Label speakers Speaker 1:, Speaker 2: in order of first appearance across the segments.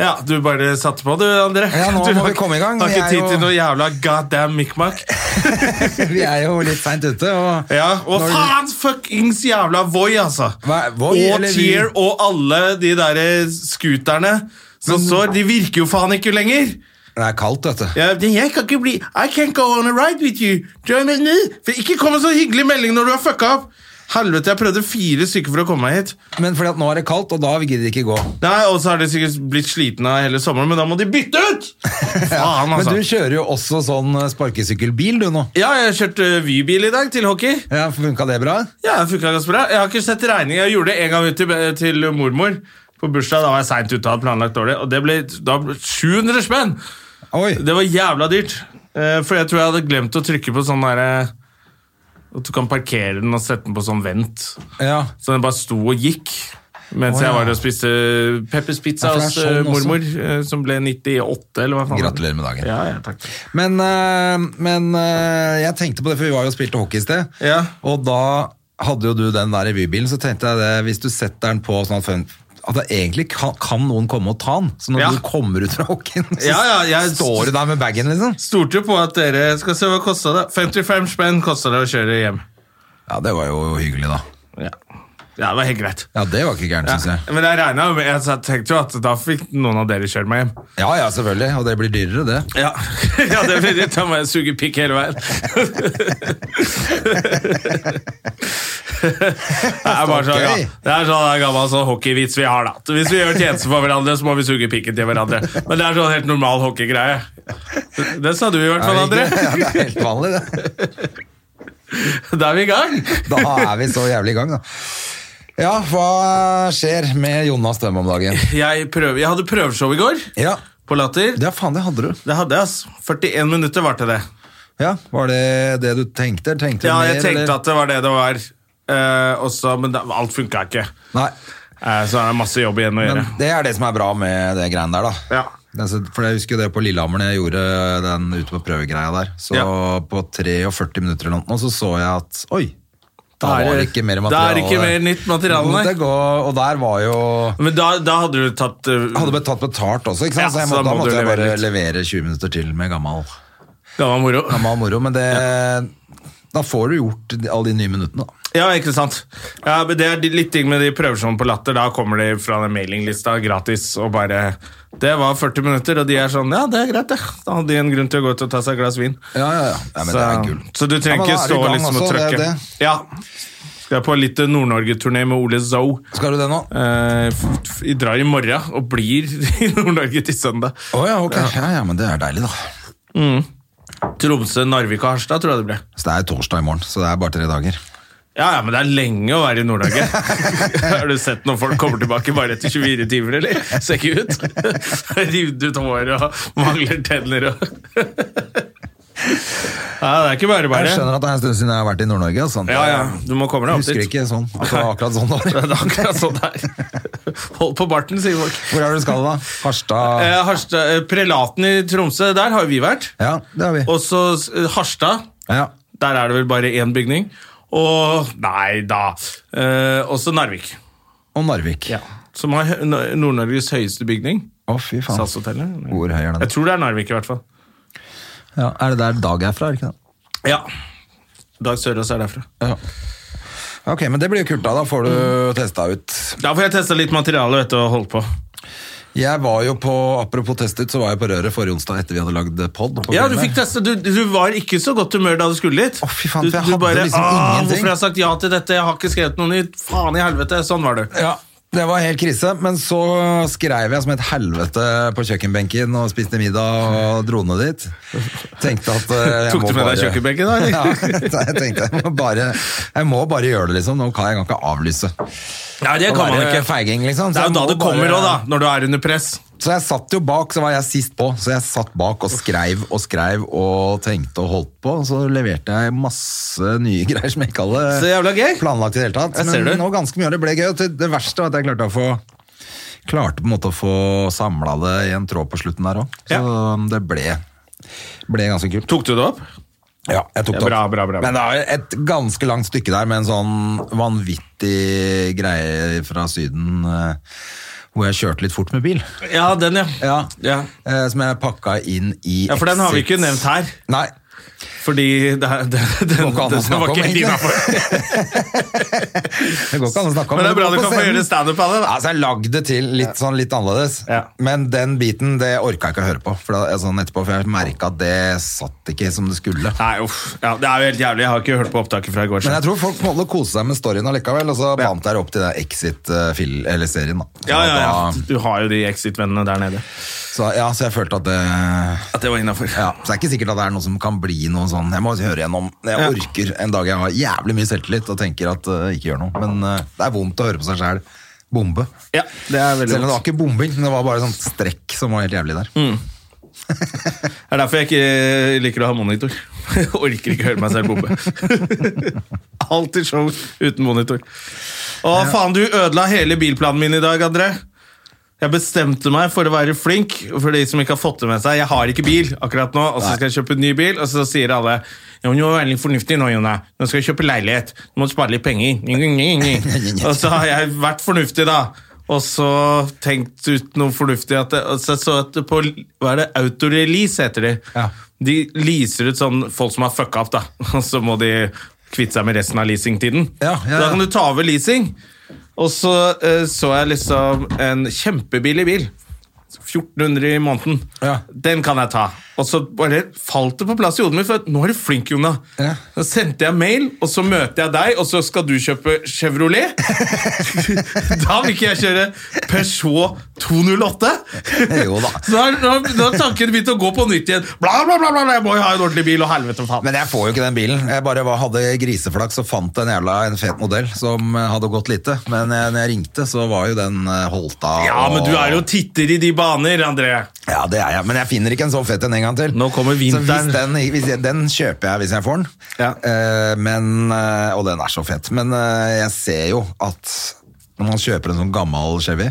Speaker 1: Ja, du bare satte på, du, André.
Speaker 2: Ja, nå
Speaker 1: du
Speaker 2: må
Speaker 1: har-
Speaker 2: vi komme i gang.
Speaker 1: Har
Speaker 2: Vi
Speaker 1: ikke
Speaker 2: er
Speaker 1: tid
Speaker 2: jo-
Speaker 1: til noe jævla goddamn mikmak.
Speaker 2: Vi er jo litt seint ute. Og
Speaker 1: Ja, og
Speaker 2: Når du-
Speaker 1: faen fuckings jævla Voi, altså.
Speaker 2: Hva- Voi,
Speaker 1: og
Speaker 2: eller vi?
Speaker 1: Tier og alle de derre scooterne som står De virker jo faen ikke lenger.
Speaker 2: Det er kaldt, vet du.
Speaker 1: Ja, men jeg kan ikke bli I can't go on a ride with you. Join me now. For ikke kom med så hyggelig melding når du har fucka opp. Helvete, jeg prøvde fire stykker for å komme meg hit.
Speaker 2: Men fordi at nå er det kaldt, og da gidder de ikke gå.
Speaker 1: Nei, Og så har de sikkert blitt slitne av hele sommeren, men da må de bytte ut! Faen,
Speaker 2: Men
Speaker 1: altså.
Speaker 2: du kjører jo også sånn eh, sparkesykkelbil, du nå.
Speaker 1: Ja, jeg har kjørt eh, Vy-bil i dag til hockey.
Speaker 2: Ja, Funka det bra?
Speaker 1: Ja, det funket ganske bra. Jeg har ikke sett regning. Jeg gjorde det en gang ut til, eh, til mormor på bursdag. Da var jeg seint ute og hadde planlagt dårlig. Og det ble da ble 700 spenn!
Speaker 2: Oi.
Speaker 1: Det var jævla dyrt. Eh, for jeg tror jeg hadde glemt å trykke på sånn derre At du kan parkere den og sette den på sånn vent.
Speaker 2: Ja.
Speaker 1: Så den bare sto og gikk. Mens
Speaker 2: Å, ja.
Speaker 1: jeg var der og spiste Peppers Pizza
Speaker 2: Ja, for det er
Speaker 1: hos eh,
Speaker 2: sånn også.
Speaker 1: mormor, eh, som ble 98, eller hva faen.
Speaker 2: Gratulerer med dagen.
Speaker 1: Ja, ja, takk.
Speaker 2: Men, eh, men eh, jeg tenkte på det, for vi var jo og spilte hockey i sted.
Speaker 1: Ja.
Speaker 2: Og da hadde jo du den der i bybilen, så tenkte jeg det, hvis du setter den på sånn at fun- at det egentlig kan, kan noen komme og ta den. Så når
Speaker 1: Ja.
Speaker 2: du kommer ut fra hockeyen, så
Speaker 1: Ja, ja, jeg-
Speaker 2: står du der med bagen, liksom.
Speaker 1: Stolte jo på at dere Skal se hva kosta det. 55 spenn kosta det å kjøre hjem.
Speaker 2: Ja, det var jo hyggelig, da.
Speaker 1: Ja. ja, det var helt greit.
Speaker 2: Ja, det var ikke gærent, syns
Speaker 1: Ja.
Speaker 2: jeg.
Speaker 1: Men jeg regna jo med Jeg tenkte jo at da fikk noen av dere kjøre meg hjem.
Speaker 2: Ja, ja, selvfølgelig. Og det blir dyrere, det.
Speaker 1: Ja, ja det blir litt Da må jeg suge pikk hele veien. Det er bare sånn, ja. det er sånn gammel sånn hockeyvits vi har, da. Hvis vi gjør tjeneste for hverandre, så må vi suge pikken til hverandre. Men det er sånn helt normal hockeygreie. Det sa du i hvert fall,
Speaker 2: Er
Speaker 1: André.
Speaker 2: det ikke? Ja, det er helt vanlig, det.
Speaker 1: Da er vi i gang.
Speaker 2: Da er vi så jævlig i gang, da. Ja, hva skjer med Jonas Dømme om dagen?
Speaker 1: Jeg, prøv, jeg hadde prøveshow i går
Speaker 2: Ja,
Speaker 1: på Latter.
Speaker 2: ja faen, det hadde du.
Speaker 1: Det hadde jeg, ass. 41 minutter varte det.
Speaker 2: Ja, Var det det du tenkte? Tenkte du
Speaker 1: Ja,
Speaker 2: mer,
Speaker 1: jeg tenkte at det var det det var. Eh, også, men det, alt funka ikke.
Speaker 2: Nei,
Speaker 1: Eh, så er det masse jobb igjen å
Speaker 2: men
Speaker 1: gjøre.
Speaker 2: det er det som er bra med det greiene der, da.
Speaker 1: Ja.
Speaker 2: Altså, For jeg husker jo det på Lillehammer når jeg gjorde den ute på prøvegreia der. Så
Speaker 1: Ja.
Speaker 2: på 43 minutter eller noe, så så jeg at oi, da
Speaker 1: Da er
Speaker 2: var det
Speaker 1: det-
Speaker 2: ikke mer
Speaker 1: da
Speaker 2: materiale.
Speaker 1: er det ikke mer nytt materiale,
Speaker 2: Nå måtte
Speaker 1: nei.
Speaker 2: jeg gå, og der var jo
Speaker 1: Men da, da hadde du tatt eh,
Speaker 2: Hadde blitt tatt betalt også, ikke sant?
Speaker 1: Ja,
Speaker 2: så jeg
Speaker 1: så
Speaker 2: må,
Speaker 1: da
Speaker 2: da
Speaker 1: må
Speaker 2: måtte
Speaker 1: du
Speaker 2: jeg
Speaker 1: levere
Speaker 2: bare
Speaker 1: litt.
Speaker 2: levere 20 minutter til med gammal,
Speaker 1: Gammel moro.
Speaker 2: gammal moro. Men det Da får du gjort de- alle de nye minuttene, da.
Speaker 1: Ja, ikke sant. Ja, men det er de- litt ting med de prøveshow på Latter. Da kommer de fra den mailinglista gratis og bare Det var 40 minutter, og de er sånn Ja, det er greit, det. Da hadde de en grunn til å gå ut og ta seg et glass vin.
Speaker 2: Ja, ja, ja. ja men
Speaker 1: så,
Speaker 2: det er gull.
Speaker 1: så du trenger
Speaker 2: Ja, men da
Speaker 1: ikke
Speaker 2: er vi i
Speaker 1: stå
Speaker 2: gang
Speaker 1: liksom og
Speaker 2: også, det er
Speaker 1: trykke.
Speaker 2: det.
Speaker 1: Ja. Skal jeg på litt Nord-Norge-turné med Ole Zoe.
Speaker 2: Skal du det nå?
Speaker 1: Eh, f- f- Vi drar i morgen og blir i Nord-Norge til søndag.
Speaker 2: Å ja, ok. Ja, ja, men det er deilig, da.
Speaker 1: Tromsø, Narvik og Harstad, tror jeg det ble.
Speaker 2: Så det er torsdag i morgen, så det er bare tre dager.
Speaker 1: Ja, ja, men det er lenge å være i Nord-Norge. Har du sett når folk kommer tilbake bare etter 24 timer, eller? Ser ikke ut. Rivd ut håret og mangler tenner og Nei, det er ikke bare
Speaker 2: Jeg
Speaker 1: bare.
Speaker 2: skjønner at det er en stund siden jeg har vært i Nord-Norge. altså.
Speaker 1: Ja, ja, du må komme deg
Speaker 2: Jeg
Speaker 1: opp dit.
Speaker 2: husker ikke sånn. At det var akkurat sånn
Speaker 1: Det
Speaker 2: da.
Speaker 1: er akkurat sånn der. Hold på barten, sier folk.
Speaker 2: Hvor er det du skal da? Harstad?
Speaker 1: Eh, Harstad, eh, prelaten i Tromsø, der har jo vi vært.
Speaker 2: Ja, det har vi.
Speaker 1: Og så eh, Harstad,
Speaker 2: Ja.
Speaker 1: der er det vel bare én bygning. Og Nei da. Eh, også Narvik,
Speaker 2: Og Narvik. Å,
Speaker 1: som har hø- N- Nord-Norges høyeste bygning.
Speaker 2: fy faen.
Speaker 1: SAS-hotellet? Nei.
Speaker 2: Hvor høy er den?
Speaker 1: Jeg tror det er Narvik, i hvert fall.
Speaker 2: Ja, er det der Dag er fra, er det ikke det?
Speaker 1: Ja. Dag Sørås er derfra.
Speaker 2: Ja. Ok, men det blir jo kult da. Da får du
Speaker 1: Mm.
Speaker 2: testa ut.
Speaker 1: Da får jeg testa litt materiale vet du, og holde på.
Speaker 2: Jeg var jo på, apropos test ut, så var jeg på Røret forrige onsdag etter vi hadde lagd pod.
Speaker 1: Ja, Du fikk teste, du, du var ikke i så godt humør da du skulle dit.
Speaker 2: Å, fy faen,
Speaker 1: du,
Speaker 2: for jeg hadde liksom
Speaker 1: «Ah,
Speaker 2: ingenting.»
Speaker 1: Hvorfor har jeg sagt ja til dette? Jeg har ikke skrevet noe nytt. Faen i helvete. Sånn var du.
Speaker 2: Ja, det var helt krise, men så skrev jeg som et helvete på kjøkkenbenken og spiste middag og dro ned dit. Tenkte at eh, jeg
Speaker 1: Tok
Speaker 2: må
Speaker 1: du med
Speaker 2: bare...
Speaker 1: deg kjøkkenbenken da, eller?
Speaker 2: Ja, jeg tenkte jeg må, bare, jeg må bare gjøre det liksom, nå kan jeg kan ikke avlyse.
Speaker 1: Nei, det
Speaker 2: Å
Speaker 1: kan man
Speaker 2: være
Speaker 1: ikke.
Speaker 2: feiging liksom.
Speaker 1: Det
Speaker 2: så
Speaker 1: er jo
Speaker 2: jeg
Speaker 1: da
Speaker 2: må
Speaker 1: det kommer
Speaker 2: bare-
Speaker 1: òg, da. Når du er under press.
Speaker 2: Så jeg satt jo bak, så var jeg sist på. Så jeg satt bak og skreiv og skreiv og tenkte og holdt på. Og så leverte jeg masse nye greier som jeg ikke hadde
Speaker 1: Så jævla gøy.
Speaker 2: planlagt i det hele tatt.
Speaker 1: Jeg ser
Speaker 2: Men
Speaker 1: det.
Speaker 2: nå ganske mye av det ble gøy. og Det det verste var at jeg klarte å få klarte på en måte å få samla det i en tråd på slutten der òg. Så um, det ble, ble ganske kult.
Speaker 1: Tok du det opp?
Speaker 2: Ja, jeg tok det opp.
Speaker 1: Bra, bra, bra.
Speaker 2: Men det er jo et ganske langt stykke der med en sånn vanvittig greie fra Syden eh, hvor jeg kjørte litt fort med bil.
Speaker 1: Ja, den, ja.
Speaker 2: Ja,
Speaker 1: Ja.
Speaker 2: eh, Som jeg pakka inn i
Speaker 1: Ja, For den har vi ikke
Speaker 2: Exit.
Speaker 1: nevnt her.
Speaker 2: Nei.
Speaker 1: Fordi det, er- det, den,
Speaker 2: Det går ikke an å
Speaker 1: den
Speaker 2: snakke
Speaker 1: var
Speaker 2: om,
Speaker 1: ikke helt
Speaker 2: egentlig.
Speaker 1: innafor.
Speaker 2: Det går ikke an å snakke om
Speaker 1: Men det er bra du
Speaker 2: går på
Speaker 1: kan få
Speaker 2: scenen.
Speaker 1: gjøre standup av det. da.
Speaker 2: Altså, jeg lagde det til litt, sånn, litt annerledes,
Speaker 1: Ja.
Speaker 2: men den biten det orka jeg ikke å høre på. For, da, sånn etterpå, for jeg merka at det satt ikke som det skulle.
Speaker 1: Nei, uff. Ja, det er jo helt jævlig. Jeg har ikke hørt på opptaket fra i går.
Speaker 2: Men
Speaker 1: så.
Speaker 2: jeg tror folk på en måte koste seg med storyen allikevel, og så bandt jeg det eh, opp til den Exit-serien. da. Så
Speaker 1: Ja, ja, ja.
Speaker 2: da-
Speaker 1: Du har jo de Exit-vennene der nede.
Speaker 2: Så, ja, så jeg følte at det
Speaker 1: At det var innafor.
Speaker 2: ja, Så det er ikke sikkert at det er noe som kan bli noe sånn Jeg må høre gjennom Jeg
Speaker 1: Ja.
Speaker 2: orker en dag jeg har jævlig mye selvtillit og tenker at eh, ikke gjør noe. Men eh, det er vondt å høre på seg sjæl bombe.
Speaker 1: Ja, det er veldig Mm.
Speaker 2: Selv om det
Speaker 1: godt.
Speaker 2: var ikke bombing, det var bare sånn strekk som var helt jævlig der.
Speaker 1: Det er derfor jeg ikke eh, liker å ha monitor. Jeg orker ikke høre meg selv bombe. Alltid show uten monitor. Å, faen, du ødela hele bilplanen min i dag, André. Jeg bestemte meg for å være flink. og For de som ikke har fått det med seg Jeg har ikke bil akkurat nå, og så skal jeg kjøpe en ny bil, og så sier alle ja, men du må være litt fornuftig nå, Jonna. Nå skal jeg kjøpe leilighet. Du må spare litt penger. Og så har jeg vært fornuftig, da. Og så tenkt ut noe fornuftig. At det, og så så at det på Hva er det? Autorelease heter de.
Speaker 2: Ja.
Speaker 1: De leaser ut sånn folk som har fucka opp, da. Og så må de kvitte seg med resten av leasingtiden.
Speaker 2: Ja, ja, ja.
Speaker 1: Da kan du ta over leasing. Og så eh, så jeg liksom en kjempebillig bil. 1400 i måneden.
Speaker 2: Ja.
Speaker 1: Den kan jeg ta. Og så bare falt det på plass i hodet mitt, for at, nå er du flink, Jonna.
Speaker 2: Ja.
Speaker 1: Da sendte jeg mail, og så møter jeg deg, og så skal du kjøpe Chevrolet. da vil ikke jeg kjøre Peugeot 208.
Speaker 2: Jo da.
Speaker 1: Så da, da, da har tanken begynt å gå på nytt igjen. Bla, bla, bla, bla, jeg må jo ha en ordentlig bil, og helvete faen.
Speaker 2: Men jeg får jo ikke den bilen. Jeg bare var, hadde griseflaks og fant en jævla en fet modell som eh, hadde gått lite. Men jeg, når jeg ringte, så var jo den eh, holdt av.
Speaker 1: ja, men
Speaker 2: og-
Speaker 1: du er jo titter i de baner, André.
Speaker 2: Ja, det er jeg, men jeg finner ikke en så fett en en gang til.
Speaker 1: Nå kommer
Speaker 2: Så
Speaker 1: vinteren.
Speaker 2: hvis den, hvis jeg, den kjøper jeg hvis jeg får den,
Speaker 1: Ja.
Speaker 2: Eh, men, eh, og den er så fett. Men eh, jeg ser jo at når man kjøper en sånn gammel Chevy,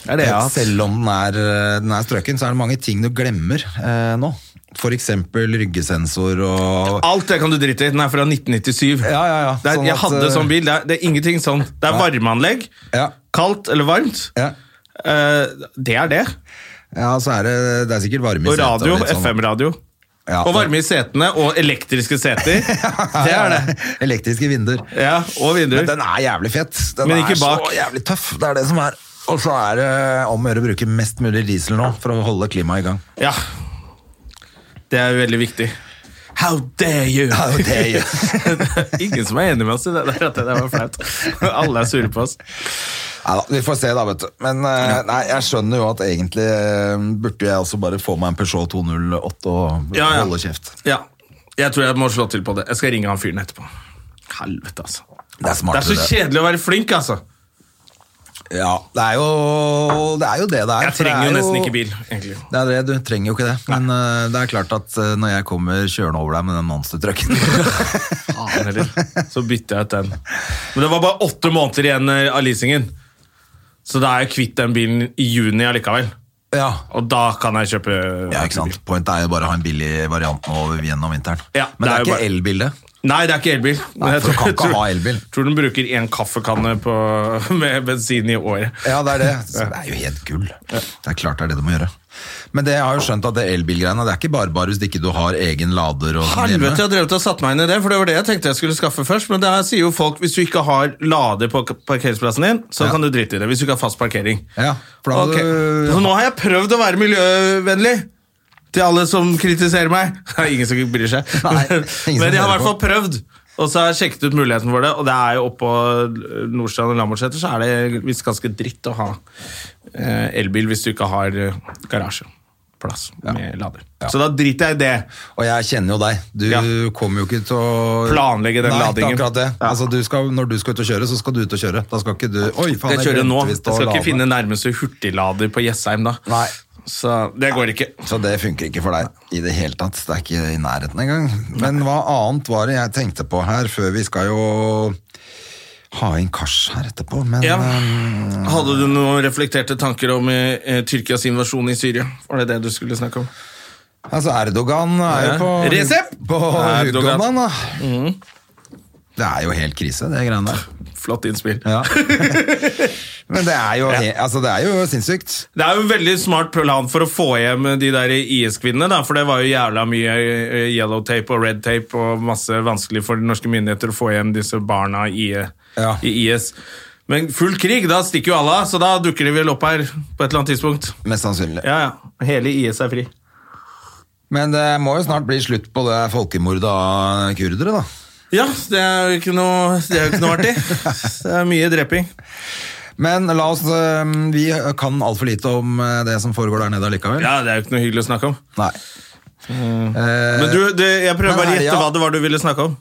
Speaker 2: selv om den er, eh, den er strøken, så er det mange ting du glemmer eh, nå. For eksempel ryggesensor og...
Speaker 1: Alt det kan du drite i. Den er fra 1997.
Speaker 2: Ja, ja, ja.
Speaker 1: Det er,
Speaker 2: Sånn
Speaker 1: jeg
Speaker 2: at,
Speaker 1: hadde
Speaker 2: eh,
Speaker 1: sånn bil. Det er, det er ingenting sånn. Det er varmeanlegg.
Speaker 2: Ja.
Speaker 1: Kaldt eller varmt.
Speaker 2: Ja.
Speaker 1: Eh, det er det.
Speaker 2: Ja, så er det, det er sikkert varme i
Speaker 1: Og
Speaker 2: setet
Speaker 1: radio.
Speaker 2: litt sånn.
Speaker 1: FM-radio.
Speaker 2: Ja.
Speaker 1: Og varme i setene. Og elektriske seter. Det er det.
Speaker 2: Elektriske vinduer.
Speaker 1: Ja, Og
Speaker 2: Men
Speaker 1: vinduer.
Speaker 2: den er jævlig fett. Den
Speaker 1: Men ikke
Speaker 2: er
Speaker 1: bak.
Speaker 2: så jævlig tøff. Det er det som er. Og så er det om å gjøre å bruke mest mulig diesel nå for å holde klimaet i gang.
Speaker 1: Ja. Det er veldig viktig. How dare you!
Speaker 2: How dare you.
Speaker 1: Ingen som er enig med oss i det der. at Det der var flaut. Alle er sure på oss.
Speaker 2: Neida, vi får se, da, vet du. Men eh, nei, jeg skjønner jo at egentlig eh, burde jeg også bare få meg en Peugeot 208 og
Speaker 1: Ja, ja.
Speaker 2: holde kjeft.
Speaker 1: Ja. Jeg tror jeg må slå til på det. Jeg skal ringe han fyren etterpå. Helvete, altså.
Speaker 2: Det er
Speaker 1: Det er
Speaker 2: smartere,
Speaker 1: så kjedelig å være flink, altså.
Speaker 2: Ja, det er jo det er jo det, det er.
Speaker 1: Jeg
Speaker 2: for det
Speaker 1: trenger
Speaker 2: er
Speaker 1: jo nesten ikke bil, egentlig.
Speaker 2: Det er det, du trenger jo ikke det. Men eh, det er klart at eh, når jeg kommer kjørende over deg med den monstertrucken
Speaker 1: Faen heller. Så bytter jeg ut den. Men det var bare åtte måneder igjen eh, av leasingen. Så da er jeg kvitt den bilen i juni allikevel.
Speaker 2: ja.
Speaker 1: Og da kan jeg kjøpe eh,
Speaker 2: ja, ikke sant. Pointet er jo bare å ha en billig variant nå over- gjennom vinteren.
Speaker 1: Ja,
Speaker 2: Men det er,
Speaker 1: jo
Speaker 2: ikke
Speaker 1: bare-
Speaker 2: elbildet.
Speaker 1: Nei, det er ikke elbil. Men
Speaker 2: Nei,
Speaker 1: jeg
Speaker 2: for du kan ikke
Speaker 1: tror-
Speaker 2: ha elbil.
Speaker 1: Tror den bruker én kaffekanne på, med bensin i året.
Speaker 2: Ja, det er det. Så det er jo helt gull. Det er klart det er det du må gjøre. Men det, jeg har jo skjønt at det elbilgreiene, det er ikke bare bare hvis ikke du har egen lader og sånn
Speaker 1: Helvete,
Speaker 2: hjemme.
Speaker 1: jeg har drevet og satt meg inn i det, for det var det jeg tenkte jeg skulle skaffe først. Men det her sier jo folk hvis du ikke har lader på parkeringsplassen din, så
Speaker 2: Ja.
Speaker 1: kan du drite i det. Hvis du ikke har fast parkering.
Speaker 2: Ja, for da må
Speaker 1: Ok.
Speaker 2: du-
Speaker 1: Så nå har jeg prøvd å være miljøvennlig. Til alle som kritiserer meg. Det er ingen som bryr seg.
Speaker 2: Nei, ingen som
Speaker 1: Men jeg har i
Speaker 2: hører
Speaker 1: hvert fall prøvd. Og så har jeg sjekket ut muligheten for det, og det er jo oppå Nordstrand og Lambertseter så er det visst ganske dritt å ha eh, elbil hvis du ikke har eh, garasje. plass med lader. Så da driter jeg i det.
Speaker 2: Og jeg kjenner jo deg. Du
Speaker 1: Ja.
Speaker 2: kommer jo ikke til å
Speaker 1: Planlegge den
Speaker 2: Nei, det er
Speaker 1: ladingen.
Speaker 2: akkurat det.
Speaker 1: Ja.
Speaker 2: Altså, du skal, når du skal ut og kjøre, så skal du ut og kjøre. Da skal ikke du Oi, faen,
Speaker 1: Jeg kjører
Speaker 2: glemte
Speaker 1: nå. Jeg
Speaker 2: visst å
Speaker 1: skal ikke
Speaker 2: lade.
Speaker 1: finne nærmeste hurtiglader på Jessheim da.
Speaker 2: Nei.
Speaker 1: Så det går ikke.
Speaker 2: Så det funker ikke for deg i det hele tatt. Det er ikke i nærheten engang. Men hva annet var det jeg tenkte på her, før vi skal jo ha inn Kars her etterpå, men
Speaker 1: Ja.
Speaker 2: eh,
Speaker 1: Hadde du noen reflekterte tanker om eh, eh, Tyrkias invasjon i Syria? Var det det du skulle snakke om?
Speaker 2: altså Erdogan er jo
Speaker 1: Ja.
Speaker 2: på
Speaker 1: Recep!
Speaker 2: På
Speaker 1: Erdogan. Mhm.
Speaker 2: Erdogan, da. Det er jo helt krise, det greiene der.
Speaker 1: Flott innspill.
Speaker 2: Ja. men det er jo, he- altså, det er jo sinnssykt.
Speaker 1: Det er jo en veldig smart plan for å få hjem de der IS-kvinnene, da, for det var jo jævla mye eh, yellow tape og red tape og masse vanskelig for de norske myndigheter å få hjem disse barna i, eh,
Speaker 2: Ja.
Speaker 1: i IS. Men full krig, da stikker jo alle av, så da dukker de vel opp her på et eller annet tidspunkt.
Speaker 2: Mest sannsynlig.
Speaker 1: Ja, ja. Hele IS er fri.
Speaker 2: Men det må jo snart bli slutt på det folkemordet av kurdere, da.
Speaker 1: Ja, det er jo ikke noe, det er jo ikke noe artig. Det er mye dreping.
Speaker 2: Men la oss, eh, vi kan altfor lite om eh, det som foregår der nede allikevel.
Speaker 1: Ja, det er jo ikke noe hyggelig å snakke om.
Speaker 2: Nei. Eh,
Speaker 1: Men du, det, jeg prøver
Speaker 2: Men
Speaker 1: bare å
Speaker 2: her,
Speaker 1: gjette
Speaker 2: ja.
Speaker 1: hva det var du ville snakke om.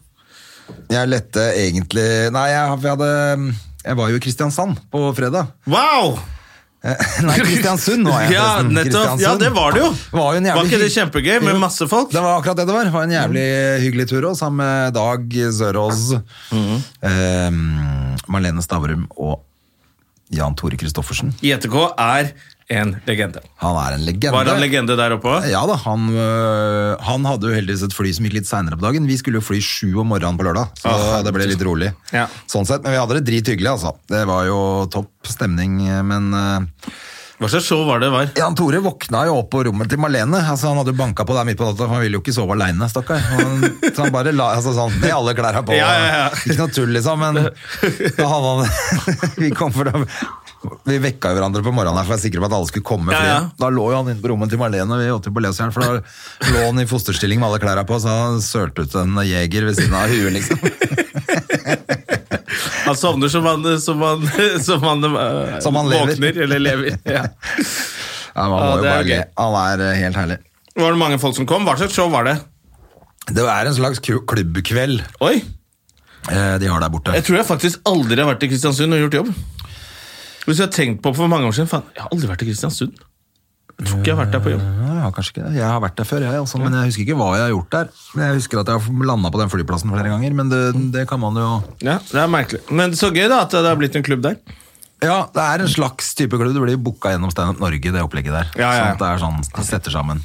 Speaker 2: Jeg lette egentlig Nei, jeg, vi hadde Jeg var jo i Kristiansand på fredag.
Speaker 1: Wow!
Speaker 2: Nei, Kristiansund var jeg.
Speaker 1: Ja,
Speaker 2: forresten.
Speaker 1: nettopp. Ja,
Speaker 2: Kristiansund.
Speaker 1: det var det jo.
Speaker 2: Var jo en jævlig
Speaker 1: Var ikke det
Speaker 2: hy-
Speaker 1: kjempegøy Mm.
Speaker 2: Jo.
Speaker 1: med masse folk?
Speaker 2: Det var akkurat det det var. Det var en jævlig hyggelig tur også, sammen med Dag Sørås,
Speaker 1: Mm.
Speaker 2: eh, Marlene Stavrum og Jan Tore Christoffersen.
Speaker 1: JTK er en legende.
Speaker 2: Han er en legende.
Speaker 1: Var han legende der oppe òg?
Speaker 2: Ja da, han, øh, han hadde jo heldigvis et fly som gikk litt seinere på dagen. Vi skulle jo fly sju om morgenen på lørdag, så
Speaker 1: Ah,
Speaker 2: det ble litt rolig.
Speaker 1: Ja.
Speaker 2: Sånn sett, Men vi hadde det drithyggelig, altså. Det var jo topp stemning. Men øh,
Speaker 1: Hva slags show var det? var?
Speaker 2: Jan Tore våkna jo opp på rommet til Marlene. Altså, han hadde jo banka på der midt på natta, for han ville jo ikke sove aleine, stakkar. Han- Så han bare la altså, sånn, med alle klærne på.
Speaker 1: Ja, ja, ja.
Speaker 2: Ikke noe tull, liksom. Men da hadde han Vi kom for da vi vekka jo hverandre på morgenen her for å være sikre på at alle skulle komme.
Speaker 1: Ja,
Speaker 2: fordi
Speaker 1: ja.
Speaker 2: Da lå jo han inne på rommet til Marlene, vi åtte på lesejern, for da lå han i fosterstilling med alle klærne på, så han sølte ut en jeger ved siden av huet, liksom.
Speaker 1: Han sovner som han, som han, som han, eh,
Speaker 2: Som han lever.
Speaker 1: våkner eller lever. Ja.
Speaker 2: Ja,
Speaker 1: Ja,
Speaker 2: man må jo
Speaker 1: det er
Speaker 2: bare
Speaker 1: gøy.
Speaker 2: le. Han er eh, helt herlig.
Speaker 1: Var det mange folk som kom? Hva slags show var det?
Speaker 2: Det er en slags ku- klubbkveld
Speaker 1: Oi!
Speaker 2: eh, de har der borte.
Speaker 1: Jeg tror jeg faktisk aldri har vært i Kristiansund og gjort jobb. Hvis jeg har tenkt på for mange år siden faen, Jeg har aldri vært i Kristiansund. Jeg tror ikke jeg har vært der på jobb.
Speaker 2: Nei, jeg har kanskje ikke det. Jeg har vært der før, jeg, altså, men jeg husker ikke hva jeg har gjort der. Men Jeg husker at jeg har landa på den flyplassen flere ganger, men det, det kan man jo
Speaker 1: Ja, Det er merkelig. Men så gøy da at det har blitt en klubb der.
Speaker 2: Ja, det er en slags type klubb. Du blir jo booka gjennom Standup Norge, det opplegget der.
Speaker 1: Ja, ja, ja.
Speaker 2: Sånn at det er sånn, de setter sammen.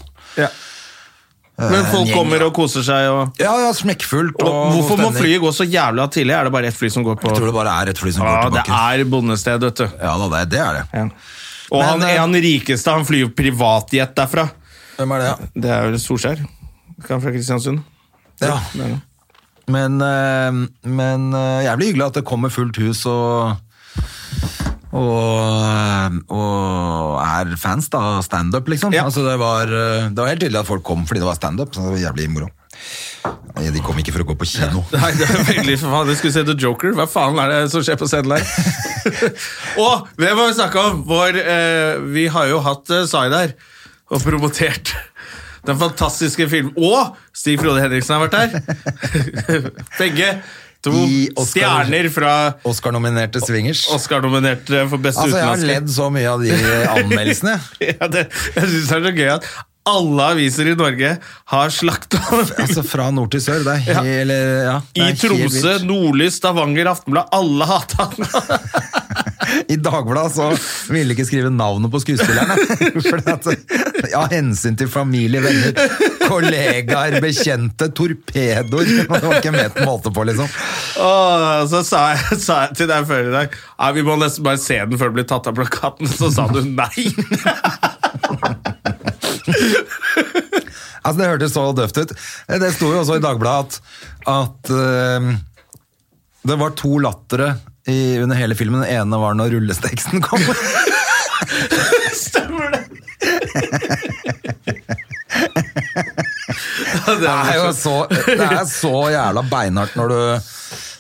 Speaker 1: Men folk
Speaker 2: Eh, gjeng,
Speaker 1: kommer og koser seg. og...
Speaker 2: Ja, ja, smekkfullt. Og,
Speaker 1: Og hvorfor må
Speaker 2: stemning.
Speaker 1: flyet gå så jævla tidlig? Er det bare ett fly som går på
Speaker 2: Jeg tror det bare er et fly som går
Speaker 1: Ja, det
Speaker 2: tilbake.
Speaker 1: er bondested, vet du.
Speaker 2: Ja da, det, er- det er det.
Speaker 1: Og
Speaker 2: Men,
Speaker 1: han
Speaker 2: eh,
Speaker 1: er han rikeste, han flyr jo privatjet derfra.
Speaker 2: Hvem er det, ja?
Speaker 1: Det er jo Solskjær. Ikke han fra Kristiansund?
Speaker 2: Ja. Men, eh, men eh, jævlig hyggelig at det kommer fullt hus og og, eh, og er fans da, av standup, liksom.
Speaker 1: Ja.
Speaker 2: Altså, det, var, eh, det var helt tydelig at folk kom fordi det var standup. Så det var jævlig moro. Nei, De kom ikke for å gå på kino.
Speaker 1: Nei, det er veldig for faen. Jeg skulle se The Joker. Hva faen er det som skjer på scenen der? og hvem har vi snakka om? Vår, eh, vi har jo hatt eh, Zaid her og promotert den fantastiske filmen. Og Stig Frode Henriksen har vært her. Begge to
Speaker 2: I Oscar-
Speaker 1: stjerner fra
Speaker 2: Oscar-nominerte swingers.
Speaker 1: Oscar-nominerte for beste
Speaker 2: Altså, jeg har
Speaker 1: utenlandske.
Speaker 2: ledd så mye av de anmeldelsene.
Speaker 1: Ja, det, jeg synes det er så gøy at alle aviser i Norge har slakta
Speaker 2: Altså, fra nord til sør. Det er
Speaker 1: Ja.
Speaker 2: helt ja. det
Speaker 1: I
Speaker 2: er helt
Speaker 1: Tromsø,
Speaker 2: vilt.
Speaker 1: Nordlys, Stavanger, Aftenblad. Alle hata han.
Speaker 2: I Dagbladet så ville de ikke skrive navnet på skuespillerne. Fordi at, ja, hensyn til familie, venner, kollegaer, bekjente, torpedoer. Det var ikke med på måte på, liksom.
Speaker 1: Åh, Så sa jeg, sa jeg til deg før i dag Nei, vi må nesten bare se den før den blir tatt av plakaten. Så sa du nei.
Speaker 2: Altså, det hørtes så døvt ut. Det sto jo også i Dagbladet at, at eh, det var to lattere i, under hele filmen. Den ene var når rullesteksten kom.
Speaker 1: Stemmer det? Ja, det
Speaker 2: Det er
Speaker 1: er
Speaker 2: jo altså. så, det er så jævla beinhardt når du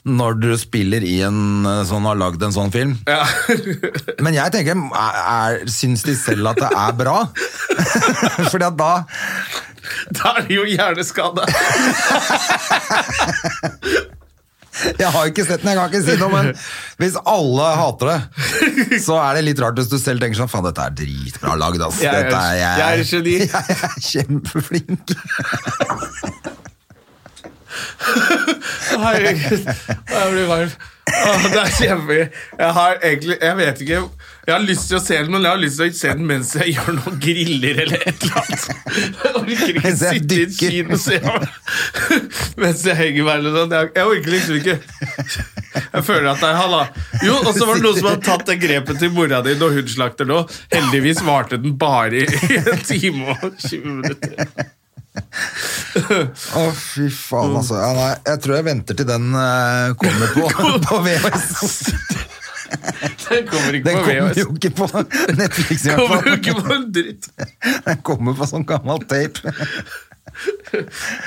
Speaker 2: når du spiller i en eh, sånn, har lagd en sånn film.
Speaker 1: Ja.
Speaker 2: Men jeg tenker, er, er, syns de selv at det er bra? Fordi at da
Speaker 1: Da er det jo hjerneskada.
Speaker 2: Jeg har ikke sett den, jeg kan ikke si noe, men hvis alle hater det, så er det litt rart hvis du selv tenker sånn Faen, dette er dritbra lagd, ass.
Speaker 1: Jeg er-
Speaker 2: Dette er,
Speaker 1: jeg er et geni.
Speaker 2: Jeg er kjempeflink.
Speaker 1: Herregud. Jeg blir varm. Åh, Det er kjempegøy. Jeg har egentlig Jeg vet ikke Jeg har lyst til å se den, men jeg har lyst til å se den mens jeg gjør noen griller eller et eller annet. Jeg orker ikke
Speaker 2: Mens jeg
Speaker 1: sitte i et
Speaker 2: dykker.
Speaker 1: kino og se mens jeg henger meg eller sånn. Jeg, jeg orker liksom ikke Jeg føler at det er halla. Jo, og så var det noen som hadde tatt det grepet til mora di når hun slakter nå. Heldigvis varte den bare i en time og 20 minutter.
Speaker 2: Å, fy faen, altså. Ja, nei, jeg tror jeg venter til den eh, kommer på, på VHS.
Speaker 1: Den kommer ikke
Speaker 2: Den
Speaker 1: på
Speaker 2: kommer
Speaker 1: VHS.
Speaker 2: jo ikke på Netflix, i
Speaker 1: Kommer jo
Speaker 2: hvert
Speaker 1: ikke
Speaker 2: fall.
Speaker 1: på en dritt.
Speaker 2: Den kommer på sånn gammel tape.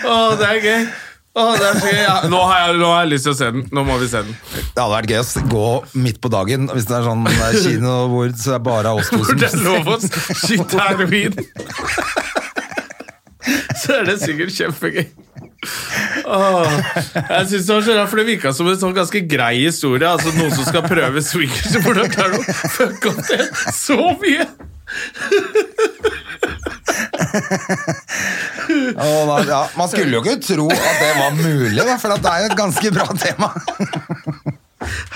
Speaker 1: Å, det er gøy. Å, det er så gøy. Ja, nå, har jeg, nå har jeg lyst til å se den. Nå må vi se den.
Speaker 2: Det hadde vært gøy å s- gå midt på dagen hvis det er sånn eh, kino hvor så er det bare oss to
Speaker 1: For det er lov
Speaker 2: som
Speaker 1: å skyte heroin. Så er det sikkert kjempegøy. Åh, jeg synes det var så rart, for det virka som en sånn ganske grei historie. Altså Noen som skal prøve swingers. Hvordan klarer du å fucke opp det så mye?
Speaker 2: Og da, ja, Man skulle jo ikke tro at det var mulig, da, for at det er jo et ganske bra tema.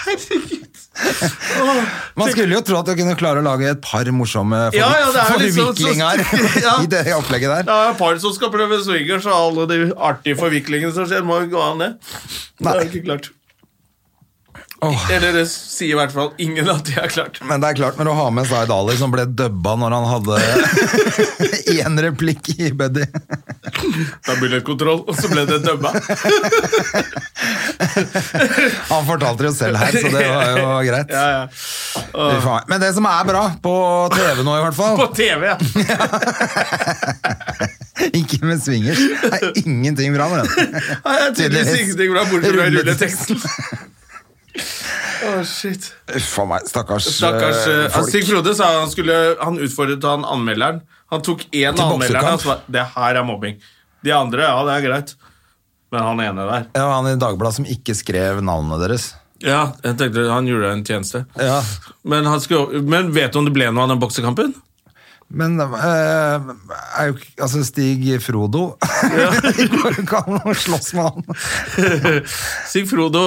Speaker 1: Herregud. Åh,
Speaker 2: Man skulle jo tro at du kunne klare å lage et par morsomme for,
Speaker 1: Ja, ja, det er jo litt sånn-
Speaker 2: forviklinger
Speaker 1: Ja.
Speaker 2: i det opplegget
Speaker 1: det
Speaker 2: der.
Speaker 1: er et par som skal prøve swingers, og alle de artige forviklingene som skjer, må jo gå an, det. Det er jo ikke klart.
Speaker 2: Åh,
Speaker 1: Eller det sier i hvert fall ingen at de har klart.
Speaker 2: men det er klart, når du har med Zaid Ali, som ble dubba når han hadde én replikk i Buddy
Speaker 1: Det er billettkontroll, og så ble det dømma.
Speaker 2: Han fortalte det jo selv her, så det var jo greit.
Speaker 1: Ja, ja.
Speaker 2: Fy faen. Men det som er bra, på TV nå i hvert fall
Speaker 1: På TV, ja.
Speaker 2: Ikke med swingers. Det er ingenting bra med den.
Speaker 1: Nei, Jeg tydeligvis ingenting bra bortsett fra rulleteksten. Å, shit.
Speaker 2: Uff a meg, stakkars,
Speaker 1: Stakkars
Speaker 2: eh,
Speaker 1: eh, Stig Frode sa han skulle Han utfordret han anmelderen. Han tok én av anmelderne og sa det her er mobbing. De andre, ja, det er greit. Men han ene der
Speaker 2: Det var han i Dagbladet som ikke skrev navnene deres.
Speaker 1: Ja, jeg tenkte han gjorde deg en tjeneste.
Speaker 2: Ja,
Speaker 1: Men, han skulle, men vet du om det ble noe av den boksekampen?
Speaker 2: Men eh, er jo ikke- altså Stig Frodo Det går jo ikke an å slåss med han.
Speaker 1: Stig Frode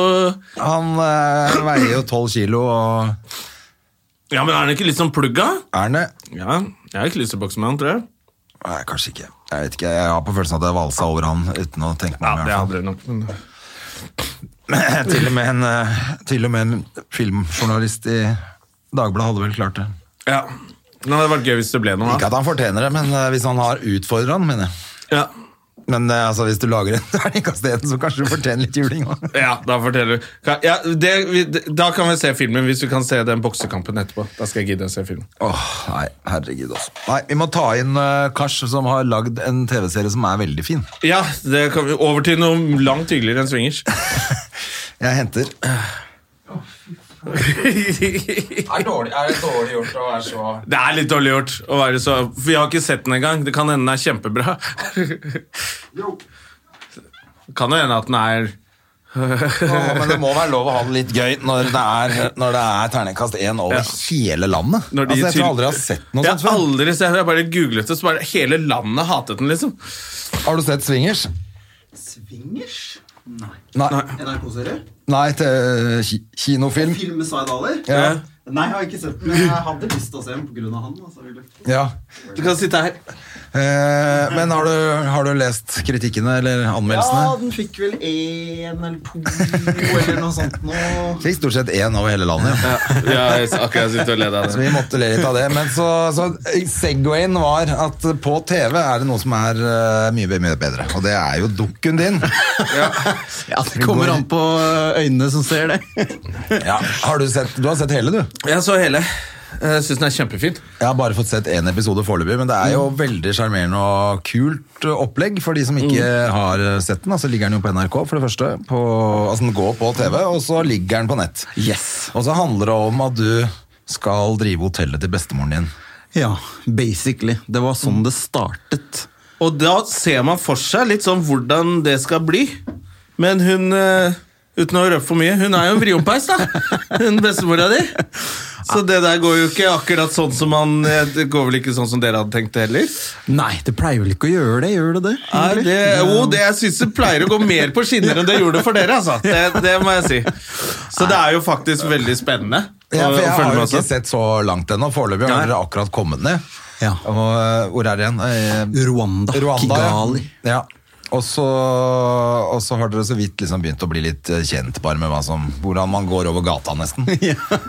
Speaker 2: Han eh, veier jo tolv kilo og
Speaker 1: Ja, men er han ikke litt sånn plugga?
Speaker 2: er han det?
Speaker 1: Ja, jeg har ikke lyst til å bokse med han, tror jeg.
Speaker 2: Nei, kanskje ikke. Jeg vet ikke, jeg har på følelsen at jeg valsa over han uten å tenke meg
Speaker 1: Ja,
Speaker 2: om. i
Speaker 1: det
Speaker 2: hvert
Speaker 1: hadde det nok. Men...
Speaker 2: fall. Til og med en, eh, til og med en filmjournalist i Dagbladet hadde vel klart det.
Speaker 1: Ja. Det hadde vært gøy hvis det ble noe.
Speaker 2: Ikke
Speaker 1: da.
Speaker 2: at han fortjener det, men eh, hvis han har utfordra han, mener jeg.
Speaker 1: Ja.
Speaker 2: Men eh, altså, hvis du lager en terningkast én, så kanskje du fortjener litt juling òg.
Speaker 1: ja, da forteller du. Ka- Ja, det, vi, da kan vi se filmen, hvis du kan se den boksekampen etterpå. Da skal jeg gidde å se filmen.
Speaker 2: Åh, nei, herregud altså. Nei, vi må ta inn eh, Kars, som har lagd en TV-serie som er veldig fin.
Speaker 1: Ja, det kan vi over til noe langt hyggeligere enn swingers.
Speaker 2: Jeg henter.
Speaker 1: er det dårlig gjort å være så Det er litt dårlig gjort å være så For jeg har ikke sett den engang. Det kan hende den er kjempebra. Kan jo hende at den er
Speaker 2: men det må være lov å ha det litt gøy når det er, når det er terningkast én over
Speaker 1: Ja.
Speaker 2: hele landet.
Speaker 1: Når de
Speaker 2: altså, jeg tror
Speaker 1: tyr-
Speaker 2: aldri jeg har sett noe
Speaker 1: Jeg har
Speaker 2: sånt før.
Speaker 1: aldri sett Jeg bare googlet det, så bare hele landet hatet den, liksom.
Speaker 2: Har du sett Swingers?
Speaker 3: Swingers? Nei.
Speaker 2: Nei,
Speaker 3: NRK-serie?
Speaker 2: nei til eh, ki- kinofilm.
Speaker 3: Film med Zaid Ali?
Speaker 2: Ja.
Speaker 3: Nei, jeg har ikke sett den, men jeg hadde lyst til å se den pga. han. Altså, vil jeg.
Speaker 2: ja.
Speaker 1: Du kan sitte her.
Speaker 2: Eh, men har du, har du lest kritikkene eller
Speaker 3: ja,
Speaker 2: anmeldelsene?
Speaker 3: den fikk vel én eller to eller noe sånt noe.
Speaker 2: Fikk stort sett én over hele landet. Ja.
Speaker 1: Ja, jeg s- akkurat sitter og leder av
Speaker 2: Så
Speaker 1: det.
Speaker 2: vi måtte le litt av det. Men så, så Segwayen var at på TV er det noe som er eh, mye, be- mye bedre, og det er jo dukken din.
Speaker 3: Ja, Det kommer an på øynene som ser det.
Speaker 2: Har du sett Du har sett hele, du?
Speaker 1: Jeg så hele.
Speaker 4: Jeg syns den er kjempefin.
Speaker 2: Jeg har bare fått sett én episode foreløpig, men det er jo veldig sjarmerende og kult eh, opplegg for de som ikke
Speaker 3: Mm.
Speaker 2: har sett den. Altså ligger den jo på NRK, for det første. På, altså Den går på TV, og så ligger den på nett.
Speaker 1: Yes.
Speaker 2: Og så handler det om at du skal drive hotellet til bestemoren din.
Speaker 1: Ja, basically. Det var sånn det startet.
Speaker 4: Mm. Og da ser man for seg litt sånn hvordan det skal bli. Men hun eh, Uten å røpe for mye, hun er jo en vriompeis, da! Hun bestemora di. Så det der går jo ikke akkurat sånn som man eh, Det går vel ikke sånn som dere hadde tenkt det heller?
Speaker 1: Nei, det pleier vel ikke å gjøre det? Gjør det det?
Speaker 4: Nei,
Speaker 1: egentlig?
Speaker 4: det, jo, det jeg syns det pleier å gå mer på skinner enn det gjorde for dere. Altså. Det, det må jeg si. Så det er jo faktisk veldig spennende.
Speaker 2: Ja, for
Speaker 4: å- å
Speaker 2: jeg
Speaker 4: følge
Speaker 2: har
Speaker 4: med
Speaker 2: jo
Speaker 4: også.
Speaker 2: ikke sett så langt ennå. Foreløpig
Speaker 4: Nei.
Speaker 2: har dere akkurat kommet ned.
Speaker 1: Ja.
Speaker 2: Og eh, hvor er det igjen? Eh,
Speaker 1: Rwanda,
Speaker 2: Rwanda,
Speaker 1: Kigali.
Speaker 2: Ja. Ja. Og så, og så har dere så vidt liksom begynt å bli litt eh, kjent bare med hva som, hvordan man går over gata, nesten.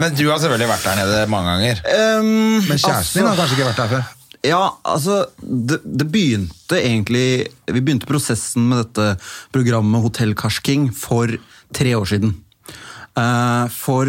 Speaker 2: Men du har selvfølgelig vært der nede mange ganger.
Speaker 1: Ehm,
Speaker 2: Men kjæresten din har
Speaker 1: altså-
Speaker 2: kanskje ikke vært der før?
Speaker 1: Ja, altså det, det begynte egentlig Vi begynte prosessen med dette programmet Hotell Karsking for tre år siden. Eh, for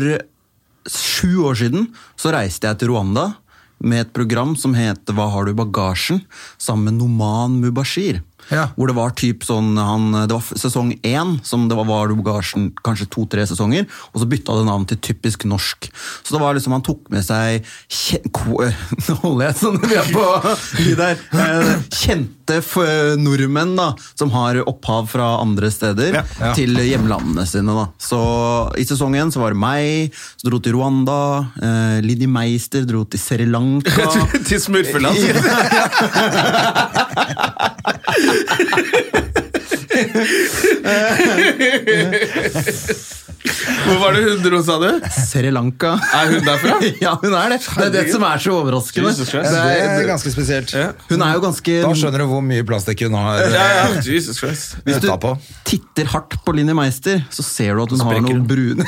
Speaker 1: sju år siden så reiste jeg til Rwanda med et program som het Hva har du i bagasjen? sammen med Noman Mubashir.
Speaker 2: Ja.
Speaker 1: Hvor det var typ sånn han, Det var sesong én som det var Hva har du i bagasjen? Kanskje to-tre sesonger. Og så bytta det navn til Typisk norsk. Så det var liksom han tok med seg kje- ko- Nå holder jeg sånn vi er på de der. eh, Kjente f- nordmenn da, som har opphav fra andre steder, til hjemlandene sine. da. Så i sesong én så var det meg, så dro til Rwanda. Eh, Lidi Meister dro til Sri Lanka.
Speaker 4: Til smurfeland. sier jeg. Hvor var det hun dro, sa du?
Speaker 1: Sri Lanka.
Speaker 4: Er hun derfra?
Speaker 1: Ja, hun er det. Det er det som er så overraskende.
Speaker 4: Jesus
Speaker 2: Det
Speaker 4: Christ.
Speaker 2: er, Eh, ganske spesielt.
Speaker 1: Hun er jo ganske
Speaker 2: Da skjønner du hvor mye plastikk hun har
Speaker 4: Ja,
Speaker 2: eh,
Speaker 4: ja. Jesus Christ.
Speaker 1: Hvis du
Speaker 2: putta på.
Speaker 1: titter hardt på Linni Meister, så ser du at hun har noe brune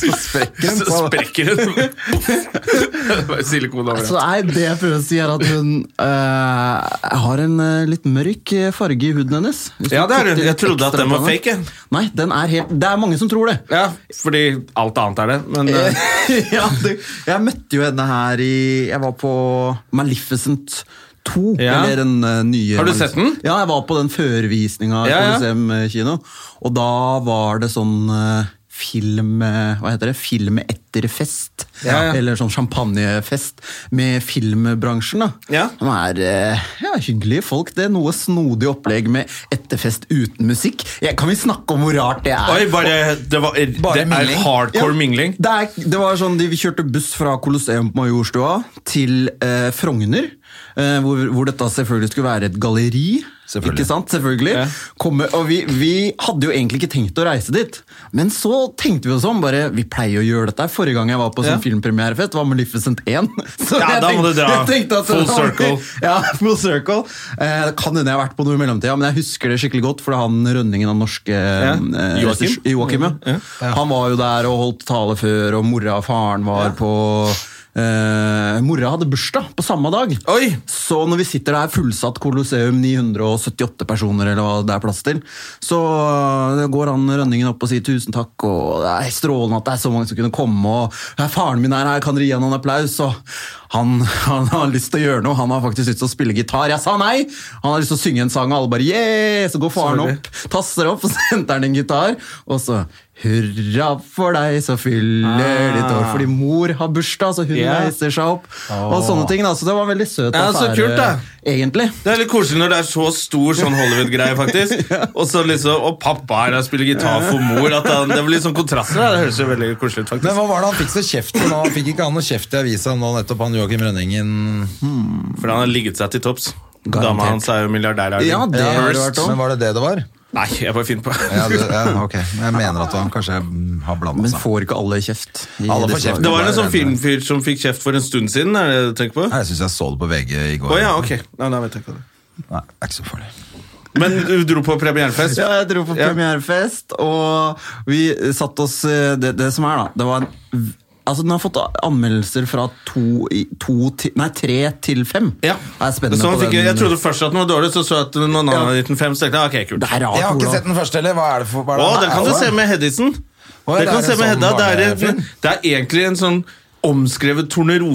Speaker 4: Så sprekker hun. Det var jo Silikon
Speaker 1: Så
Speaker 4: overalt.
Speaker 1: nei, det jeg prøver å si, er at hun eh, har en eh, litt mørk eh, farge i huden hennes. Hvis du
Speaker 4: Ja, det er hun.
Speaker 1: titter
Speaker 4: Jeg
Speaker 1: litt
Speaker 4: trodde at
Speaker 1: ekstra
Speaker 4: den var
Speaker 1: på henne.
Speaker 4: fake, jeg.
Speaker 1: Nei, den er helt Det er mange som tror det.
Speaker 4: Ja, fordi alt annet er det. Men eh,
Speaker 1: ja, du, jeg møtte jo henne her i Jeg var på Maleficent 2.
Speaker 4: Ja.
Speaker 1: Eller den eh, nye
Speaker 4: Har du sett den?
Speaker 1: Ja, jeg var på den førvisninga i
Speaker 4: Ja, ja.
Speaker 1: Colosseum eh, kino. Og da var det sånn eh, film eh, Hva heter det? Film etter fest.
Speaker 4: Ja, ja.
Speaker 1: Eller sånn champagnefest med filmbransjen. da.
Speaker 4: Ja.
Speaker 1: Som er eh, ja, hyggelige folk. Det er noe snodig opplegg med etterfest uten musikk. Jeg, kan vi snakke om hvor rart det er?
Speaker 4: Oi, bare Det, var, det er
Speaker 1: mingling.
Speaker 4: hardcore
Speaker 1: Ja.
Speaker 4: mingling.
Speaker 1: Det, er, det var sånn, de, Vi kjørte buss fra Colosseum på Majorstua til eh, Frogner, eh, hvor, hvor dette selvfølgelig skulle være et galleri.
Speaker 2: Selvfølgelig.
Speaker 1: Ikke sant? Selvfølgelig.
Speaker 4: Ja.
Speaker 1: Komme, og vi, vi hadde jo egentlig ikke tenkt å reise dit, men så tenkte vi oss om. bare, Vi pleier å gjøre dette. Forrige gang jeg var på sånn
Speaker 4: Ja.
Speaker 1: filmpremierefest, var Maleficent 1. Så
Speaker 4: Ja,
Speaker 1: jeg
Speaker 4: da må
Speaker 1: tenkte-
Speaker 4: du dra.
Speaker 1: jeg tenkte at-
Speaker 4: Full circle.
Speaker 1: Ja, full circle. Eh, det kan hende jeg har vært på noe i mellomtida, men jeg husker det skikkelig godt, for det er han rønningen av norske eh,
Speaker 4: Joakim.
Speaker 1: regissør- Joakim, ja. Han var jo der og holdt tale før, og mora og faren var på eh, Mora hadde bursdag på samme dag.
Speaker 4: Oi!
Speaker 1: Så når vi sitter der fullsatt Colosseum, 978 personer eller hva det er plass til, så eh, går han Rønningen opp og sier tusen takk, og det er strålende at det er så mange som kunne komme, og «Ja, faren min er her, kan dere gi han en applaus? Og han, han har lyst til å gjøre noe, han har faktisk lyst til å spille gitar. Jeg sa nei! Han har lyst til å synge en sang, og alle bare yeah! Så går faren
Speaker 4: Sorry.
Speaker 1: opp tasser opp, og så henter han en gitar, og så Hurra for deg, så fyller ditt år. Fordi mor har bursdag, så hun
Speaker 4: Ah. Ja.
Speaker 1: reiser seg opp. Og sånne ting da, Så det var en veldig søt
Speaker 4: Ja, så
Speaker 1: affære,
Speaker 4: kult, da.
Speaker 1: egentlig.
Speaker 4: Det er litt koselig når det er så stor sånn Hollywood-greie, faktisk. Og så liksom, og pappa er der og spiller gitar for mor. At han, det blir litt sånn kontraster. da. Det høres jo veldig koselig ut,
Speaker 2: Men
Speaker 4: faktisk.
Speaker 2: hva var det han fikk så kjeft for nå? Fikk ikke han noe kjeft i avisa nå nettopp, han Joakim Rønningen?
Speaker 4: Fordi han har ligget seg til topps.
Speaker 1: Garantert.
Speaker 4: Dama hans er jo milliardær. er hun.
Speaker 1: Ja, det har det vært også.
Speaker 2: Men var det det det var?
Speaker 4: Nei, jeg bare finner på
Speaker 2: Ja, det, ja, ok. Jeg mener at han kanskje mm, har blanda
Speaker 1: Men
Speaker 2: seg.
Speaker 1: får ikke alle kjeft? i
Speaker 2: Alle får
Speaker 1: disse
Speaker 2: kjeft.
Speaker 1: dager?
Speaker 4: Det var en sånn filmfyr som fikk kjeft for en stund siden. er det det du tenker på?
Speaker 2: Nei, Jeg syns jeg så det på VG i går.
Speaker 4: Å ja, ok. Nei, nei, vet jeg ikke det.
Speaker 2: Nei, det er ikke så farlig.
Speaker 4: Men du dro på premierefest?
Speaker 1: Ja, jeg dro på
Speaker 4: Ja.
Speaker 1: premierefest, og vi satt oss eh, Det, det som er, da, det var en Altså, Den har fått anmeldelser fra to, i- to til, nei, tre til fem.
Speaker 4: Ja.
Speaker 1: Jeg er spennende
Speaker 4: Så han
Speaker 1: på
Speaker 4: fikk,
Speaker 1: den.
Speaker 4: jeg trodde først at den var dårlig, så så jeg at noen annen
Speaker 1: Ja.
Speaker 4: hadde gitt den fem. Så tenkte jeg, ok, kult.
Speaker 1: det er rart,
Speaker 2: Jeg har ikke
Speaker 1: hvordan-
Speaker 2: sett den første, eller? Hva er det for hva er
Speaker 4: Å,
Speaker 2: det-
Speaker 4: den kan du
Speaker 2: Nei,
Speaker 4: se med
Speaker 2: Å
Speaker 4: Hedison.
Speaker 2: Å, ja,
Speaker 4: det
Speaker 2: det
Speaker 4: kan
Speaker 2: er
Speaker 4: se
Speaker 2: en
Speaker 4: med
Speaker 2: sånn
Speaker 4: Hedda. Det er, en,
Speaker 2: barnefilm.
Speaker 4: det er egentlig en sånn omskrevet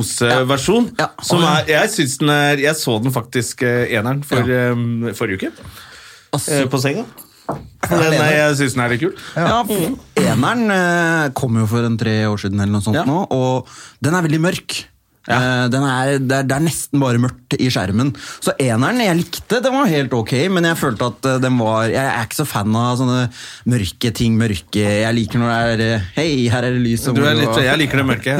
Speaker 4: tornerose-versjon.
Speaker 1: Ja.
Speaker 4: Som er, jeg syns den er Jeg så den faktisk eh, eneren for, eh, forrige uke.
Speaker 1: Altså,
Speaker 4: eh, På senga. Og Den, eh, jeg syns den er litt kul.
Speaker 1: Ja, for Eneren eh, kom jo for en tre år siden, eller noe sånt
Speaker 4: Ja.
Speaker 1: nå, og den er veldig mørk. Eh, Den er, det, er, det er nesten bare mørkt i skjermen. Så eneren jeg likte, den var helt ok, men jeg følte at eh, den var Jeg er ikke så fan av sånne mørke ting. mørke Jeg liker når det er eh, Hei, her er det lys. og
Speaker 4: Du er
Speaker 1: moro,
Speaker 4: litt,
Speaker 1: og-
Speaker 4: jeg liker det mørke.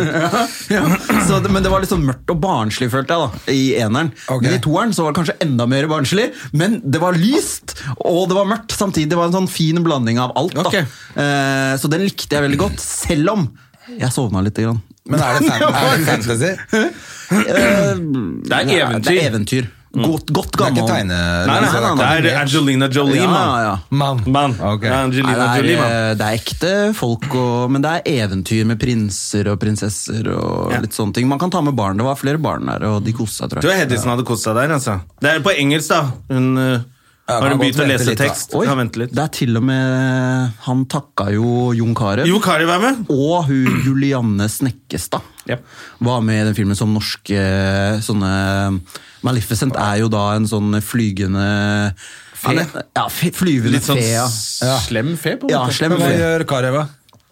Speaker 1: ja. så, det- men det var litt sånn mørkt og barnslig, følte jeg, da, i eneren.
Speaker 2: Ok.
Speaker 1: Men i toeren så var det kanskje enda mer barnslig, men det var lyst, og det var mørkt samtidig. Det var en sånn fin blanding av alt, da.
Speaker 4: Ok.
Speaker 1: Eh, så den likte jeg veldig godt, selv om jeg sovna lite grann.
Speaker 2: Men er det, fan, er det fantasy? Det
Speaker 4: Det er
Speaker 1: Ja, Det er eventyr.
Speaker 4: eventyr.
Speaker 1: Godt, godt
Speaker 2: er
Speaker 1: gammel.
Speaker 2: ikke tegne...
Speaker 4: Nei, nei, nei, nei, det er Angelina Jolie,
Speaker 1: Ja, ja,
Speaker 4: mann.
Speaker 1: ja.
Speaker 2: Mann.
Speaker 4: Mann.
Speaker 2: Ok.
Speaker 4: Det er Angelina
Speaker 1: Nei, det,
Speaker 4: Jolie,
Speaker 1: er,
Speaker 4: mann.
Speaker 1: eh, det er ekte folk, og, men det er eventyr med prinser og prinsesser og
Speaker 4: Ja.
Speaker 1: litt sånne ting. Man kan ta med barn. Det var flere barn der, og de koste seg, tror jeg.
Speaker 4: Tror jeg Hedison hadde kost seg der. altså. Det er på engelsk, da. Hun eh,
Speaker 2: Ja,
Speaker 4: har
Speaker 2: kan
Speaker 4: hun begynt
Speaker 2: godt
Speaker 4: å
Speaker 2: vente
Speaker 4: lese
Speaker 2: litt, da.
Speaker 4: tekst.
Speaker 1: Oi,
Speaker 4: Kan vente litt.
Speaker 1: det er til og med Han takka jo Jon Carew.
Speaker 4: Jo, Kari, vær med.
Speaker 1: Og hun Julianne Snekkestad
Speaker 4: Ja.
Speaker 1: var med i den filmen som norske eh, sånne Maleficent er jo da en sånn flygende Fe? Ja, fe- flyvende
Speaker 4: Litt sånn
Speaker 1: fe. ja.
Speaker 4: s- slem fe, på en
Speaker 1: Ja,
Speaker 4: måte.
Speaker 1: slem
Speaker 2: Hva
Speaker 1: fe.
Speaker 2: gjør Kareva?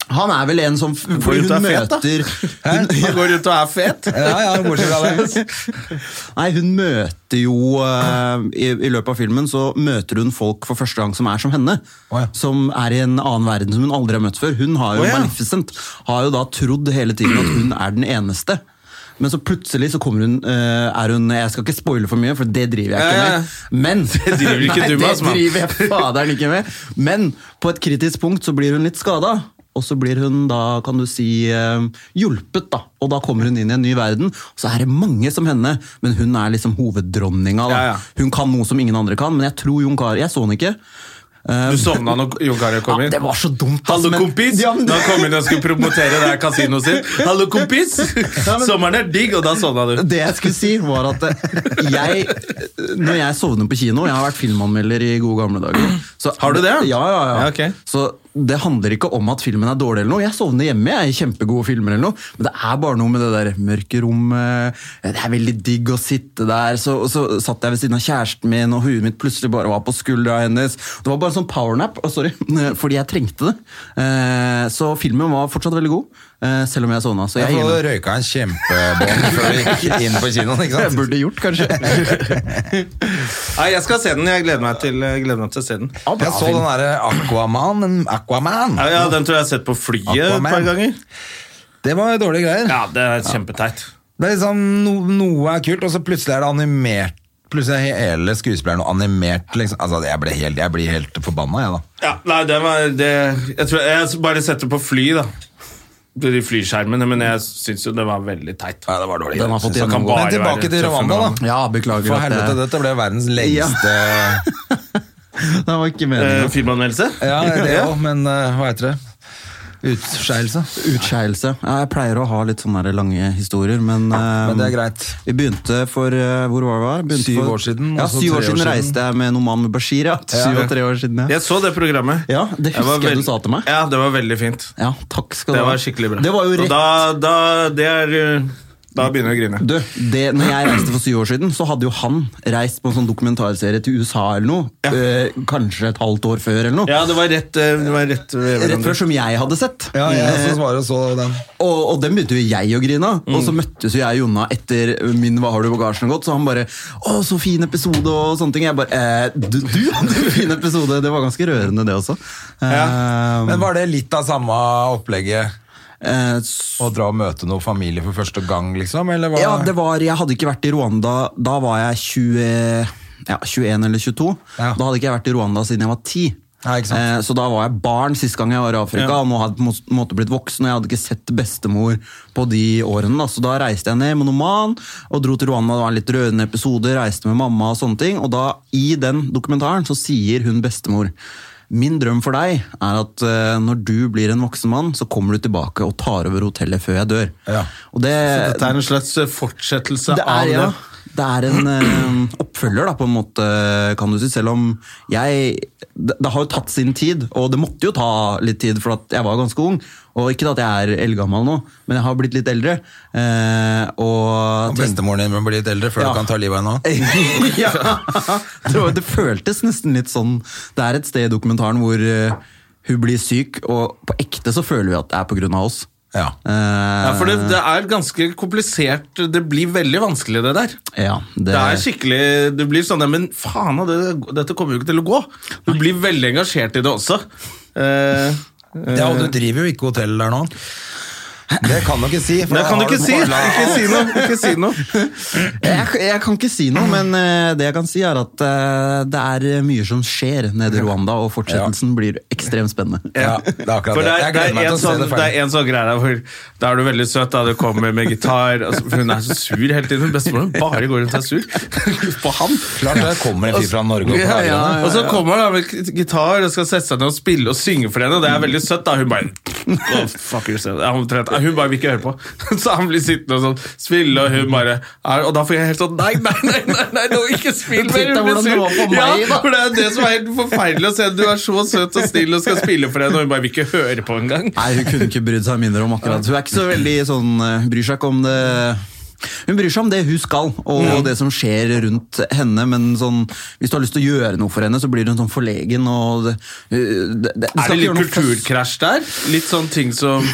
Speaker 1: Han er vel en som
Speaker 4: går
Speaker 1: Fordi
Speaker 4: ut
Speaker 1: hun
Speaker 4: og er fet, da.
Speaker 1: møter
Speaker 4: Hun hun går rundt og er fet.
Speaker 2: Ja, ja, bortsett fra det.
Speaker 1: Nei, hun møter jo eh, i, I løpet av filmen så møter hun folk for første gang som er som henne.
Speaker 2: Å ja.
Speaker 1: Som er i en annen verden som hun aldri har møtt før. Hun har jo
Speaker 4: Å ja.
Speaker 1: Maleficent har jo da trodd hele tiden at hun er den eneste. Men så plutselig så kommer hun, eh, er hun Jeg skal ikke spoile for mye, for det driver jeg ikke
Speaker 4: Ja, ja, ja.
Speaker 1: med. Men
Speaker 4: Det driver ikke
Speaker 1: Nei,
Speaker 4: du med,
Speaker 1: det
Speaker 4: ass, mann.
Speaker 1: driver jeg faderen ikke med. Men på et kritisk punkt så blir hun litt skada. Og så blir hun da, kan du si, eh, hjulpet, da. Og da kommer hun inn i en ny verden. Og så er det mange som henne, men hun er liksom hoveddronninga. da.
Speaker 4: Ja, ja.
Speaker 1: Hun kan noe som ingen andre kan, men jeg tror Jon Kari Jeg så han ikke. Eh,
Speaker 4: Du sovna når Jon Kari kom
Speaker 1: ja,
Speaker 4: inn.
Speaker 1: det var så dumt. ass,
Speaker 4: Hallo,
Speaker 1: men-
Speaker 4: kompis!
Speaker 1: Ja, men-
Speaker 4: Da kom hun og skulle promotere det her kasinoet sitt. Hallo, kompis! Sommeren er digg, og da sovna du.
Speaker 1: Det jeg skulle si, var at eh, jeg Når jeg sovner på kino Jeg har vært filmanmelder i gode gamle dager. så-
Speaker 4: Har du det?
Speaker 1: Ja, ja, ja.
Speaker 4: Ja, ok.
Speaker 1: Så det handler ikke om at filmen er dårlig, eller noe. Jeg sovner hjemme jeg er i kjempegode filmer, eller noe. men det er bare noe med det der mørke rommet. Det er veldig digg å sitte der. Så, og så satt jeg ved siden av kjæresten min, og huet mitt plutselig bare var på skuldra hennes. Det var bare en sånn powernap, å, sorry, fordi jeg trengte det. Eh, Så filmen var fortsatt veldig god, eh, selv om jeg sovna. Så
Speaker 2: Jeg
Speaker 1: jeg,
Speaker 2: får
Speaker 1: jeg,
Speaker 2: røyka en kjempebånd før vi gikk inn på kinoen, ikke
Speaker 1: jeg
Speaker 2: sant?
Speaker 1: burde gjort, kanskje.
Speaker 4: Nei, jeg skal se den. Jeg gleder meg til, jeg gleder meg til å se den.
Speaker 2: Jeg så den derre Aquaman. en Aquaman.
Speaker 4: Ja, ja, Den tror jeg jeg har sett på flyet et
Speaker 2: Aquaman.
Speaker 4: par ganger.
Speaker 2: Det var dårlige greier.
Speaker 4: Ja, det er kjempeteit.
Speaker 2: Det er liksom no, Noe er kult, og så plutselig er det animert. Plutselig er hele skuespilleren noe animert. Liksom. Altså, jeg blir helt, jeg blir helt forbanna, jeg, da.
Speaker 4: Ja, nei, det var det, Jeg tror jeg bare setter på fly, da. De flyskjermene, men jeg syns jo det var veldig teit.
Speaker 2: Ja, det var dårlig.
Speaker 1: Den har fått
Speaker 4: Så kan
Speaker 1: gjennomgå.
Speaker 4: bare
Speaker 2: Men tilbake
Speaker 4: være
Speaker 2: til
Speaker 4: tøffe
Speaker 2: Rwanda,
Speaker 4: nordmenn.
Speaker 2: da.
Speaker 1: Ja, beklager.
Speaker 2: For
Speaker 1: at jeg-
Speaker 2: helvete, dette ble verdens lengste
Speaker 1: Det var ikke meningen.
Speaker 4: Eh, Filmanmeldelse?
Speaker 2: Ja, det òg, men eh, hva heter det? Utskeielse.
Speaker 1: Utskeielse. Ja, jeg pleier å ha litt sånne der lange historier, men,
Speaker 2: Men det er
Speaker 1: eh,
Speaker 2: greit.
Speaker 1: Vi begynte for eh, hvor var det? var? Begynte
Speaker 2: Syv
Speaker 1: for,
Speaker 2: år siden,
Speaker 1: Ja,
Speaker 2: og så
Speaker 1: syv
Speaker 2: tre
Speaker 1: år
Speaker 2: år
Speaker 1: siden
Speaker 2: siden.
Speaker 1: reiste jeg med Noman Bashir. Ja. Syv og tre år siden, ja.
Speaker 4: Jeg så det programmet.
Speaker 1: Ja, det
Speaker 4: var
Speaker 1: husker jeg du
Speaker 4: veld-
Speaker 1: sa til meg.
Speaker 4: Ja, det var veldig fint.
Speaker 1: Ja, takk skal du
Speaker 4: Det
Speaker 1: ha.
Speaker 4: var skikkelig bra.
Speaker 1: Det var jo
Speaker 4: Og
Speaker 1: rett.
Speaker 4: Da, da, det er, uh, da begynner jeg å grine.
Speaker 1: Du, det, når jeg reiste for syv år siden, så hadde jo han reist på en sånn dokumentarserie til USA eller noe. eh, kanskje et halvt år før eller noe.
Speaker 4: Ja, det var rett, uh, det var rett ved
Speaker 1: Rett
Speaker 4: hverandre.
Speaker 1: før som jeg hadde sett.
Speaker 2: Ja, jeg så svarer og så den.
Speaker 1: Og, og den begynte jo jeg å grine av. Og så møttes jo jeg og Jonna etter min Hva har du i bagasjen gått, så han bare Å, så fin episode og sånne ting. Jeg bare eh, du, du hadde en fin episode! Det var ganske rørende, det også. Eh,
Speaker 2: Men var det litt av samme opplegget?
Speaker 1: eh, s-
Speaker 2: Å dra og møte noen familie for første gang, liksom? Eller var
Speaker 1: ja, det var Jeg hadde ikke vært i Rwanda Da var jeg 20, ja, 21 eller 22.
Speaker 2: Ja.
Speaker 1: Da hadde ikke jeg vært i Rwanda siden jeg var 10.
Speaker 2: Ja, ikke sant.
Speaker 1: Eh, Så da var jeg barn sist gang jeg var i Afrika,
Speaker 4: Ja.
Speaker 1: og nå hadde jeg på en måte blitt voksen, og jeg hadde ikke sett bestemor på de årene. Da. Så da reiste jeg ned med Noman, og dro til Rwanda, det var en litt rørende episode, reiste med mamma og sånne ting, og da, i den dokumentaren, så sier hun bestemor, min drøm for deg er at eh, når du blir en voksen mann, så kommer du tilbake og tar over hotellet før jeg dør.
Speaker 2: Ja.
Speaker 1: Og det,
Speaker 4: Dette er en slags uh, fortsettelse
Speaker 1: det
Speaker 4: av
Speaker 1: er, ja.
Speaker 4: det.
Speaker 1: det er en eh, oppfølger, da, på en måte, kan du si. Selv om jeg Det, det har jo tatt sin tid, og det måtte jo ta litt tid, for at jeg var ganske ung. Og ikke at jeg er eldgammel nå, men jeg har blitt litt eldre. eh, og
Speaker 2: Og Bestemoren din må bli litt eldre før
Speaker 1: Ja.
Speaker 2: du kan ta livet av henne.
Speaker 1: ja. det, var, det føltes nesten litt sånn Det er et sted i dokumentaren hvor eh, hun blir syk, og på ekte så føler vi at det er på grunn av oss.
Speaker 2: Ja.
Speaker 1: Eh,
Speaker 4: Ja, for det, det er ganske komplisert. Det blir veldig vanskelig, det der.
Speaker 1: Eh, ja, det-
Speaker 4: Det er skikkelig, du blir sånn, «Nei, Men faen, det, dette kommer jo ikke til å gå. Du blir veldig engasjert i det også. Eh,
Speaker 2: Ja, og du driver jo ikke hotell der nå. Det kan du ikke si. for
Speaker 4: det
Speaker 2: da
Speaker 4: kan du
Speaker 2: har
Speaker 4: ikke si!
Speaker 2: barna-
Speaker 4: Ikke si noe! Ikke si noe.
Speaker 1: jeg, jeg kan ikke si noe, men eh, det jeg kan si er at eh, det er mye som skjer nede i Rwanda, og fortsettelsen blir ekstremt spennende.
Speaker 2: Ja, det er akkurat
Speaker 4: For
Speaker 2: det.
Speaker 4: det
Speaker 2: Jeg
Speaker 4: er, det,
Speaker 2: gleder
Speaker 4: er
Speaker 2: meg til
Speaker 4: en
Speaker 2: å se
Speaker 4: sånn,
Speaker 2: det
Speaker 4: det er
Speaker 2: ferdig.
Speaker 4: en sånn greie der hvor da er du veldig søt, da du kommer med gitar altså, for Hun er så sur hele tiden. Bestemoren bare går rundt og er sur på han.
Speaker 2: Klart det kommer en fyr fra Norge og
Speaker 4: Ja,
Speaker 2: plager
Speaker 4: ja,
Speaker 2: henne.
Speaker 4: Og så kommer han da med gitar og skal sette seg ned og spille og synge for henne, og det er veldig søtt. da Hun bare oh, fuck yourself. Ja, omtrent. Ja, Hun bare vil ikke høre på. Så han blir sittende og sånn spille, og hun bare ja, Og da får jeg helt sånn Nei, nei, nei, nei, nei nå ikke spill mer!
Speaker 1: Tenk deg hvordan det
Speaker 4: Hun blir
Speaker 1: var
Speaker 4: sur.
Speaker 1: for meg,
Speaker 4: Ja,
Speaker 1: da.
Speaker 4: for det er det som er helt forferdelig å se. Du er så søt og snill og skal spille for henne, og hun bare vil ikke høre på engang.
Speaker 1: Nei, hun kunne ikke brydd seg mindre om akkurat Hun er ikke så veldig sånn eh, Hun bryr seg ikke om det Hun bryr seg om det hun skal, og det som skjer rundt henne. Men sånn, hvis du har lyst til å gjøre noe for henne, så blir hun sånn forlegen. Og det, eh, det, det, du
Speaker 4: Er
Speaker 1: skal
Speaker 4: det
Speaker 1: ikke gjøre
Speaker 4: litt
Speaker 1: noe fest.
Speaker 4: kulturkrasj der? Litt sånn ting som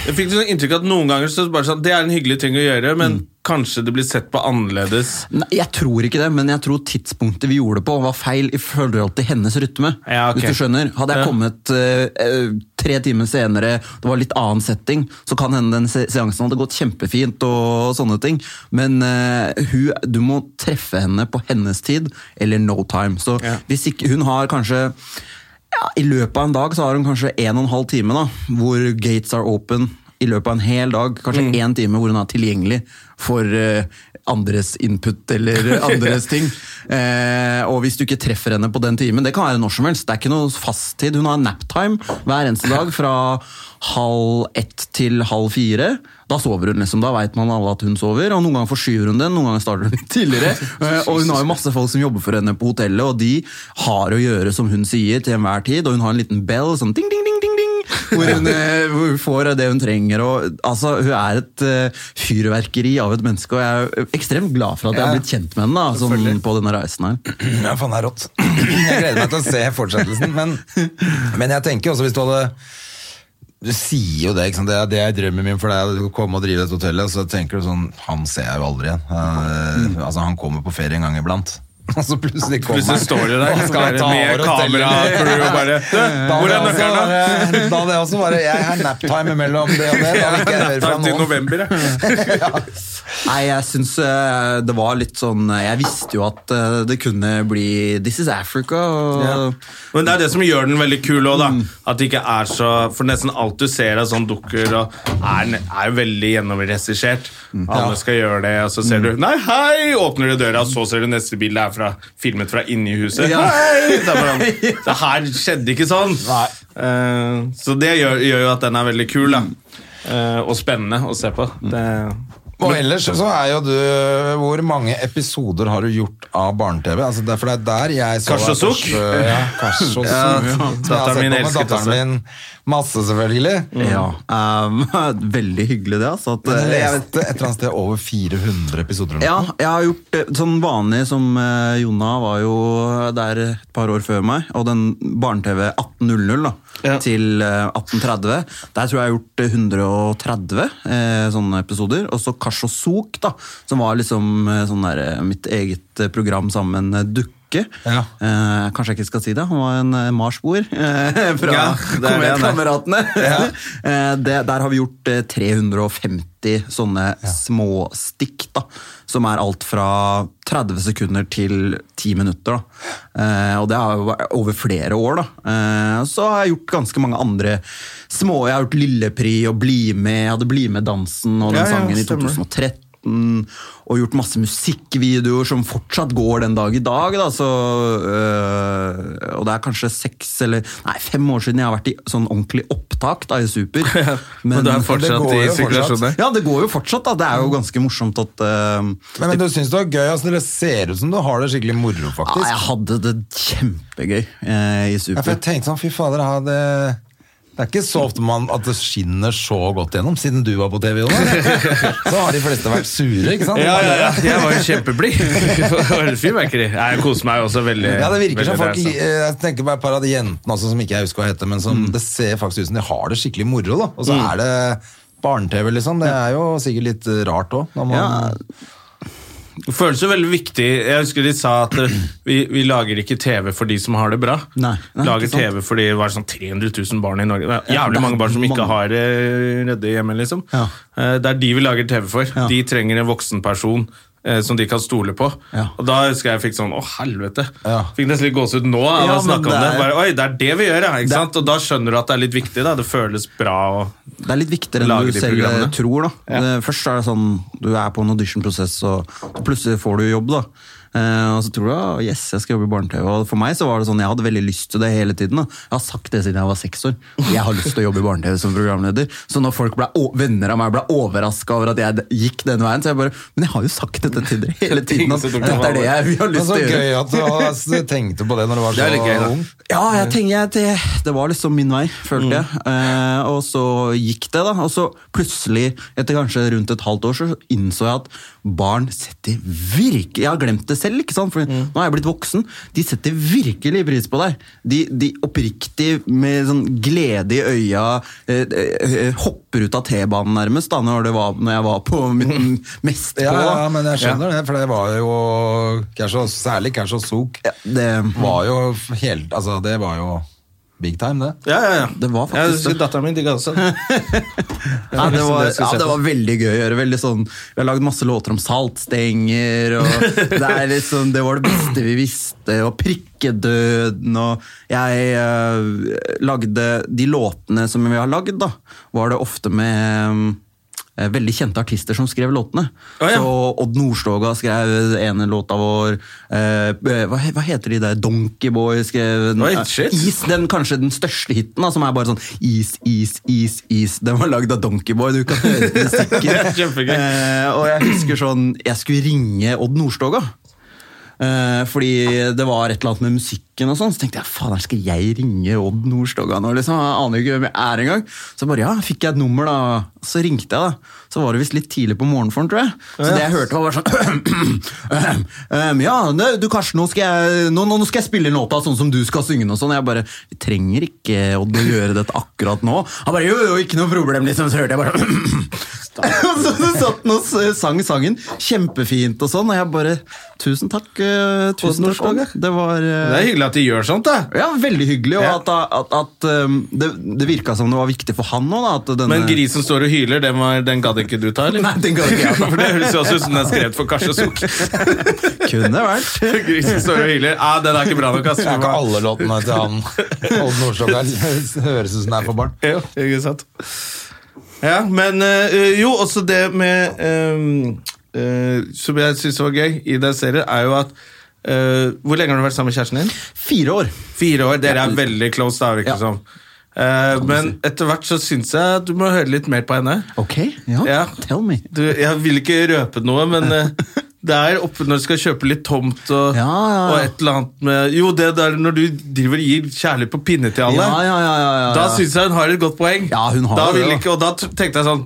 Speaker 4: Jeg fikk sånn inntrykk at noen ganger så bare sånn, det er en hyggelig ting å gjøre, men
Speaker 1: Mm.
Speaker 4: kanskje det blir sett på annerledes.
Speaker 1: Nei, jeg tror ikke det, men jeg tror tidspunktet vi gjorde det på, var feil i forhold til hennes rytme.
Speaker 4: Ja, ok.
Speaker 1: Hvis du skjønner. Hadde jeg
Speaker 4: Ja.
Speaker 1: kommet eh, eh, tre timer senere, det var litt annen setting, så kan hende den se- seansen hadde gått kjempefint og sånne ting. Men eh, hun, du må treffe henne på hennes tid, eller no time. Så
Speaker 4: Ja.
Speaker 1: hvis ikke Hun har kanskje ja, I løpet av en dag så har hun kanskje en og en halv time da, hvor gates are open. I løpet av en hel dag, kanskje én time hvor hun er tilgjengelig for eh, andres input eller andres ting. Eh, og hvis du ikke treffer henne på den timen, det kan være når som helst. Det er ikke noe fast tid. Hun har naptime hver eneste dag fra halv ett til halv fire. Da sover hun, liksom. Da veit man alle at hun sover. Og noen ganger forskyver hun den, noen ganger starter hun litt tidligere. Eh, Og hun har jo masse folk som jobber for henne på hotellet, og de har å gjøre som hun sier til enhver tid. Og hun har en liten bell sånn ding, ding, ding, ding, ding. Hvor hun, eh, hvor hun får det hun trenger. Og, altså, hun er et eh, fyrverkeri av et menneske, og jeg er ekstremt glad for at jeg har blitt kjent med henne da, sånn, på denne reisen her.
Speaker 2: Ja, faen, det er rått. Jeg gleder meg til å se fortsettelsen. Men, men jeg tenker jo også, hvis du hadde Du sier jo det, ikke sant? det er det er drømmen min for deg, å komme og drive dette hotellet. Og så tenker du sånn Han ser jeg jo aldri igjen. Eh, altså, han kommer på ferie en gang iblant. Og så plutselig kommer
Speaker 4: Plutselig står du der
Speaker 2: Hva skal jeg
Speaker 4: bare
Speaker 2: ta
Speaker 4: med
Speaker 2: over
Speaker 4: kamera
Speaker 2: hotellet?
Speaker 4: crew og bare «Du,
Speaker 2: Da
Speaker 4: Eh, Hvor
Speaker 2: hadde
Speaker 4: er
Speaker 2: jeg også
Speaker 4: nøkkelen,
Speaker 2: bare-
Speaker 4: da?
Speaker 2: da? hadde jeg også bare Jeg har naptime mellom det og det. Da vil ikke jeg høre fra
Speaker 4: Takk til
Speaker 2: noen.
Speaker 4: november, jeg.
Speaker 1: Nei, jeg syns eh, det var litt sånn eh, Jeg visste jo at eh, det kunne bli This is Africa. Og,
Speaker 4: Men det er det som gjør den veldig kul òg, da.
Speaker 2: Mm.
Speaker 4: At det ikke er så For nesten alt du ser av sånn dukker, og er, ne- er jo veldig gjennomregissert.
Speaker 2: Mm.
Speaker 4: Alle skal gjøre det, og så ser du Nei, hei! Åpner du døra, og så ser du neste bilde er fra, filmet fra inni huset.
Speaker 1: Ja.
Speaker 4: Hei! Det, er bare, det her skjedde ikke sånn. Eh, så det gjør, gjør jo at den er veldig kul,
Speaker 2: Mm.
Speaker 4: da. Eh, og spennende å se på. Det,
Speaker 2: Og ellers så er jo du Hvor mange episoder har du gjort av barne-TV? Altså, det er- for det er der jeg så
Speaker 4: Kars og
Speaker 2: deg
Speaker 4: Sukk?
Speaker 2: først, øh, Ja, Kars og Sukk.
Speaker 4: Ja, ja.
Speaker 2: Som jeg har
Speaker 4: Datteren
Speaker 2: sett på
Speaker 4: min
Speaker 2: med
Speaker 4: elsket også.
Speaker 2: datteren min masse, selvfølgelig.
Speaker 1: Ja, um, veldig hyggelig det, altså. At,
Speaker 2: Men jeg
Speaker 1: jeg vet-
Speaker 2: leste et eller annet sted over 400 episoder. eller
Speaker 1: ja,
Speaker 2: noe.
Speaker 1: jeg har gjort eh, sånn vanlig som eh, Jonna var jo der et par år før meg, og den barne-TV 18.00 da,
Speaker 4: Ja.
Speaker 1: til eh, 18.30. Der tror jeg jeg har gjort eh, 130 eh, sånne episoder. Og så Kars og Sok, da, som var liksom eh, sånn der, eh, mitt eget eh, program sammen med Dukke.
Speaker 2: Ja.
Speaker 1: Eh, kanskje jeg ikke skal si det, han var en eh, marsboer eh, fra
Speaker 4: Ja,
Speaker 1: ja,
Speaker 4: det er det han er.
Speaker 1: kameratene. Eh, det, der har vi gjort eh, 350 sånne småstikk, da, som er alt fra 30 sekunder til 10 minutter. Da. Eh, og det har jo vært over flere år. Da. Eh, så har jeg gjort ganske mange andre små. Jeg har gjort Lillepri og Bli med, jeg hadde Bli med-dansen og den
Speaker 4: Ja, ja,
Speaker 1: sangen i
Speaker 4: stemmer.
Speaker 1: 2013. 2017 Mm, og gjort masse musikkvideoer som fortsatt går den dag i dag. Da, så, øh, og det er kanskje seks eller nei, fem år siden jeg har vært i sånn ordentlig opptak da, i Super.
Speaker 4: Men du er fortsatt
Speaker 2: går
Speaker 4: i
Speaker 2: jo
Speaker 4: sirkulasjon der.
Speaker 1: Ja, det går jo fortsatt, da. Det er jo ganske morsomt at øh,
Speaker 2: Men, men du syns det var gøy? altså Det ser ut som du har det skikkelig moro,
Speaker 1: ja,
Speaker 2: faktisk.
Speaker 1: Jeg hadde det kjempegøy eh, i
Speaker 2: Ja, for
Speaker 1: Super.
Speaker 2: jeg tenkte sånn, fy fader, ja, det, det er ikke så ofte man, at det skinner så godt gjennom, siden du var på TV. Jonas. Så har de fleste vært sure, ikke sant?
Speaker 4: Ja, ja, ja. Jeg var jo kjempeblid. Det var et Fyrverkeri. Nei, Jeg koser meg også veldig.
Speaker 2: Ja, det virker
Speaker 4: veldig
Speaker 2: som folk,
Speaker 4: der,
Speaker 2: li-
Speaker 4: altså. Mm.
Speaker 2: Jeg tenker på et par av de jentene også, som ikke jeg husker hva heter, men som det ser faktisk ut som de har det skikkelig moro. da. Og så er det barne-TV, liksom. Det er jo sikkert litt eh, rart òg.
Speaker 1: Ja,
Speaker 4: Det føles jo veldig viktig. Jeg husker de sa at eh, vi, vi lager ikke TV for de som har det bra.
Speaker 1: Nei, nei,
Speaker 4: lager
Speaker 1: ikke sant.
Speaker 4: TV fordi det var sånn 300 000 barn i Norge. Det
Speaker 1: Ja,
Speaker 4: er
Speaker 1: det
Speaker 4: jævlig
Speaker 1: er
Speaker 4: mange barn som ikke
Speaker 1: mange.
Speaker 4: har det redde hjemme, liksom.
Speaker 1: Ja.
Speaker 4: Eh, Det er de vi lager TV for.
Speaker 1: Ja.
Speaker 4: De trenger en voksen person. eh, Som de kan stole på.
Speaker 1: Ja.
Speaker 4: Og da husker jeg jeg fikk sånn Å, helvete!
Speaker 2: Ja.
Speaker 4: Fikk nesten litt gåsehud nå av
Speaker 1: Ja,
Speaker 4: å snakke
Speaker 1: men
Speaker 4: om det.
Speaker 1: det er-
Speaker 4: Bare, Oi, det er det vi gjør, ja! Ikke
Speaker 1: Det-
Speaker 4: sant? Og da skjønner du at det er litt viktig. da Det føles bra. Og...
Speaker 1: Det er litt viktigere enn
Speaker 4: Lage
Speaker 1: du
Speaker 4: de
Speaker 1: selv eh,
Speaker 4: programmene.
Speaker 1: tror. da. Det- Først er det sånn, du er på en auditionprosess, og plutselig får du jobb. da. Eh, og så tror du «Ah, yes, jeg skal jobbe i barne-TV. Og For meg så var det sånn, jeg hadde veldig lyst til det hele tiden. da. Jeg har sagt det siden jeg var seks år. Jeg har lyst til å jobbe i barne-TV som programleder. Så når folk ble, å- venner av meg ble overraska over at jeg d- gikk den veien, så jeg bare Men jeg har jo sagt dette til dere hele tiden. At
Speaker 4: Ingen som tok det
Speaker 1: dette er det jeg vi har
Speaker 2: Men
Speaker 1: lyst
Speaker 2: så
Speaker 1: til å gjøre.
Speaker 2: gøy at du altså, tenkte på det når du var
Speaker 4: Det er
Speaker 2: så
Speaker 4: litt gøy, da. Mm.
Speaker 2: ung.
Speaker 1: Ja, jeg tenker jeg, det, det var liksom min vei, følte jeg. Eh, og så gikk det, da. Og så plutselig, etter kanskje rundt et halvt år, så innså jeg at barn setter virkelig Jeg har glemt det selv, ikke sant? for
Speaker 4: Mm.
Speaker 1: nå har jeg blitt voksen. De setter virkelig pris på deg. De, de oppriktig, med sånn glede i øya, eh, eh, hopper ut av T-banen nærmest, da, når, det var, når jeg var på min mest på.
Speaker 2: Ja,
Speaker 1: da.
Speaker 2: ja, men jeg skjønner det, for det var jo Kershaw, særlig Kershaw Sok.
Speaker 1: Ja, det-
Speaker 2: var jo helt Altså, det var jo big time, det.
Speaker 4: Ja, ja, ja.
Speaker 1: Det var faktisk det.
Speaker 4: Dattera mi digga også.
Speaker 1: Ja, det,
Speaker 4: liksom
Speaker 1: var,
Speaker 4: det jeg skulle
Speaker 1: ja,
Speaker 4: se
Speaker 1: det
Speaker 4: på.
Speaker 1: var veldig gøy å gjøre. Veldig sånn, vi har lagd masse låter om saltstenger, og det, er liksom, det var det beste vi visste, og prikkedøden, og jeg eh, lagde de låtene som vi har lagd, da, var det ofte med eh, veldig kjente artister som skrev låtene.
Speaker 4: Å, ja.
Speaker 1: Så Odd Nordstoga skrev ene låta vår. eh, hva, he- hva heter de der? Donkeyboy skrev den.
Speaker 4: Oi,
Speaker 1: eh,
Speaker 4: shit.
Speaker 1: Is den kanskje den største hiten, da, som er bare sånn is, is, is, is. Den var lagd av Donkeyboy, du kan høre på
Speaker 4: er
Speaker 1: musikken.
Speaker 4: kjempegøy.
Speaker 1: eh, og jeg husker sånn Jeg skulle ringe Odd Nordstoga. Eh, fordi det var et eller annet med musikken, og sånn så tenkte jeg fader, skal jeg ringe Odd Nordstoga nå? liksom, Jeg aner jo ikke hvem jeg er engang. Så bare ja, fikk jeg et nummer, da. Så ringte jeg, da. Så var det visst litt tidlig på morgenen for den, tror jeg. Så det jeg hørte, var bare sånn «Ehm, Ja, ne, du Karsten, nå skal, jeg, Eh, nå, nå nå skal jeg spille inn låta sånn som du skal synge den, og sånn. Jeg bare Vi trenger ikke Odd å gjøre dette akkurat nå. Han bare jo, jo, ikke noe problem, liksom. Så hørte jeg bare og så satt han og s- sang sangen kjempefint og sånn, og jeg bare Tusen takk, eh, tusen takk. Åge. Det var eh,
Speaker 4: Det er hyggelig at de gjør sånt, da.
Speaker 1: ja, veldig hyggelig, og
Speaker 4: Ja.
Speaker 1: at, at, at um, det, det virka som det var viktig for han òg, da. At denne,
Speaker 4: Men grisen står og hyler, den, var, den gadd ikke du ta, eller?
Speaker 1: Nei, den gadd ikke jeg ta.
Speaker 4: For det høres jo også ut som den er skrevet for Kars og Sukk.
Speaker 1: kunne vært.
Speaker 4: grisen står og hyler. Ah, den er ikke bra nok, ass.
Speaker 2: Det er ikke alle låtene til han Odd Nordstoga høres ut som det er for barn.
Speaker 4: Ja, ikke sant. Ja, men eh, jo, også det med eh, eh, Som jeg syns var gøy i den serien, er jo at eh, Hvor lenge har du vært sammen med kjæresten din?
Speaker 1: Fire år.
Speaker 4: Fire år. Dere er veldig close, da,
Speaker 1: Ja.
Speaker 4: virker det som. Eh, men etter hvert så syns jeg at du må høre litt mer på henne.
Speaker 1: Ok, ja.
Speaker 4: Ja.
Speaker 1: Tell me.
Speaker 4: Du, jeg vil ikke røpe noe, men eh, det er oppe når du skal kjøpe litt tomt og,
Speaker 1: Ja, ja, ja.
Speaker 4: og et eller annet med Jo, det der når du driver og gir kjærlighet på pinne til alle,
Speaker 1: Ja, ja, ja, ja, ja.
Speaker 4: da syns jeg hun har et godt poeng.
Speaker 1: Ja, hun har
Speaker 4: da
Speaker 1: det,
Speaker 4: vil
Speaker 1: da.
Speaker 4: ikke, og da t- tenkte jeg sånn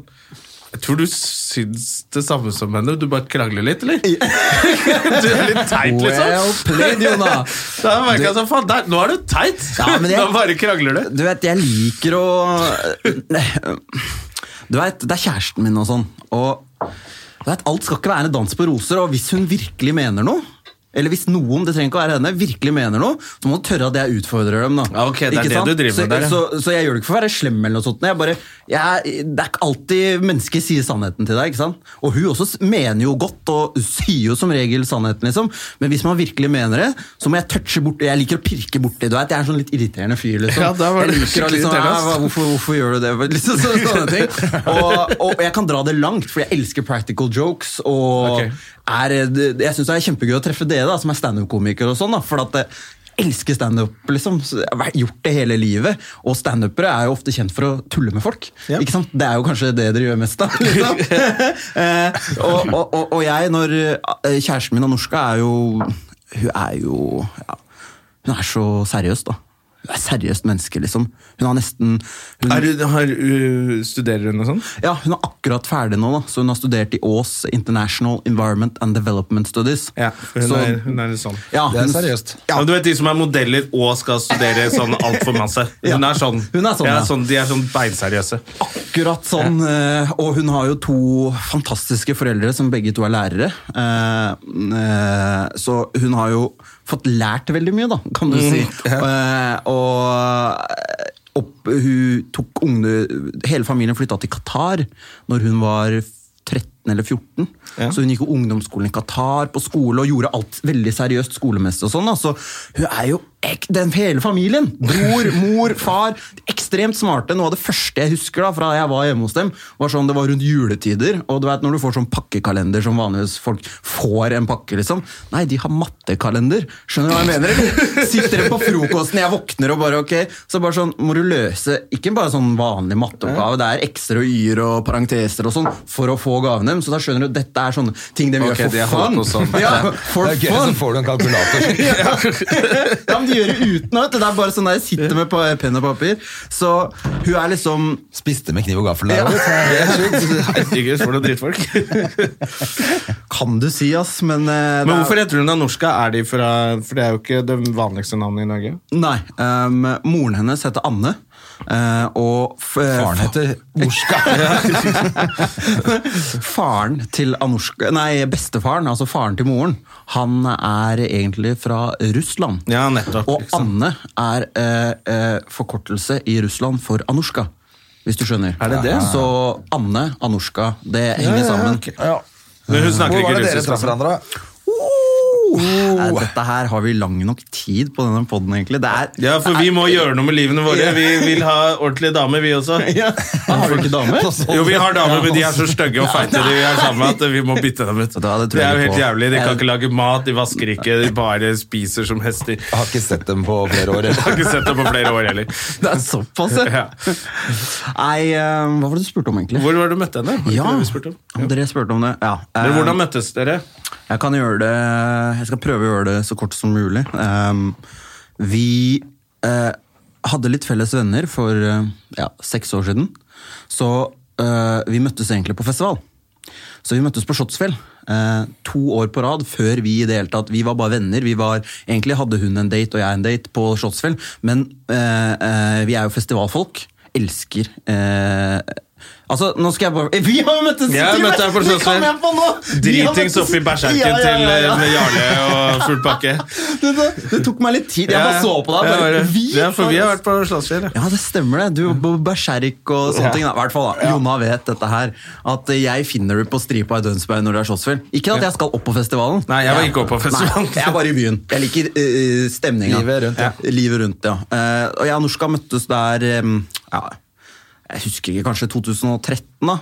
Speaker 4: jeg tror du syns det samme som henne, du bare krangler litt, eller? du er litt teit, liksom.
Speaker 1: Well played, Jonna.
Speaker 4: da merker jeg sånn, faen, der, nå er du teit!
Speaker 1: Ja, men jeg-
Speaker 4: Nå bare krangler du.
Speaker 1: Du vet, jeg liker å eh, Du vet, det er kjæresten min og sånn. Og du vet, alt skal ikke være en dans på roser, og hvis hun virkelig mener noe eller hvis noen det trenger ikke å være henne, virkelig mener noe, så må du tørre at jeg utfordrer dem. da.
Speaker 4: Ja, ok, det er
Speaker 1: Ikke
Speaker 4: det
Speaker 1: sant?
Speaker 4: du driver
Speaker 1: så,
Speaker 4: med der, ja.
Speaker 1: Så, så jeg gjør det ikke for å være slem, eller noe sånt. Jeg bare, jeg, det er ikke alltid mennesker sier sannheten til deg. ikke sant? Og hun også s- mener jo godt, og sier jo som regel sannheten, liksom. Men hvis man virkelig mener det, så må jeg touche borti Jeg liker å pirke borti. Du vet, jeg er en sånn litt irriterende fyr, liksom.
Speaker 4: Ja, da var det
Speaker 1: jeg liker å
Speaker 4: skikkelig
Speaker 1: liksom,
Speaker 4: irriterende, ass.
Speaker 1: «Æ, hva- hvorfor, hvorfor gjør du det? Liksom, så, sånne ting. Og, og jeg kan dra det langt, for jeg elsker practical jokes. Og
Speaker 4: Ok.
Speaker 1: er, eh, det- jeg syns det er kjempegøy å treffe dere da, som er standup-komiker. og sånn, da, for at jeg elsker standup. Liksom. Så Jeg har vært- gjort det hele livet. Og standupere er jo ofte kjent for å tulle med folk.
Speaker 4: Ja.
Speaker 1: Ikke sant? Det er jo kanskje det dere gjør mest av. Liksom. Eh, og, og, og, og jeg, når eh, kjæresten min Anorska er jo Hun er jo ja, Hun er så seriøs, da. Hun er et seriøst menneske, liksom. Hun har nesten hun,
Speaker 4: Er, du- har, uh, studerer hun og sånn?
Speaker 1: ja, hun er akkurat ferdig nå, da. så hun har studert i Ås International Environment and Development Studies.
Speaker 4: Ja, hun,
Speaker 1: Så-
Speaker 4: er, hun er litt sånn.
Speaker 1: ja,
Speaker 2: Det er
Speaker 1: hun-
Speaker 2: seriøst.
Speaker 1: Ja.
Speaker 4: Men Du vet de som er modeller og skal studere sånn altfor masse.
Speaker 1: Ja.
Speaker 4: Hun er sånn.
Speaker 1: Hun er sånn,
Speaker 4: ja,
Speaker 1: ja.
Speaker 4: sånn de er sånn beinseriøse.
Speaker 1: Akkurat sånn. eh, Og hun har jo to fantastiske foreldre som begge to er lærere. Eh, eh, Så hun har jo fått lært veldig mye, da, kan du si. Eh, Og opp, hun tok unge, Hele familien flytta til Qatar når hun var 13 eller 14.
Speaker 4: Ja.
Speaker 1: Så hun gikk jo ungdomsskolen i Qatar, på skole og gjorde alt veldig seriøst skolemessig. og sånn. da. Så hun er jo ek den hele familien! Bror, mor, far. Ekstremt smarte. Noe av det første jeg husker da, fra jeg var hjemme hos dem, var sånn det var rundt juletider. Og du vet, når du får sånn pakkekalender som vanligvis folk får en pakke, liksom. Nei, de har mattekalender. Skjønner du hva jeg mener? eller? Sitter de på frokosten, jeg våkner og bare ok. Så bare sånn, må du løse ikke bare sånn vanlig matteoppgave, det er x-er og y-er og parenteser og sånn for å få gaven dem. Så da skjønner du dette er sånne ting de
Speaker 4: Ok,
Speaker 1: gjør
Speaker 4: de har
Speaker 1: for
Speaker 4: holdt
Speaker 1: fun.
Speaker 4: på sånn.
Speaker 1: Ja, for
Speaker 2: Det er gøy, så
Speaker 1: fun.
Speaker 2: får du en kalkulator.
Speaker 1: ja, men de gjør det uten vet du. Det er bare sånn der jeg sitter med på- penn og papir. Så hun er liksom
Speaker 2: Spiste med kniv og gaffel der også.
Speaker 4: Herregud, for noen drittfolk.
Speaker 1: Kan du si, ass, men eh, det
Speaker 4: Men
Speaker 1: er-
Speaker 4: hvorfor heter hun Anorska? Er de fra, for det er jo ikke det vanligste navnet i Norge.
Speaker 1: Nei. ehm, moren hennes heter Anne. eh, og f
Speaker 2: Faren heter Orska.
Speaker 1: Faren til Anorska Nei, bestefaren, altså faren til moren, han er egentlig fra Russland.
Speaker 4: Ja, nettopp,
Speaker 1: og
Speaker 4: ikke sant.
Speaker 1: Anne er eh, eh, forkortelse i Russland for Anorska. Hvis du skjønner.
Speaker 4: Er det det?
Speaker 1: Så Anne, Anorska, det henger sammen.
Speaker 2: Ja.
Speaker 4: Men hun snakker
Speaker 2: Hvor var det
Speaker 4: ikke
Speaker 2: dere
Speaker 4: russisk.
Speaker 2: traff
Speaker 4: altså.
Speaker 2: hverandre? Oh!
Speaker 1: Nei, Eh,
Speaker 4: Oh.
Speaker 1: dette her har vi lang nok tid på denne poden, egentlig. Det er,
Speaker 4: Ja, for vi må gjøre noe med livene våre. Vi vil ha ordentlige damer, vi også.
Speaker 1: ja. sånn Har du ikke damer?
Speaker 4: Jo, vi har damer, men de er så stygge og feite de er sammen med at vi må bytte dem ut.
Speaker 1: Da, sånn- det tror
Speaker 4: Det er jo
Speaker 1: jeg
Speaker 4: helt
Speaker 1: på.
Speaker 4: jævlig. De kan
Speaker 1: Jeg-
Speaker 4: ikke lage mat, de vasker ikke, de bare spiser som hester.
Speaker 2: Jeg har ikke sett dem på flere år.
Speaker 4: Jeg har ikke sett det på flere år heller.
Speaker 1: Det er såpass, ja.
Speaker 4: Ja.
Speaker 1: Nei, eh, hva var det du spurte om, egentlig?
Speaker 4: Hvor var det du møtte henne? Var det
Speaker 1: Ja,
Speaker 4: ikke det vi spurte om?
Speaker 1: om dere spurte om det. Ja.
Speaker 4: Dere,
Speaker 1: Eh,
Speaker 4: hvordan møttes dere?
Speaker 1: Jeg kan gjøre det Jeg skal prøve å gjøre det så kort som mulig. Ehm, vi eh, hadde litt felles venner for eh, ja, seks år siden. Så eh, vi møttes egentlig på festival. Så vi møttes på Slottsfjell eh, to år på rad før vi i det hele tatt Vi var bare venner. Vi var, egentlig hadde hun en date og jeg en date på Slottsfjell, men eh, eh, vi er jo festivalfolk. Elsker eh, Altså, nå skal jeg bare Vi har jo møttes!
Speaker 4: Jeg møtte deg på
Speaker 1: Det kom jeg på nå!
Speaker 4: Slottsfjell.
Speaker 1: Vi har
Speaker 4: Dritings
Speaker 1: møttes-
Speaker 4: oppi bæsjerken
Speaker 1: Ja, ja, ja,
Speaker 4: til
Speaker 1: ja.
Speaker 4: eh, med Jarle og full pakke.
Speaker 1: Det, det, det tok meg litt tid. Jeg bare så på deg.
Speaker 4: Ja,
Speaker 1: Bare,
Speaker 4: bare-
Speaker 1: vi,
Speaker 4: Ja, for vi har vært på Slottsfjell. ja.
Speaker 1: ja, det stemmer det. Du på berserk og sånne
Speaker 4: Ja.
Speaker 1: ting. da. I hvert fall da, Jonna vet dette her. At eh, jeg finner det på stripa i Dønsberg når det er Slottsfjell. Ikke at jeg skal opp på festivalen.
Speaker 4: Nei, jeg var ikke opp på festivalen.
Speaker 1: Nei, jeg er bare i byen. Jeg liker uh, stemninga.
Speaker 2: Livet rundt, ja.
Speaker 1: Livet rundt, ja. Eh, og jeg og Norska møttes der em, ja, Jeg husker ikke, kanskje 2013, da.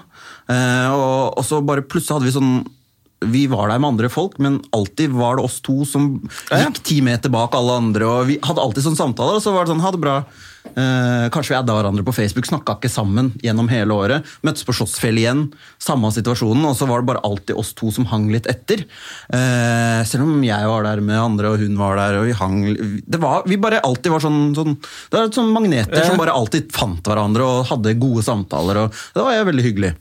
Speaker 1: Eh, og, og så bare plutselig hadde vi sånn vi var der med andre folk, men alltid var det oss to som gikk ti meter bak alle andre. og Vi hadde alltid sånne samtaler, og så var det sånn, ha det bra. Eh, kanskje vi adda hverandre på Facebook, snakka ikke sammen gjennom hele året. Møttes på Slottsfjell igjen, samme situasjonen, og så var det bare alltid oss to som hang litt etter. Eh, selv om jeg var der med andre, og hun var der, og vi hang Det var, Vi bare alltid var sånn, sånn Det var sånn magneter som bare alltid fant hverandre og hadde gode samtaler, og det var jo veldig hyggelig.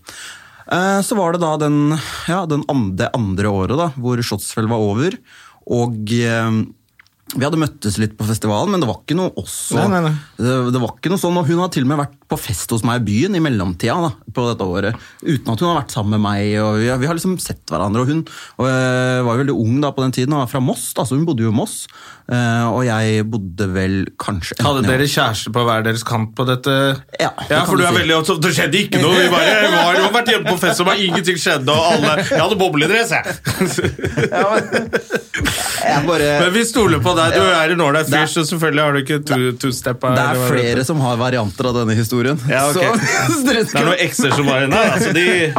Speaker 1: Eh, Så var det da den, ja, den andre, det andre året da, hvor Slottsfjell var over, og eh, Vi hadde møttes litt på festivalen, men det var ikke noe også.
Speaker 4: Nei, nei, nei.
Speaker 1: Det, det var ikke noe sånn, og Hun har til og med vært på fest hos meg i byen i mellomtida da, på dette året. Uten at hun har vært sammen med meg. og Vi, har- vi har liksom sett hverandre. og Hun og, øh, var jo veldig ung da på den tiden og var fra Moss, da, så hun bodde jo i Moss. Eh, og jeg bodde vel kanskje
Speaker 4: Hadde
Speaker 1: enten jeg
Speaker 4: dere kjæreste på hver deres kant på dette?
Speaker 1: Ja, det kan
Speaker 4: for du
Speaker 1: du
Speaker 4: er
Speaker 1: si.
Speaker 4: veldig opptatt. Det skjedde ikke noe. Vi bare vi har jo vært hjemme på fest, og bare ingenting skjedde. Og alle, Jeg hadde bobledress, jeg.
Speaker 1: jeg bare,
Speaker 4: Men vi stoler på deg. Du er en ålreit fyr,
Speaker 1: Det-
Speaker 4: så selvfølgelig har du ikke to- two-steppa.
Speaker 1: Det
Speaker 4: eller
Speaker 1: er
Speaker 4: hva det
Speaker 1: flere som har varianter av denne historien.
Speaker 4: Ja,
Speaker 1: så,
Speaker 4: ok.
Speaker 1: så dere
Speaker 4: Det er
Speaker 1: skal,
Speaker 4: noen ekser som var inne her. Altså, de,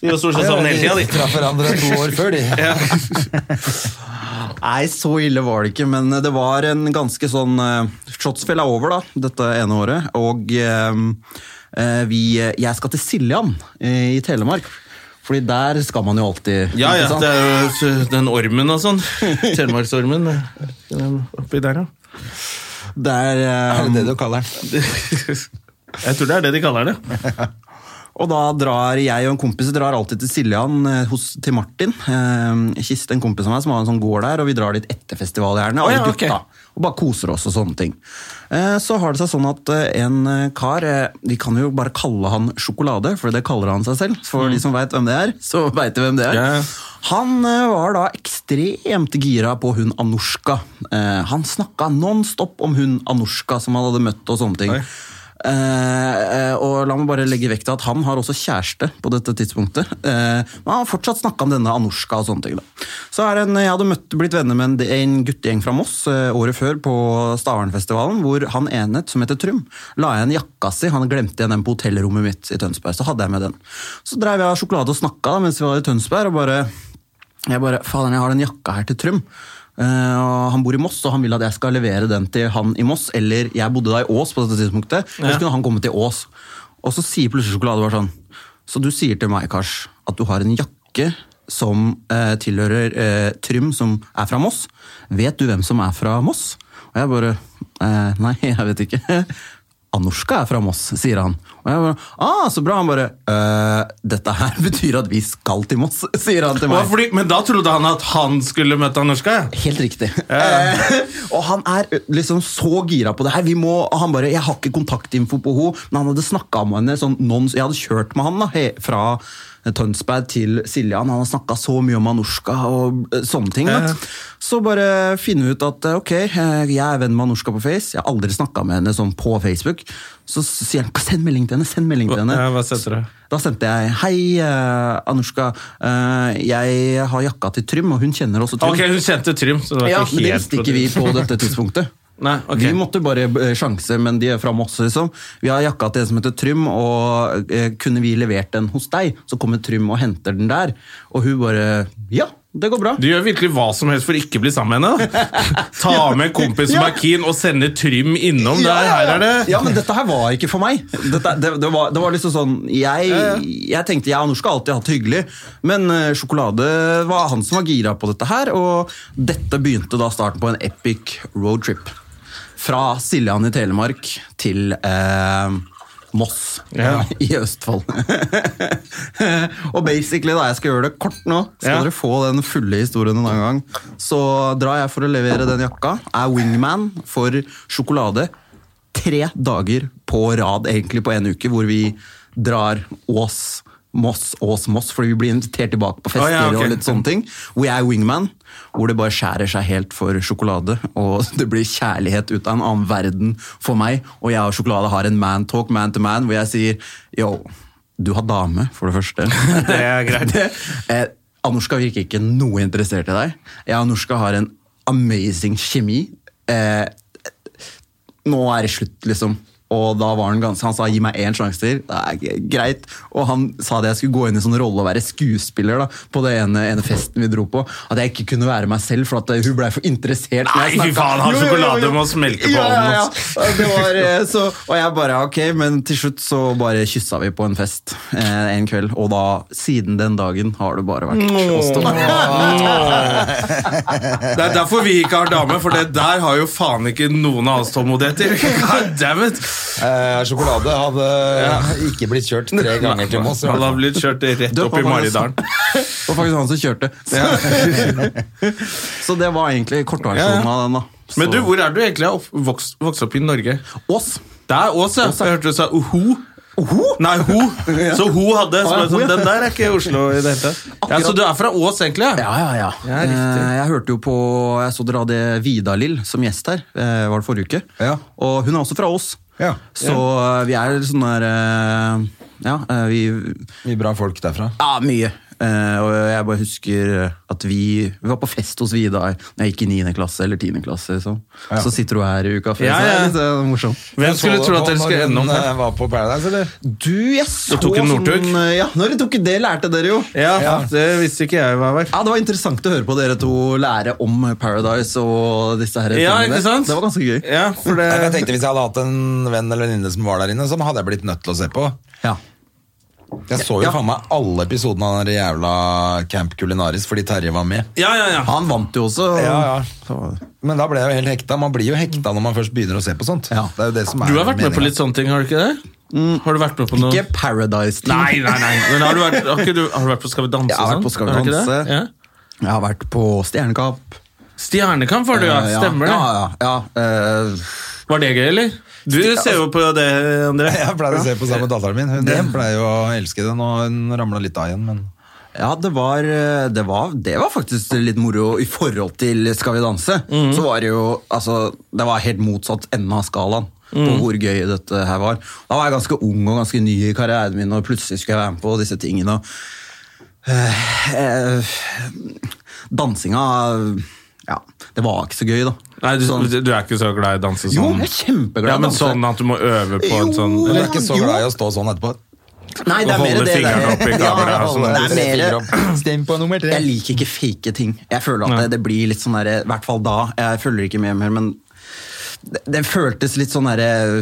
Speaker 4: de var stort sett sammen hele tida,
Speaker 2: De
Speaker 4: de.
Speaker 2: traff hverandre to år før, de.
Speaker 1: nei, så ille var det ikke, men det var en ganske sånn eh, Slottsfjell er over, da, dette ene året. Og eh, eh, vi Jeg skal til Siljan eh, i Telemark. Fordi der skal man jo alltid.
Speaker 4: Ja, ja,
Speaker 1: ikke sant?
Speaker 4: det er jo den ormen og sånn. Telemarksormen. Den oppi der, ja.
Speaker 1: Det er, eh,
Speaker 2: Er det det du kaller den?
Speaker 4: Jeg tror det er det de kaller det.
Speaker 1: Og da drar jeg og en kompis drar alltid til Siljan eh, hos, til Martin. Eh, Kiste, en kompis av meg som har en sånn gård der, og vi drar dit etter festival gjerne. alle
Speaker 4: ja, ok.
Speaker 1: gutta, og bare koser oss og sånne ting. Eh, så har det seg sånn at eh, en eh, kar eh, Vi kan jo bare kalle han Sjokolade, for det kaller han seg selv. For de som veit hvem det er, så veit de hvem det er.
Speaker 4: Mm. Ja, ja.
Speaker 1: Han eh, var da ekstremt gira på hun Anorska. Eh, han snakka nonstop om hun Anorska som han hadde møtt og sånne ting.
Speaker 4: Oi.
Speaker 1: Eh, eh, og la meg bare legge vekt til at han har også kjæreste på dette tidspunktet. Eh, men han har fortsatt snakka om denne Anorska og sånne ting. Da. Så er en, jeg hadde møtt, blitt venner med en, en guttegjeng fra Moss eh, året før på Stavernfestivalen, hvor han ene, som heter Trym, la igjen jakka si. Han glemte igjen den på hotellrommet mitt i Tønsberg. Så hadde jeg med den. Så dreiv jeg av sjokolade og snakka da, mens vi var i Tønsberg, og bare jeg bare, faen jeg har den jakka her til Trym. Eh, og han bor i Moss, og han vil at jeg skal levere den til han i Moss. Eller jeg bodde da i Ås på dette tidspunktet. eller så kunne han komme til Ås. Og så sier plutselig sjokolade bare sånn Så du sier til meg, Kars, at du har en jakke som eh, tilhører eh, Trym, som er fra Moss. Vet du hvem som er fra Moss? Og jeg bare eh, Nei, jeg vet ikke. Anorska er fra Moss, sier han. Og jeg bare, ah, så bra. Han bare «Eh, Dette her betyr at vi skal til Moss, sier han til
Speaker 4: Og
Speaker 1: meg.
Speaker 4: fordi, men da trodde han at han skulle møte han norska, ja.
Speaker 1: Helt riktig. Eh, og han er liksom så gira på det her. Vi må, og han bare, Jeg har ikke kontaktinfo på henne, men han hadde snakka med henne sånn non, Jeg hadde kjørt med han da, he, fra eh, Tønsberg til Siljan. Han har snakka så mye om Anorska og eh, sånne ting. Da. Så bare finne ut at eh, ok, eh, jeg er venn med Anorska på Face. Jeg har aldri snakka med henne sånn på Facebook. Så sier han send melding til henne! send melding til henne.
Speaker 4: Ja, hva sendte du?
Speaker 1: Da sendte jeg 'Hei, eh, Anorska. eh, jeg har jakka til Trym, og hun kjenner også Trym'.
Speaker 4: Ok, hun kjente Trym. Så det var
Speaker 1: Ja,
Speaker 4: ikke
Speaker 1: men det
Speaker 4: helt
Speaker 1: visste ikke vi på dette tidspunktet.
Speaker 4: Nei, ok.
Speaker 1: Vi måtte bare eh, sjanse, men de er fra Moss, liksom. Vi har jakka til en som heter Trym, og eh, kunne vi levert den hos deg? Så kommer Trym og henter den der. Og hun bare Ja, det går bra.
Speaker 4: Du gjør virkelig hva som helst for ikke å bli sammen med henne. da. Ta med en kompis som
Speaker 1: Ja.
Speaker 4: er keen, og sende Trym innom.
Speaker 1: Ja,
Speaker 4: der,
Speaker 1: ja, ja.
Speaker 4: her er det.
Speaker 1: Ja, men dette her var ikke for meg. Dette, det, det, var, det var liksom sånn Jeg, jeg tenkte jeg og Norsk har alltid hatt det hyggelig, men eh, sjokolade var han som var gira på dette her, og dette begynte da starten på en epic roadtrip. Fra Siljan i Telemark til eh, Moss
Speaker 4: Ja.
Speaker 1: i Østfold. og basically, da, jeg skal gjøre det kort nå, skal
Speaker 4: Ja.
Speaker 1: dere få den fulle historien en annen gang, så drar jeg for å levere den jakka. Er wingman for sjokolade tre dager på rad, egentlig på en uke, hvor vi drar Ås, Moss, Ås, Moss, fordi vi blir invitert tilbake på fester
Speaker 4: Å, ja, ok.
Speaker 1: og litt sånne ting. Hvor jeg er wingman, hvor det bare skjærer seg helt for sjokolade, og det blir kjærlighet ut av en annen verden for meg, og jeg og sjokolade har en man-talk, man-to-man, hvor jeg sier, yo, du har dame, for det første.
Speaker 4: Det er greit.
Speaker 1: Det, eh, Anorska virker ikke noe interessert i deg. Jeg og Anorska har en amazing kjemi. Eh, nå er det slutt, liksom. Og da var han ganske, han sa gi meg én sjanse til. Det er g- greit. Og han sa at jeg skulle gå inn i sånn rolle og være skuespiller da, på det ene, ene festen vi dro på. At jeg ikke kunne være meg selv, for at eh, hun blei for interessert. når jeg
Speaker 4: Nei, fy
Speaker 1: snakket.
Speaker 4: faen, han
Speaker 1: Jo, jo, jo,
Speaker 4: sjokolade
Speaker 1: jo.
Speaker 4: må smelte på
Speaker 1: Ja, ja, ja.
Speaker 4: ovnen,
Speaker 1: Og Det var, eh, så, og jeg bare ok, men til slutt så bare kyssa vi på en fest eh, en kveld. Og da, siden den dagen, har det bare vært oss to.
Speaker 4: Det er derfor vi ikke har dame, for det der har jo faen ikke noen av oss tålmodighet til. God damn it!
Speaker 2: Eh, sjokolade hadde ikke blitt kjørt tre ganger til Moss. i hvert
Speaker 4: Han har
Speaker 2: fall.
Speaker 4: blitt kjørt rett
Speaker 1: Det
Speaker 4: opp i
Speaker 1: var faktisk-
Speaker 4: Maridalen.
Speaker 1: Det var faktisk han som kjørte. Så, Så det var egentlig kortversjonen av den. da. Så,
Speaker 4: Men du, hvor er du egentlig opp, vokst, vokst opp i Norge?
Speaker 1: Ås.
Speaker 4: Det er Ås, ja. Jeg hørte du sa Uhu. Nei, ho. Så ho hadde så
Speaker 1: Ja,
Speaker 4: jeg
Speaker 1: ho,
Speaker 4: sånn,
Speaker 1: ja.
Speaker 4: Den der er ikke Oslo i det hele tatt. Ja,
Speaker 1: Akkurat.
Speaker 4: så du er fra Ås, egentlig?
Speaker 1: Ja, ja, ja.
Speaker 4: Ja, riktig.
Speaker 1: Eh, jeg hørte jo på Jeg så dere hadde Vidar-Lill som gjest her, eh, var det forrige uke?
Speaker 2: Ja.
Speaker 1: Og hun er også fra Ås.
Speaker 2: Ja.
Speaker 1: Så eh, vi er sånn der eh, Ja, eh, vi
Speaker 2: Mye bra folk derfra.
Speaker 1: Ja, mye. Eh, og jeg bare husker at vi Vi var på fest hos Vidar da jeg gikk i 9. klasse eller 10. klasse. Så, så sitter du her i uka før.
Speaker 4: Ja,
Speaker 1: Så det
Speaker 4: ja.
Speaker 1: er litt eh, morsomt.
Speaker 4: Hvem skulle
Speaker 2: Så
Speaker 4: tro
Speaker 2: på
Speaker 4: at dere
Speaker 2: når
Speaker 4: skulle
Speaker 2: hun,
Speaker 4: ende opp her?
Speaker 2: eh, Var på Paradise, eller?
Speaker 1: Du, jeg så
Speaker 4: tok en
Speaker 1: sånn,
Speaker 4: Northug.
Speaker 1: eh, Ja, når du tok det, lærte dere jo.
Speaker 4: Ja, det visste ikke jeg hva var.
Speaker 1: Ja, Det var interessant å høre på dere to lære om Paradise og disse her
Speaker 4: Ja,
Speaker 1: tingene der.
Speaker 4: ikke sant?
Speaker 1: Det var ganske gøy.
Speaker 4: Ja, for
Speaker 1: Eh,
Speaker 2: Nei, men Jeg
Speaker 4: det
Speaker 2: tenkte Hvis jeg hadde hatt en venn eller venninne som var der inne, så hadde jeg blitt nødt til å se på.
Speaker 1: Ja.
Speaker 2: Jeg så jo
Speaker 1: Ja.
Speaker 2: faen meg alle episodene av den der jævla Camp Culinaris fordi Terje var med.
Speaker 4: Ja, ja, ja.
Speaker 1: Han vant jo også.
Speaker 2: Ja, ja.
Speaker 1: Så-
Speaker 2: Men da ble jeg jo helt hekta. Man blir jo hekta når man først begynner å se på sånt.
Speaker 1: Mm. Ja.
Speaker 2: Det er jo det som er
Speaker 4: Du har vært med på
Speaker 2: meningen.
Speaker 4: litt sånne ting, har du ikke det? Har du vært med på noe
Speaker 1: Mm. Ikke Paradise.
Speaker 4: Nei, nei, nei. Men har du vært, har ikke du, har du vært på Skal vi danse?
Speaker 1: Jeg har vært
Speaker 4: og
Speaker 1: på
Speaker 4: sånn?
Speaker 1: Skal vi
Speaker 4: du ikke det?
Speaker 1: danse. Jeg har vært på Stjernekamp.
Speaker 4: Ja. Stjernekamp var du, ja.
Speaker 1: Eh,
Speaker 4: Stemmer det.
Speaker 1: Ja, ja, ja. Eh,
Speaker 4: Var det gøy, eller? Du ser jo på det,
Speaker 1: Sånn.
Speaker 4: André.
Speaker 2: Jeg pleier å se på sammen med datteren min. Hun pleier jo å elske det. Nå hun ramla litt av igjen, men
Speaker 1: ja det, var, eh, det, var, det var faktisk litt moro i forhold til Skal vi danse. Så var det jo altså, Det var helt motsatt ende av skalaen. På hvor gøy dette her var. Da var jeg ganske ung og ganske ny i karrieren min, og plutselig skulle jeg være med på disse tingene. Og eh, dansinga Ja, det var ikke så gøy, da.
Speaker 4: Nei, du,
Speaker 1: Sånn-
Speaker 4: du er ikke så glad i å danse
Speaker 1: Jo,
Speaker 4: sånn?
Speaker 1: jeg er kjempeglad i
Speaker 4: Ja, men
Speaker 1: danse.
Speaker 4: sånn at du må øve på en
Speaker 1: Jo.
Speaker 4: sånn
Speaker 2: Hun er
Speaker 4: eller?
Speaker 2: ikke så
Speaker 1: Jo.
Speaker 2: glad i å stå sånn etterpå.
Speaker 1: Nei, det er
Speaker 4: Og
Speaker 1: mer
Speaker 4: holde
Speaker 1: det der.
Speaker 4: fingrene opp i kameraet,
Speaker 1: Ja,
Speaker 4: sånn der.
Speaker 1: det er mer
Speaker 2: Stem på nummer
Speaker 1: Jeg liker ikke fake ting. Jeg føler at det, det blir litt sånn der, I hvert fall da. Jeg følger ikke med mer, men det, det føltes litt sånn derre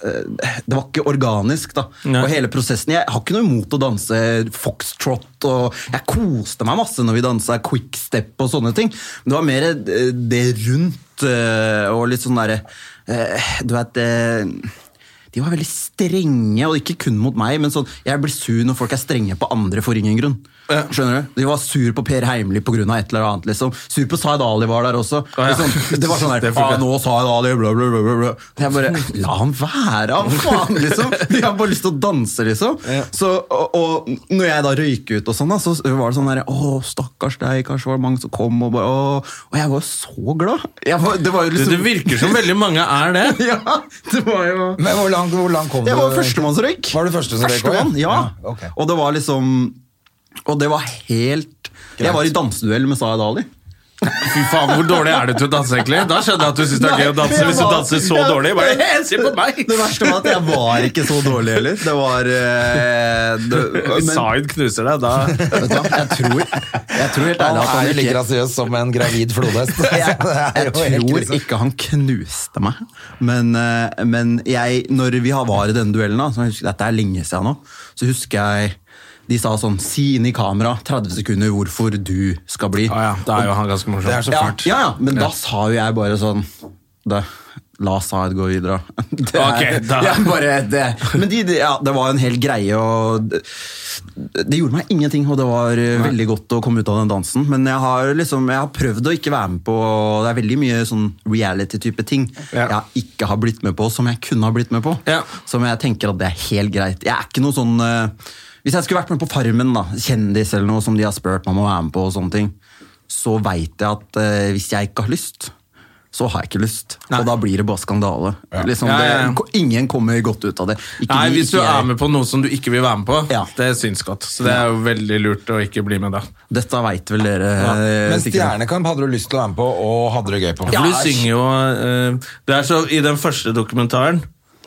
Speaker 1: Det var ikke organisk, da.
Speaker 4: Nei.
Speaker 1: Og hele prosessen Jeg har ikke noe imot å danse foxtrot og Jeg koste meg masse når vi dansa quickstep og sånne ting. Men det var mer eh, det rundt eh, og litt sånn derre eh, Du vet eh, de var veldig strenge, og ikke kun mot meg, men sånn, jeg blir sur når folk er strenge på andre for ingen grunn. Skjønner du? De var sur på Per Heimli på grunn av et eller annet, liksom. Sur på Zaid Ali var der også.
Speaker 4: ja.
Speaker 1: Liksom, det var sånn der,
Speaker 4: Det funker.
Speaker 1: ah, nå Zaid Ali, bla bla bla, bla, bla. Jeg bare, la han være, han faen, liksom. De har bare lyst til å danse, liksom. Så, og, og når jeg da røyker ut og sånn, da, så var det sånn der, å, stakkars deg, kanskje var det mange som kom, og bare, å. Og jeg var så glad. Jeg var, det var jo
Speaker 4: Det,
Speaker 1: liksom...
Speaker 4: det virker som veldig mange er det.
Speaker 1: Ja, det var jo...
Speaker 2: Men hvor langt, hvor langt kom
Speaker 1: Jeg var
Speaker 2: du?
Speaker 1: førstemann som røyk.
Speaker 2: Var du første som røyk også, ja?
Speaker 1: Førstemann, ja.
Speaker 2: Ja, ok.
Speaker 1: Og det var liksom Og det var helt Jeg var i danseduell med Zaid Ali.
Speaker 4: Fy faen, Hvor dårlig er du til å danse, egentlig? Da skjønner jeg at du syns det er gøy å danse hvis du danser så dårlig. Bare, se på meg!
Speaker 1: Det verste var at jeg var ikke så dårlig heller. Det var eh, det, men,
Speaker 4: Zaid knuser deg, da
Speaker 1: Vet du hva, jeg tror, jeg tror helt
Speaker 2: Han
Speaker 1: ærlig at
Speaker 2: er jo
Speaker 1: han
Speaker 2: like
Speaker 1: ikke
Speaker 2: grasiøs som en gravid flodhest.
Speaker 1: jeg, jeg tror
Speaker 2: ikke
Speaker 1: ikke han knuste meg, men, eh, men jeg, når vi har- var i denne duellen, da, så jeg husker, dette er lenge siden nå, så husker jeg de sa sånn Si inn i kamera 30 sekunder hvorfor du skal bli.
Speaker 4: Ja, ja, Da er jo han ganske morsom.
Speaker 2: Det er så
Speaker 1: ja,
Speaker 2: fælt.
Speaker 1: Ja, ja, men da sa jo jeg bare sånn det, La Zaid gå videre. Det
Speaker 4: Ok, da-
Speaker 1: jeg bare, det, men de, de, ja, det var en hel greie, og det, det gjorde meg ingenting. Og det var eh, veldig godt å komme ut av den dansen. Men jeg har, liksom, jeg har prøvd å ikke være med på Det er veldig mye sånn reality-type ting
Speaker 4: Ja.
Speaker 1: jeg ikke har blitt med på, som jeg kunne ha blitt med på.
Speaker 4: Ja.
Speaker 1: Som jeg tenker at det er helt greit. Jeg er ikke noe sånn eh, Hvis jeg skulle vært med på Farmen, da, kjendis eller noe som de har spurt meg om å være med på, og sånne ting, så veit jeg at eh, hvis jeg ikke har lyst, så har jeg ikke lyst. Og da blir det bare skandale. Liksom,
Speaker 4: Ja,
Speaker 1: det,
Speaker 4: ja, ja.
Speaker 1: ko- Ingen kommer godt ut av det. Ikke
Speaker 4: Nei,
Speaker 1: de,
Speaker 4: Hvis
Speaker 1: ikke
Speaker 4: du
Speaker 1: jeg.
Speaker 4: er med på noe som du ikke vil være med på,
Speaker 1: Ja.
Speaker 4: det syns godt. Så det er jo veldig lurt å ikke bli med da.
Speaker 1: Dette veit vel dere eh,
Speaker 2: Men
Speaker 1: sikkert.
Speaker 2: Stjernekamp hadde du lyst til å være med på, og hadde det gøy på.
Speaker 4: For du synger jo eh, Det er så I den første dokumentaren,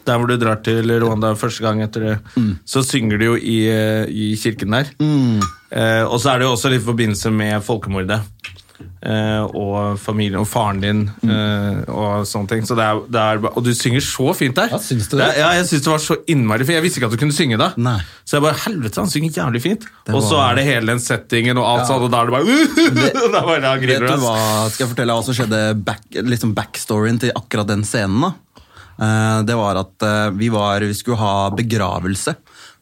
Speaker 4: der hvor du drar til Rwanda første gang etter det,
Speaker 1: Mm.
Speaker 4: så synger du jo i, eh, i kirken der. Eh, og så er det jo også litt i forbindelse med folkemordet. eh, og familien og faren din
Speaker 1: Mm.
Speaker 4: eh, og sånne ting. Så det er, det er, og du synger så fint der!
Speaker 1: Ja, syns du det?
Speaker 4: Ja, jeg syns det var så innmari fint. Jeg visste ikke at du kunne synge da.
Speaker 1: Nei.
Speaker 4: Så jeg bare Helvete, han synger jævlig fint!
Speaker 1: Det
Speaker 4: Og så
Speaker 1: var-
Speaker 4: er det hele den settingen og alt sånt, og da er det bare uh, Da bare da
Speaker 1: Vet
Speaker 4: griner du,
Speaker 1: du
Speaker 4: ass.
Speaker 1: hva, skal jeg fortelle hva som skjedde back, liksom backstoryen til akkurat den scenen? da? Eh, det var at eh, vi, var, vi skulle ha begravelse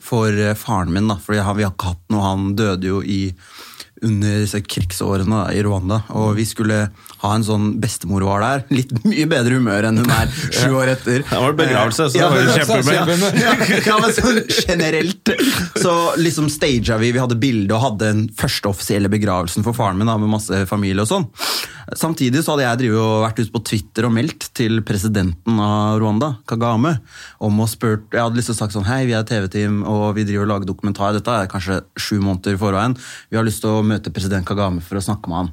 Speaker 1: for eh, faren min, da, for vi har, vi har ikke hatt noe. Han døde jo i under disse krigsårene da, i Rwanda. Og vi skulle ha en sånn bestemor var der. Litt mye bedre humør enn hun er sju år etter. Eh,
Speaker 4: Det var begravelse, så det var jo
Speaker 1: men-
Speaker 4: kjempehumør.
Speaker 1: Ja, ja, men sånn generelt. Så liksom staged vi, vi hadde bilde og hadde den første offisielle begravelsen for faren min da, med masse familie og sånn. Samtidig så hadde jeg drivet og vært ute på Twitter og meldt til presidenten av Rwanda, Kagame, om å spurt, jeg hadde liksom sagt sånn, hei, vi er TV-team, og vi driver og lager dokumentar, dette er kanskje sju måneder i forveien, vi har lyst til å møte president Kagame for å snakke med han.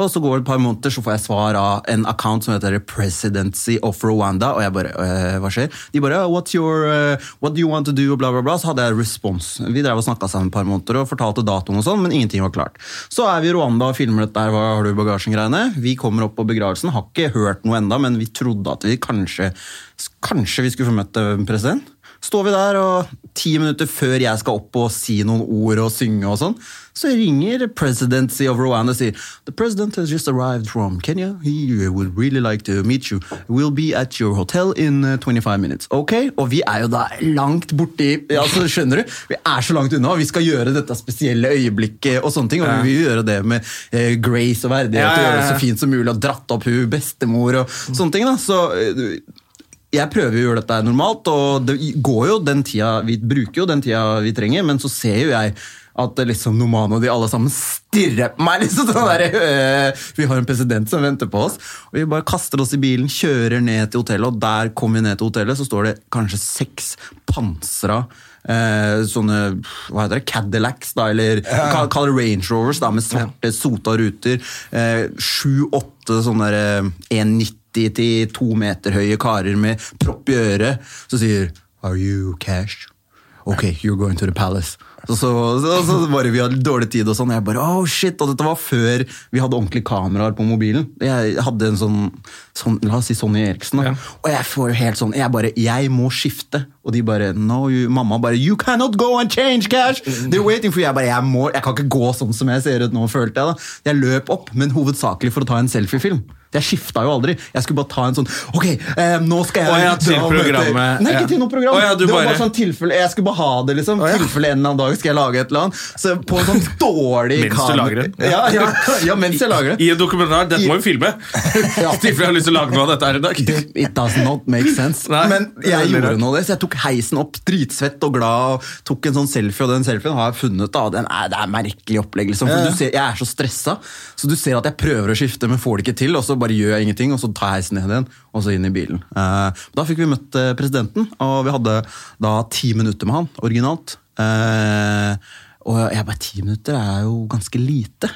Speaker 1: Og så går det et par måneder, så får jeg svar av en account som heter Presidency of Rwanda, og jeg bare, «Øh, hva skjer? De bare, «Ja, what's your, øh, what do you want to do, og bla bla bla, så hadde jeg respons. Vi drev og snakket sammen et par måneder og fortalte datoen og sånn, men ingenting var klart. Så er vi i Rwanda og filmer dette her, hva har du i bagasjen-greiene? Vi kommer opp på begravelsen, har ikke hørt noe enda, men vi trodde at vi kanskje, kanskje vi skulle få møtt øh, president. Står vi der, og ti minutter før jeg skal opp og si noen ord og synge og sånn, så ringer presidency of Rwanda og sier The president has just arrived from Kenya. He would really like to meet you. We'll be at your hotel in uh, 25 minutes. Ok? Og vi er jo da langt borti ja, altså, Skjønner du? Vi er så langt unna. og Vi skal gjøre dette spesielle øyeblikket og sånne ting. Og vi vil gjøre det med eh, grace og verdighet og
Speaker 4: Ja, ja,
Speaker 1: gjøre det
Speaker 4: ja.
Speaker 1: så fint som mulig. Og dratt opp hun bestemor og sånne ting. da. Så eh, jeg prøver jo å gjøre dette normalt, og det går jo den tida, vi bruker jo den tida vi trenger, men så ser jo jeg at liksom Noman og de alle sammen stirrer på meg. liksom sånn der, øh, Vi har en president som venter på oss. og Vi bare kaster oss i bilen, kjører ned til hotellet, og der kommer vi ned til hotellet, så står det kanskje seks pansra eh, sånne hva heter det, Cadillacs, da, eller kall kall det Range Rovers, da, med svarte, sota ruter. Sju-åtte sånne der, eh, 190 til to meter høye karer med propp i øret, så sier Are you cash? Ok, you're going to the palace. Så, så, så, så bare vi hadde dårlig tid og sånn. Jeg bare, oh shit, og dette var før vi hadde ordentlige kameraer på mobilen. Jeg hadde en sånn, sånn la oss si Sonny Eriksen. Da. Og jeg får jo helt sånn, jeg bare, jeg må skifte. Og de bare, no, you, mamma bare, you cannot go and change cash! They're waiting for you. Jeg bare, jeg må, jeg kan ikke gå sånn som jeg ser ut nå, følte jeg da. Jeg løp opp, men hovedsakelig for å ta en selfie-film. Jeg skifta jo aldri. Jeg skulle bare ta en sånn Ok, eh, nå skal jeg
Speaker 4: Å ja, til
Speaker 1: dra og møte-
Speaker 4: programmet.
Speaker 1: Nei,
Speaker 4: Ja.
Speaker 1: ikke til noe program.
Speaker 4: Å ja, du
Speaker 1: det var bare
Speaker 4: bare-
Speaker 1: sånn tilfelle Jeg skulle bare ha det, liksom. Tilfelle en eller annen dag skal jeg lage et eller annet. Så på en sånn dårlig
Speaker 4: Mens du
Speaker 1: kamer-
Speaker 4: lager det.
Speaker 1: Ja, ja, ja, mens jeg lager det.
Speaker 4: I en dokumentar. Dette må vi filme!
Speaker 1: Ja.
Speaker 4: I tilfelle jeg har lyst til å lage noe av dette her i dag.
Speaker 1: It does not make sense.
Speaker 4: Nei.
Speaker 1: Men jeg
Speaker 4: Veldig
Speaker 1: gjorde
Speaker 4: rart.
Speaker 1: noe av det, så jeg tok heisen opp dritsvett og glad og tok en sånn selfie, og den selfien har jeg funnet. da, den er, Det er merkelig opplegg, liksom. For du ser, jeg er så stressa, så du ser at jeg prøver å skifte, men får det ikke til, og så bare gjør jeg ingenting, og så tar jeg heisen ned igjen, og så inn i bilen. Eh, da fikk vi møtt eh, presidenten, og vi hadde da ti minutter med han, originalt. Eh, og jeg bare, ti minutter er jo ganske lite.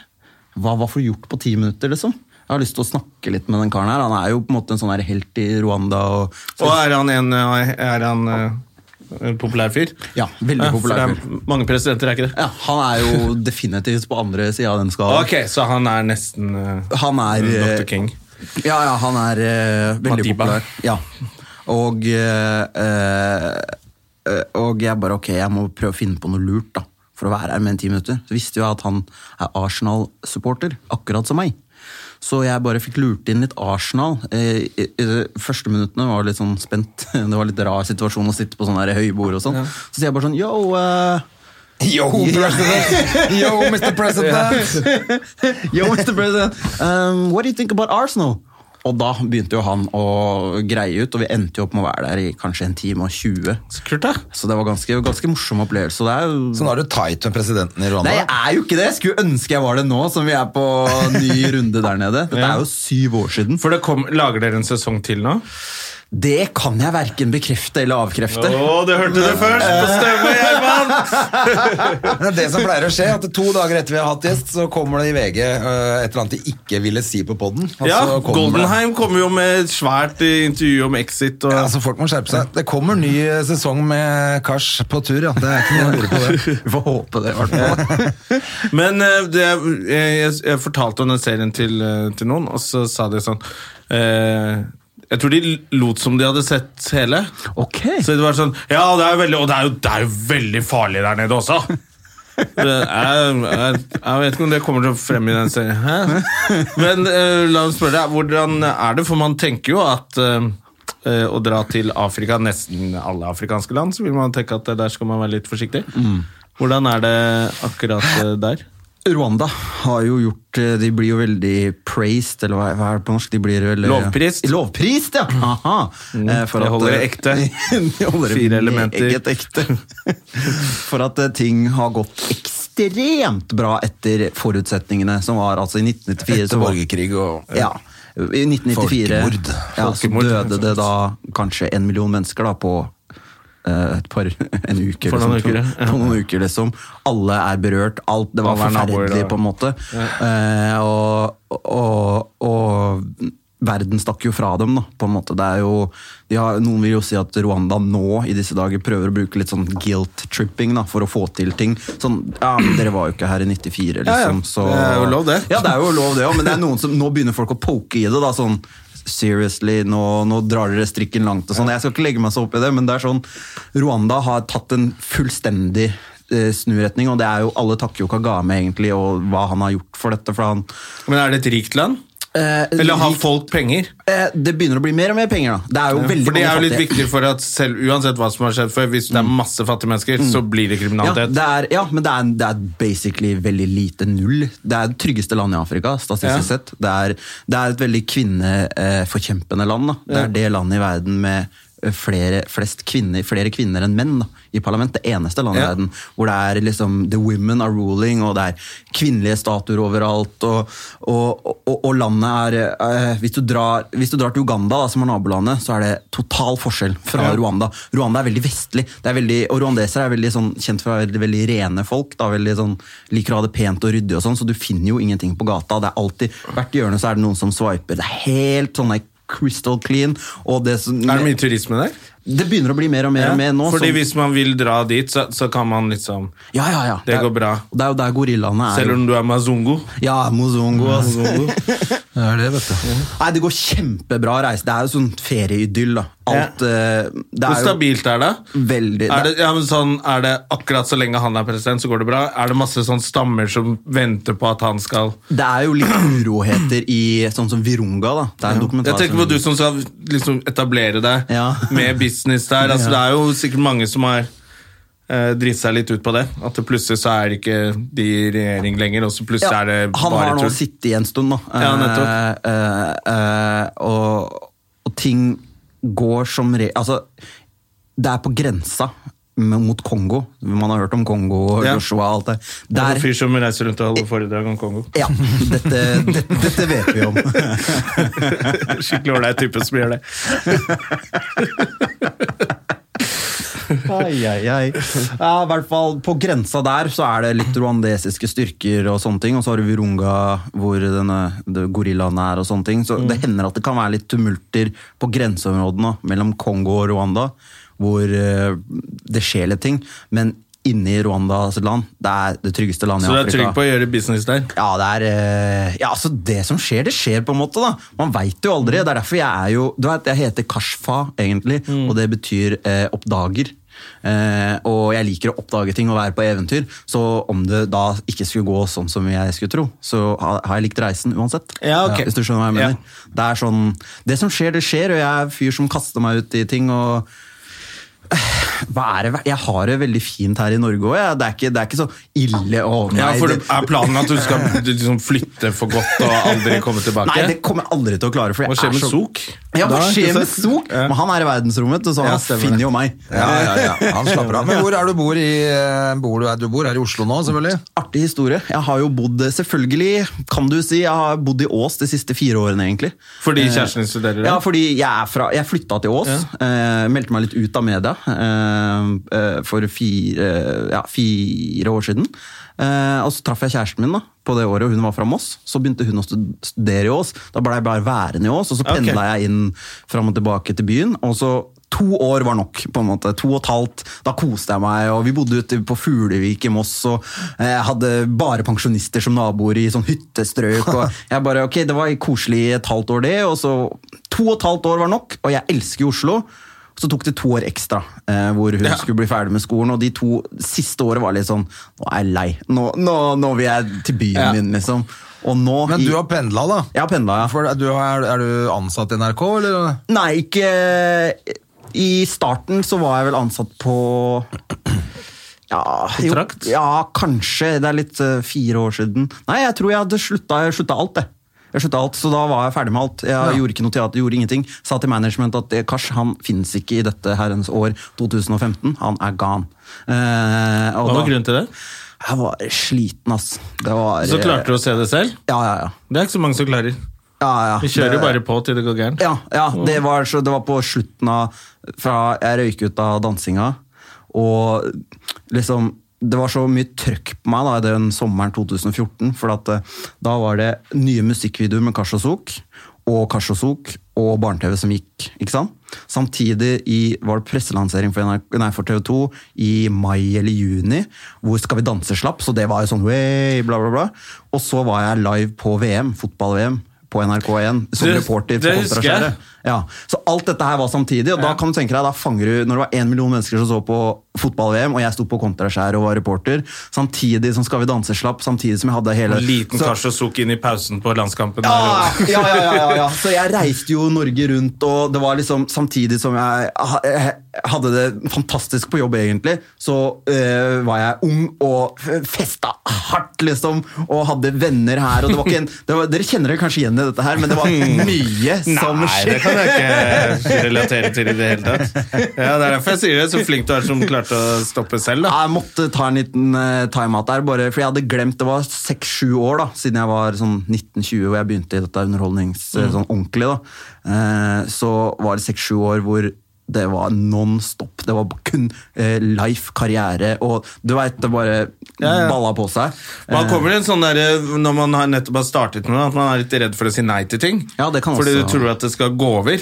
Speaker 1: Hva, hva får du gjort på ti minutter, liksom? Jeg har lyst til å snakke litt med den karen her. Han er jo på en måte en sånn her helt i Rwanda. Og
Speaker 4: Og er han en, er han, eh, en populær fyr?
Speaker 1: Ja, veldig
Speaker 4: for
Speaker 1: populær
Speaker 4: det er Mange presidenter er ikke det.
Speaker 1: Ja, han er jo definitivt på andre sida av den skalaen.
Speaker 4: Ok, så han er nesten eh,
Speaker 1: Han er eh,
Speaker 4: Dr. King.
Speaker 1: Ja, ja, han er eh, veldig
Speaker 4: Madiba.
Speaker 1: populær. Ja. Og, eh, eh, eh, og jeg bare ok, jeg må prøve å finne på noe lurt da, for å være her med en ti minutter. Så visste jo jeg at han er Arsenal-supporter, akkurat som meg. Så jeg bare fikk lurt inn litt Arsenal. Eh, i- i de første minuttene var litt sånn spent. Det var litt rar situasjon å sitte på sånn der høybord og sånn. Så sier jeg bare sånn yo, eh,
Speaker 2: Yo, president! Yo, Mr. President!
Speaker 1: Yo, Mr. President, um, what do you think about Arsenal? Og da begynte jo han å greie ut, og vi endte jo opp med å være der i kanskje en time og 20.
Speaker 4: Så kult, da.
Speaker 1: Så det var ganske, ganske morsom opplevelse. og Det er jo...
Speaker 2: Så nå er du tight med presidenten i
Speaker 1: Nei,
Speaker 2: Rwanda?
Speaker 1: jeg er jo ikke det! Jeg skulle ønske jeg var det nå, som vi er på ny runde der nede. Dette er jo syv år siden.
Speaker 4: For det kom, Lager dere en sesong til nå?
Speaker 1: Det kan jeg verken bekrefte eller avkrefte.
Speaker 4: du hørte det først! På stemme, Gjerman!
Speaker 2: Men Det er det som pleier å skje, at to dager etter vi har hatt gjest, så kommer det i VG øh, et eller annet de ikke ville si på poden.
Speaker 4: Ja, Goldenheim kommer jo med et svært eh, intervju om Exit. Og,
Speaker 2: Ja, altså Folk må skjerpe seg. Det kommer ny eh, sesong med Kars på tur, ja. Det er ikke noe å lure på det.
Speaker 1: Vi får håpe det, i hvert fall.
Speaker 4: Men eh, det, jeg, jeg, jeg fortalte om den serien til, eh, til noen, og så sa de sånn eh, Jeg tror de lot som de hadde sett hele.
Speaker 1: Ok.
Speaker 4: Så det var sånn Ja, det er jo veldig, og det er jo, det er jo veldig farlig der nede også. Det er, jeg, jeg vet ikke om det kommer til å frem i den serien. Hæ? Men eh, la oss spørre deg, hvordan er det? For man tenker jo at eh, eh, å dra til Afrika, nesten alle afrikanske land, så vil man tenke at der skal man være litt forsiktig. Hvordan er det akkurat eh, der?
Speaker 1: Rwanda har jo gjort eh, De blir jo veldig praised, eller hva hva er det på norsk? De blir vel, eh,
Speaker 4: Lovprist. Mm.
Speaker 1: Lovprist, ja! Aha. Eh, for
Speaker 4: det
Speaker 1: at,
Speaker 4: holder
Speaker 1: eh,
Speaker 4: det ekte.
Speaker 1: det holder
Speaker 4: Fire
Speaker 1: det
Speaker 4: elementer.
Speaker 1: meget ekte. For at eh, ting har gått ekstremt bra etter forutsetningene som var altså i 1994. så
Speaker 2: Etter
Speaker 1: var-
Speaker 2: borgerkrig og
Speaker 1: ja. I 1994
Speaker 2: Folkemord.
Speaker 1: Ja, så
Speaker 4: Folkemord.
Speaker 1: døde det da kanskje en million mennesker da på eh, et par, en uke.
Speaker 4: For
Speaker 1: liksom.
Speaker 4: noen uker, ja.
Speaker 1: På noen uker, liksom. Alle er berørt. Alt, det var
Speaker 4: Alle er naboer,
Speaker 1: forferdelig,
Speaker 4: da.
Speaker 1: på en måte. Eh, og, og, og verden stakk jo fra dem, da, på en måte. Det er jo, de har, noen vil jo si at Rwanda nå i disse dager prøver å bruke litt sånn guilt-tripping da, for å få til ting. Sånn, ja, men dere var jo ikke her i 94,
Speaker 4: Ja, ja.
Speaker 1: liksom. Så,
Speaker 4: Det er jo lov, det.
Speaker 1: Ja, det er jo lov det også, men det er noen som, nå begynner folk å poke i det. da, sånn, Seriously, nå, nå drar dere strikken langt. og sånn. Jeg skal ikke legge meg så opp i det, men det er sånn, Rwanda har tatt en fullstendig eh, snuretning, og det er jo, alle takker jo Kagame egentlig, og hva han har gjort for dette. for han...
Speaker 4: Men er det et rikt land?
Speaker 1: eh,
Speaker 4: Eller har
Speaker 1: rik-
Speaker 4: folk penger?
Speaker 1: eh, Det begynner å bli mer og mer penger, da. Det er jo veldig
Speaker 4: For det
Speaker 1: mange
Speaker 4: er jo litt
Speaker 1: fattige. Mm.
Speaker 4: viktig for at selv uansett hva som har skjedd før, hvis det er masse fattige mennesker, så blir det
Speaker 1: Ja,
Speaker 4: kriminalitet.
Speaker 1: det er, ja, men det er, det er basically veldig lite null. Det er det tryggeste landet i Afrika, statistisk
Speaker 4: Ja.
Speaker 1: sett. Det er, det er et veldig kvinneforkjempende land. Da. Det er det landet i verden med eh, flere, flest kvinner, flere kvinner enn menn da, i parlament. Det eneste landet
Speaker 4: Ja.
Speaker 1: i verden hvor det er liksom the women are ruling, og det er kvinnelige statuer overalt. Og, og, og, og landet er eh, hvis, du drar, hvis du drar til Uganda, da, som er nabolandet, så er det total forskjell fra
Speaker 4: Ja.
Speaker 1: Rwanda. Rwanda er veldig vestlig, det er veldig, og rwandesere er veldig sånn, kjent for å være veldig, veldig rene folk. Da, veldig sånn, liker å ha det pent og ryddig, og sånn, så du finner jo ingenting på gata. Det er alltid, Hvert hjørne så er det noen som swiper. Det er helt sånn der crystal clean. Og det, som,
Speaker 4: Er det mye turisme der?
Speaker 1: det begynner å bli mer og mer, og mer nå. sånn-
Speaker 4: Fordi
Speaker 1: så-
Speaker 4: hvis man vil dra dit, så, så kan man liksom
Speaker 1: ja, ja, ja.
Speaker 4: Det
Speaker 1: er-
Speaker 4: går bra.
Speaker 1: Det er jo der gorillaene er.
Speaker 4: Selv om du er mazungo.
Speaker 1: ja, Mozongo, ass.
Speaker 2: Det er det, vet du.
Speaker 1: Nei, det går kjempebra å reise. Det er jo sånn ferieidyll, da. Alt,
Speaker 4: Ja.
Speaker 1: eh, det er
Speaker 4: Hvor
Speaker 1: jo Mm.
Speaker 4: stabilt er det?
Speaker 1: veldig
Speaker 4: Er det, ja, men sånn, er det akkurat så lenge han er president, så går det bra? Er det masse sånn stammer som venter på at han skal
Speaker 1: Det er jo litt uroheter i sånn som Virunga, da. Det er en dokumentar
Speaker 4: Jeg tenker på
Speaker 1: som-
Speaker 4: du som skal liksom etablere deg
Speaker 1: Ja.
Speaker 4: med business der. Altså, Det er jo sikkert mange som har eh, dritt seg litt ut på det. At det plutselig så er det ikke de i regjering lenger, og så plutselig
Speaker 1: Ja,
Speaker 4: er det
Speaker 1: han
Speaker 4: bare
Speaker 1: har nå
Speaker 4: tull.
Speaker 1: sittet i en stund, da.
Speaker 4: Ja, nettopp.
Speaker 1: Eh, eh, eh, og, og ting går som re... Altså, det er på grensa med- mot Kongo. Man har hørt om Kongo og
Speaker 4: Ja.
Speaker 1: Joshua og alt det.
Speaker 4: Det er en
Speaker 1: Der
Speaker 4: fyr som reiser rundt og holder foredrag om Kongo.
Speaker 1: ja, dette, dette, dette vet vi om.
Speaker 4: Skikkelig ålreit type som gjør det.
Speaker 1: Ai, ai, ai. Ja, i hvert fall På grensa der så er det litt rwandesiske styrker, og sånne ting, og så har du Virunga, hvor denne det gorillaen er. og sånne ting. Så Det hender at det kan være litt tumulter på grenseområdene mellom Kongo og Rwanda, hvor eh, det skjer litt ting. Men inni Rwandas land, det er det tryggeste landet
Speaker 4: Så du
Speaker 1: i
Speaker 4: er
Speaker 1: Afrika.
Speaker 4: trygg på å gjøre business der?
Speaker 1: Ja, det er eh, Ja, altså, det som skjer, det skjer, på en måte, da. Man veit jo aldri. Det er derfor jeg er jo Du vet, jeg heter Kashfa, egentlig,
Speaker 4: Mm.
Speaker 1: og det betyr eh, oppdager. Eh, og jeg liker å oppdage ting og være på eventyr, så om det da ikke skulle gå sånn som jeg skulle tro, så har har jeg likt reisen uansett.
Speaker 4: Ja, ok.
Speaker 1: Hvis du skjønner hva jeg mener.
Speaker 4: Ja.
Speaker 1: Det er sånn Det som skjer, det skjer, og jeg er en fyr som kaster meg ut i ting og eh, hva er det? Jeg har det veldig fint her i Norge òg. Det, er ikke- det er ikke så ille å
Speaker 4: Ja,
Speaker 1: nei,
Speaker 4: for
Speaker 1: det-
Speaker 4: det Er planen at du skal liksom flytte for godt og aldri komme tilbake?
Speaker 1: Nei, det kommer jeg aldri til å klare. For jeg
Speaker 4: Hva skjer
Speaker 1: er
Speaker 4: med
Speaker 1: så...
Speaker 4: Sok?
Speaker 1: Ja, hva
Speaker 4: Da, ikke
Speaker 1: skjer
Speaker 4: sant?
Speaker 1: med Sok? Men han er i verdensrommet, så
Speaker 4: Ja,
Speaker 1: han
Speaker 4: stemmer
Speaker 1: finner
Speaker 4: det.
Speaker 1: jo meg.
Speaker 2: Ja, ja, ja. Han slapper av. Men hvor er du bor i eh, bor du, du bor her i Oslo nå, selvfølgelig?
Speaker 1: Artig historie. Jeg har jo bodd, selvfølgelig, kan du si, jeg har bodd i Ås de siste fire årene, egentlig.
Speaker 4: Fordi kjæresten din studerer
Speaker 1: Eh, Ja,
Speaker 4: der?
Speaker 1: fordi jeg, er fra, jeg flytta til Ås. Eh, meldte meg litt ut av media eh, eh, for fire, ja, fire år siden. Eh, og så traff jeg kjæresten min da, på det året, og hun var fra Moss. Så begynte hun å stud- studere i Ås. Da ble jeg bare værende i Ås, og så
Speaker 4: Ok.
Speaker 1: pendla jeg inn fram og tilbake til byen. og så To år var nok. på en måte, to og et halvt, Da koste jeg meg. og Vi bodde ute på Fuglevik i Moss og eh, hadde bare pensjonister som naboer i sånn hyttestrøk. og jeg bare, ok, Det var koselig et halvt år, det. og så To og et halvt år var nok, og jeg elsker jo Oslo. Så tok det to år ekstra eh, hvor hun skulle bli ferdig med skolen. Og de to siste året var litt sånn Nå er jeg lei. Nå, nå, nå vil jeg til byen
Speaker 4: Ja.
Speaker 1: min, liksom. Og nå
Speaker 2: Men du
Speaker 1: i-
Speaker 2: har pendla, da?
Speaker 1: Jeg har pendla, ja.
Speaker 2: For du er, er du ansatt i NRK, eller?
Speaker 1: Nei, ikke I starten så var jeg vel ansatt på Ja, jo,
Speaker 4: Kontrakt?
Speaker 1: ja, kanskje. Det er litt eh, fire år siden. Nei, jeg tror jeg hadde slutta, jeg slutta alt, jeg. Jeg slutta alt, Så da var jeg ferdig med alt. Jeg gjorde ikke noe teater, gjorde ingenting. Sa til management at eh, Kars han finnes ikke i dette herrens år 2015. Han er gone. Eh, og
Speaker 4: Hva var
Speaker 1: da-
Speaker 4: grunnen til det?
Speaker 1: Jeg var sliten, ass. Det var, eh,
Speaker 4: Så klarte du å se det selv?
Speaker 1: Ja, ja, ja.
Speaker 4: Det er ikke så mange som klarer.
Speaker 1: ja, ja.
Speaker 4: Vi kjører
Speaker 1: Det-
Speaker 4: jo bare på til det går gærent.
Speaker 1: Ja, ja det, var, så det var på slutten av Fra jeg røyk ut av dansinga, og liksom det var så mye trøkk på meg da, i den sommeren 2014. For at, eh, da var det nye musikkvideoer med Kars og Sok, og Kars og Sok og Barne-TV som gikk. ikke sant? Samtidig i, var det presselansering for, NRK, nei, for TV 2 i mai eller juni, hvor Skal vi danse slapp, så det var jo sånn wey, bla, bla, bla. Og så var jeg live på VM, fotball-VM, på NRK1 som
Speaker 4: Det-
Speaker 1: reporter. på
Speaker 4: det husker jeg.
Speaker 1: Kontraskjæret. Ja, så alt dette her var samtidig, og da kan du tenke deg, da fanger du, når det var en million mennesker som så på fotball-VM, og jeg sto på kontraskjær og var reporter, samtidig som Skal vi danse slapp, samtidig som jeg hadde hele...
Speaker 4: En liten
Speaker 1: Så-
Speaker 4: Karsjå Suk inn i pausen på landskampen.
Speaker 1: ja, ja, ja, ja, ja, ja. Så jeg reiste jo Norge rundt, og det var liksom samtidig som jeg ha- jeg hadde det fantastisk på jobb, egentlig, så eh, var jeg ung og f- festa hardt, liksom, og hadde venner her, og det var ikke en det var, Dere kjenner dere kanskje igjen i dette her, men det var mye som
Speaker 4: Nei, det
Speaker 1: skjedde.
Speaker 4: kan jeg ikke relatere til i det hele tatt. Ja, Det er derfor jeg sier det. Så flink du er som klarte å stoppe selv. da.
Speaker 1: Jeg måtte ta en liten eh, timeout der, bare for jeg hadde glemt Det var seks-sju år da, siden jeg var sånn 1920 og jeg begynte i dette underholdnings... eh,
Speaker 4: Mm.
Speaker 1: sånn ordentlig. da. Eh, Så var det seks-sju år hvor det var non stop. Det var kun eh, life, karriere og du veit, det bare
Speaker 4: ja.
Speaker 1: balla på seg.
Speaker 4: Man
Speaker 1: Eh,
Speaker 4: kommer i en sånn der, Når man har nettopp har startet med det, at man er litt redd for å si nei til ting.
Speaker 1: Ja, det kan
Speaker 4: fordi
Speaker 1: også- Mm.
Speaker 4: du tror at det skal gå over.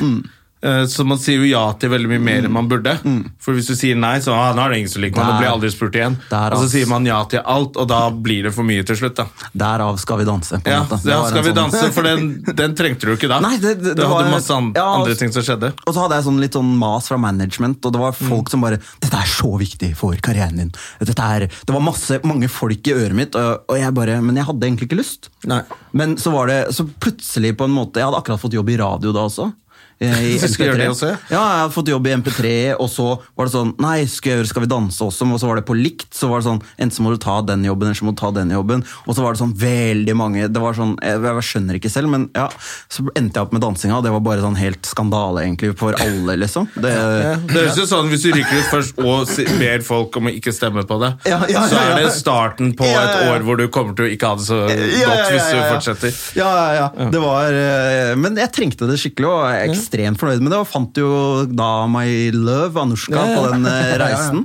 Speaker 4: Eh, Så man sier jo ja til veldig mye mer enn man burde. For hvis du sier nei, så ah, nå er det ingen som liker meg. Nå
Speaker 1: Mm. Der.
Speaker 4: blir jeg aldri spurt igjen.
Speaker 1: Der,
Speaker 4: og så
Speaker 1: ass.
Speaker 4: sier man ja til alt, og da blir det for mye til slutt. da.
Speaker 1: Derav skal vi danse. på en
Speaker 4: Ja,
Speaker 1: måte. Det
Speaker 4: ja
Speaker 1: var en
Speaker 4: Skal vi
Speaker 1: sånn-
Speaker 4: danse? For den, den trengte du ikke da.
Speaker 1: Nei, det- det- det
Speaker 4: da
Speaker 1: var-
Speaker 4: hadde masse an
Speaker 1: ja, altså-
Speaker 4: andre
Speaker 1: ass.
Speaker 4: ting som skjedde.
Speaker 1: Og så hadde jeg sånn litt sånn mas fra management, og det var folk som bare 'Dette er så viktig for karrieren din'. Dette er, det var masse, mange folk i øret mitt, og, og jeg bare Men jeg hadde egentlig ikke lyst.
Speaker 4: Nei.
Speaker 1: Men så var det så plutselig på en måte Jeg hadde akkurat fått jobb i radio da også. eh, I
Speaker 4: Du skulle gjøre det
Speaker 1: MP3.
Speaker 4: også, ja?
Speaker 1: Ja, jeg hadde fått jobb i MP3, og så var det sånn Nei, skal jeg gjøre Skal vi danse også? Og så var det på likt. Så var det sånn Enten så må du ta den jobben, eller så må du ta den jobben. Og så var det sånn veldig mange Det var sånn Jeg, jeg skjønner ikke selv, men ja. Så endte jeg opp med dansinga, og det var bare sånn helt skandale, egentlig, for alle, liksom. Det,
Speaker 4: Det høres jo sånn Hvis du rykker ut først og si- ber folk om å ikke stemme på det,
Speaker 1: Ja, ja, ja,
Speaker 4: så er
Speaker 1: ja.
Speaker 4: det starten på
Speaker 1: Ja, ja,
Speaker 4: et
Speaker 1: ja.
Speaker 4: år hvor du kommer til å ikke ha det så godt hvis du fortsetter.
Speaker 1: Ja, ja, ja. Det var, eh, men jeg trengte det skikkelig og jeg er ekstremt fornøyd med det. Og fant jo da My Love, Anushka, på den eh, reisen.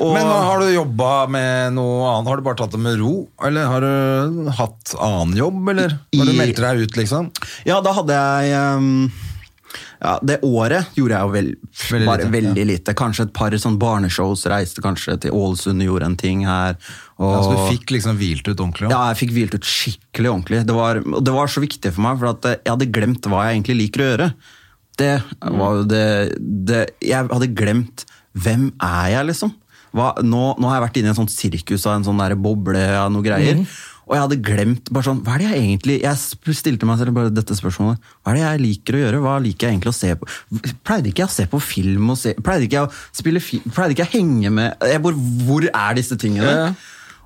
Speaker 1: Og,
Speaker 2: Men har du jobba med noe annet? Har du bare tatt det med ro? Eller har du hatt annen jobb, eller?
Speaker 1: I-
Speaker 2: Når du meldte deg ut, liksom?
Speaker 1: Ja, da hadde jeg ehm, ja, Det året gjorde jeg jo vel,
Speaker 2: Veldig
Speaker 1: bare
Speaker 2: lite,
Speaker 1: veldig lite. Kanskje et par sånn barneshows. Reiste kanskje til Ålesund og gjorde en ting her. Og,
Speaker 2: Ja, så du fikk liksom hvilt ut ordentlig?
Speaker 1: Ja, jeg fikk hvilt ut skikkelig ordentlig. Det var, og det var så viktig for meg, for at eh, jeg hadde glemt hva jeg egentlig liker å gjøre. Det var jo det, det Jeg hadde glemt hvem er jeg, liksom. Hva, nå, nå har jeg vært inne i en sånn sirkus av en sånn der boble av noen greier. Og jeg hadde glemt bare sånn, hva er det jeg egentlig Jeg sp- stilte meg selv bare dette spørsmålet. Hva er det jeg liker å gjøre? Hva liker jeg egentlig å se på? Pleide ikke jeg å se på film? Og se, pleide ikke jeg å spille fi, Pleide ikke jeg å henge med jeg bare, Hvor er disse tingene?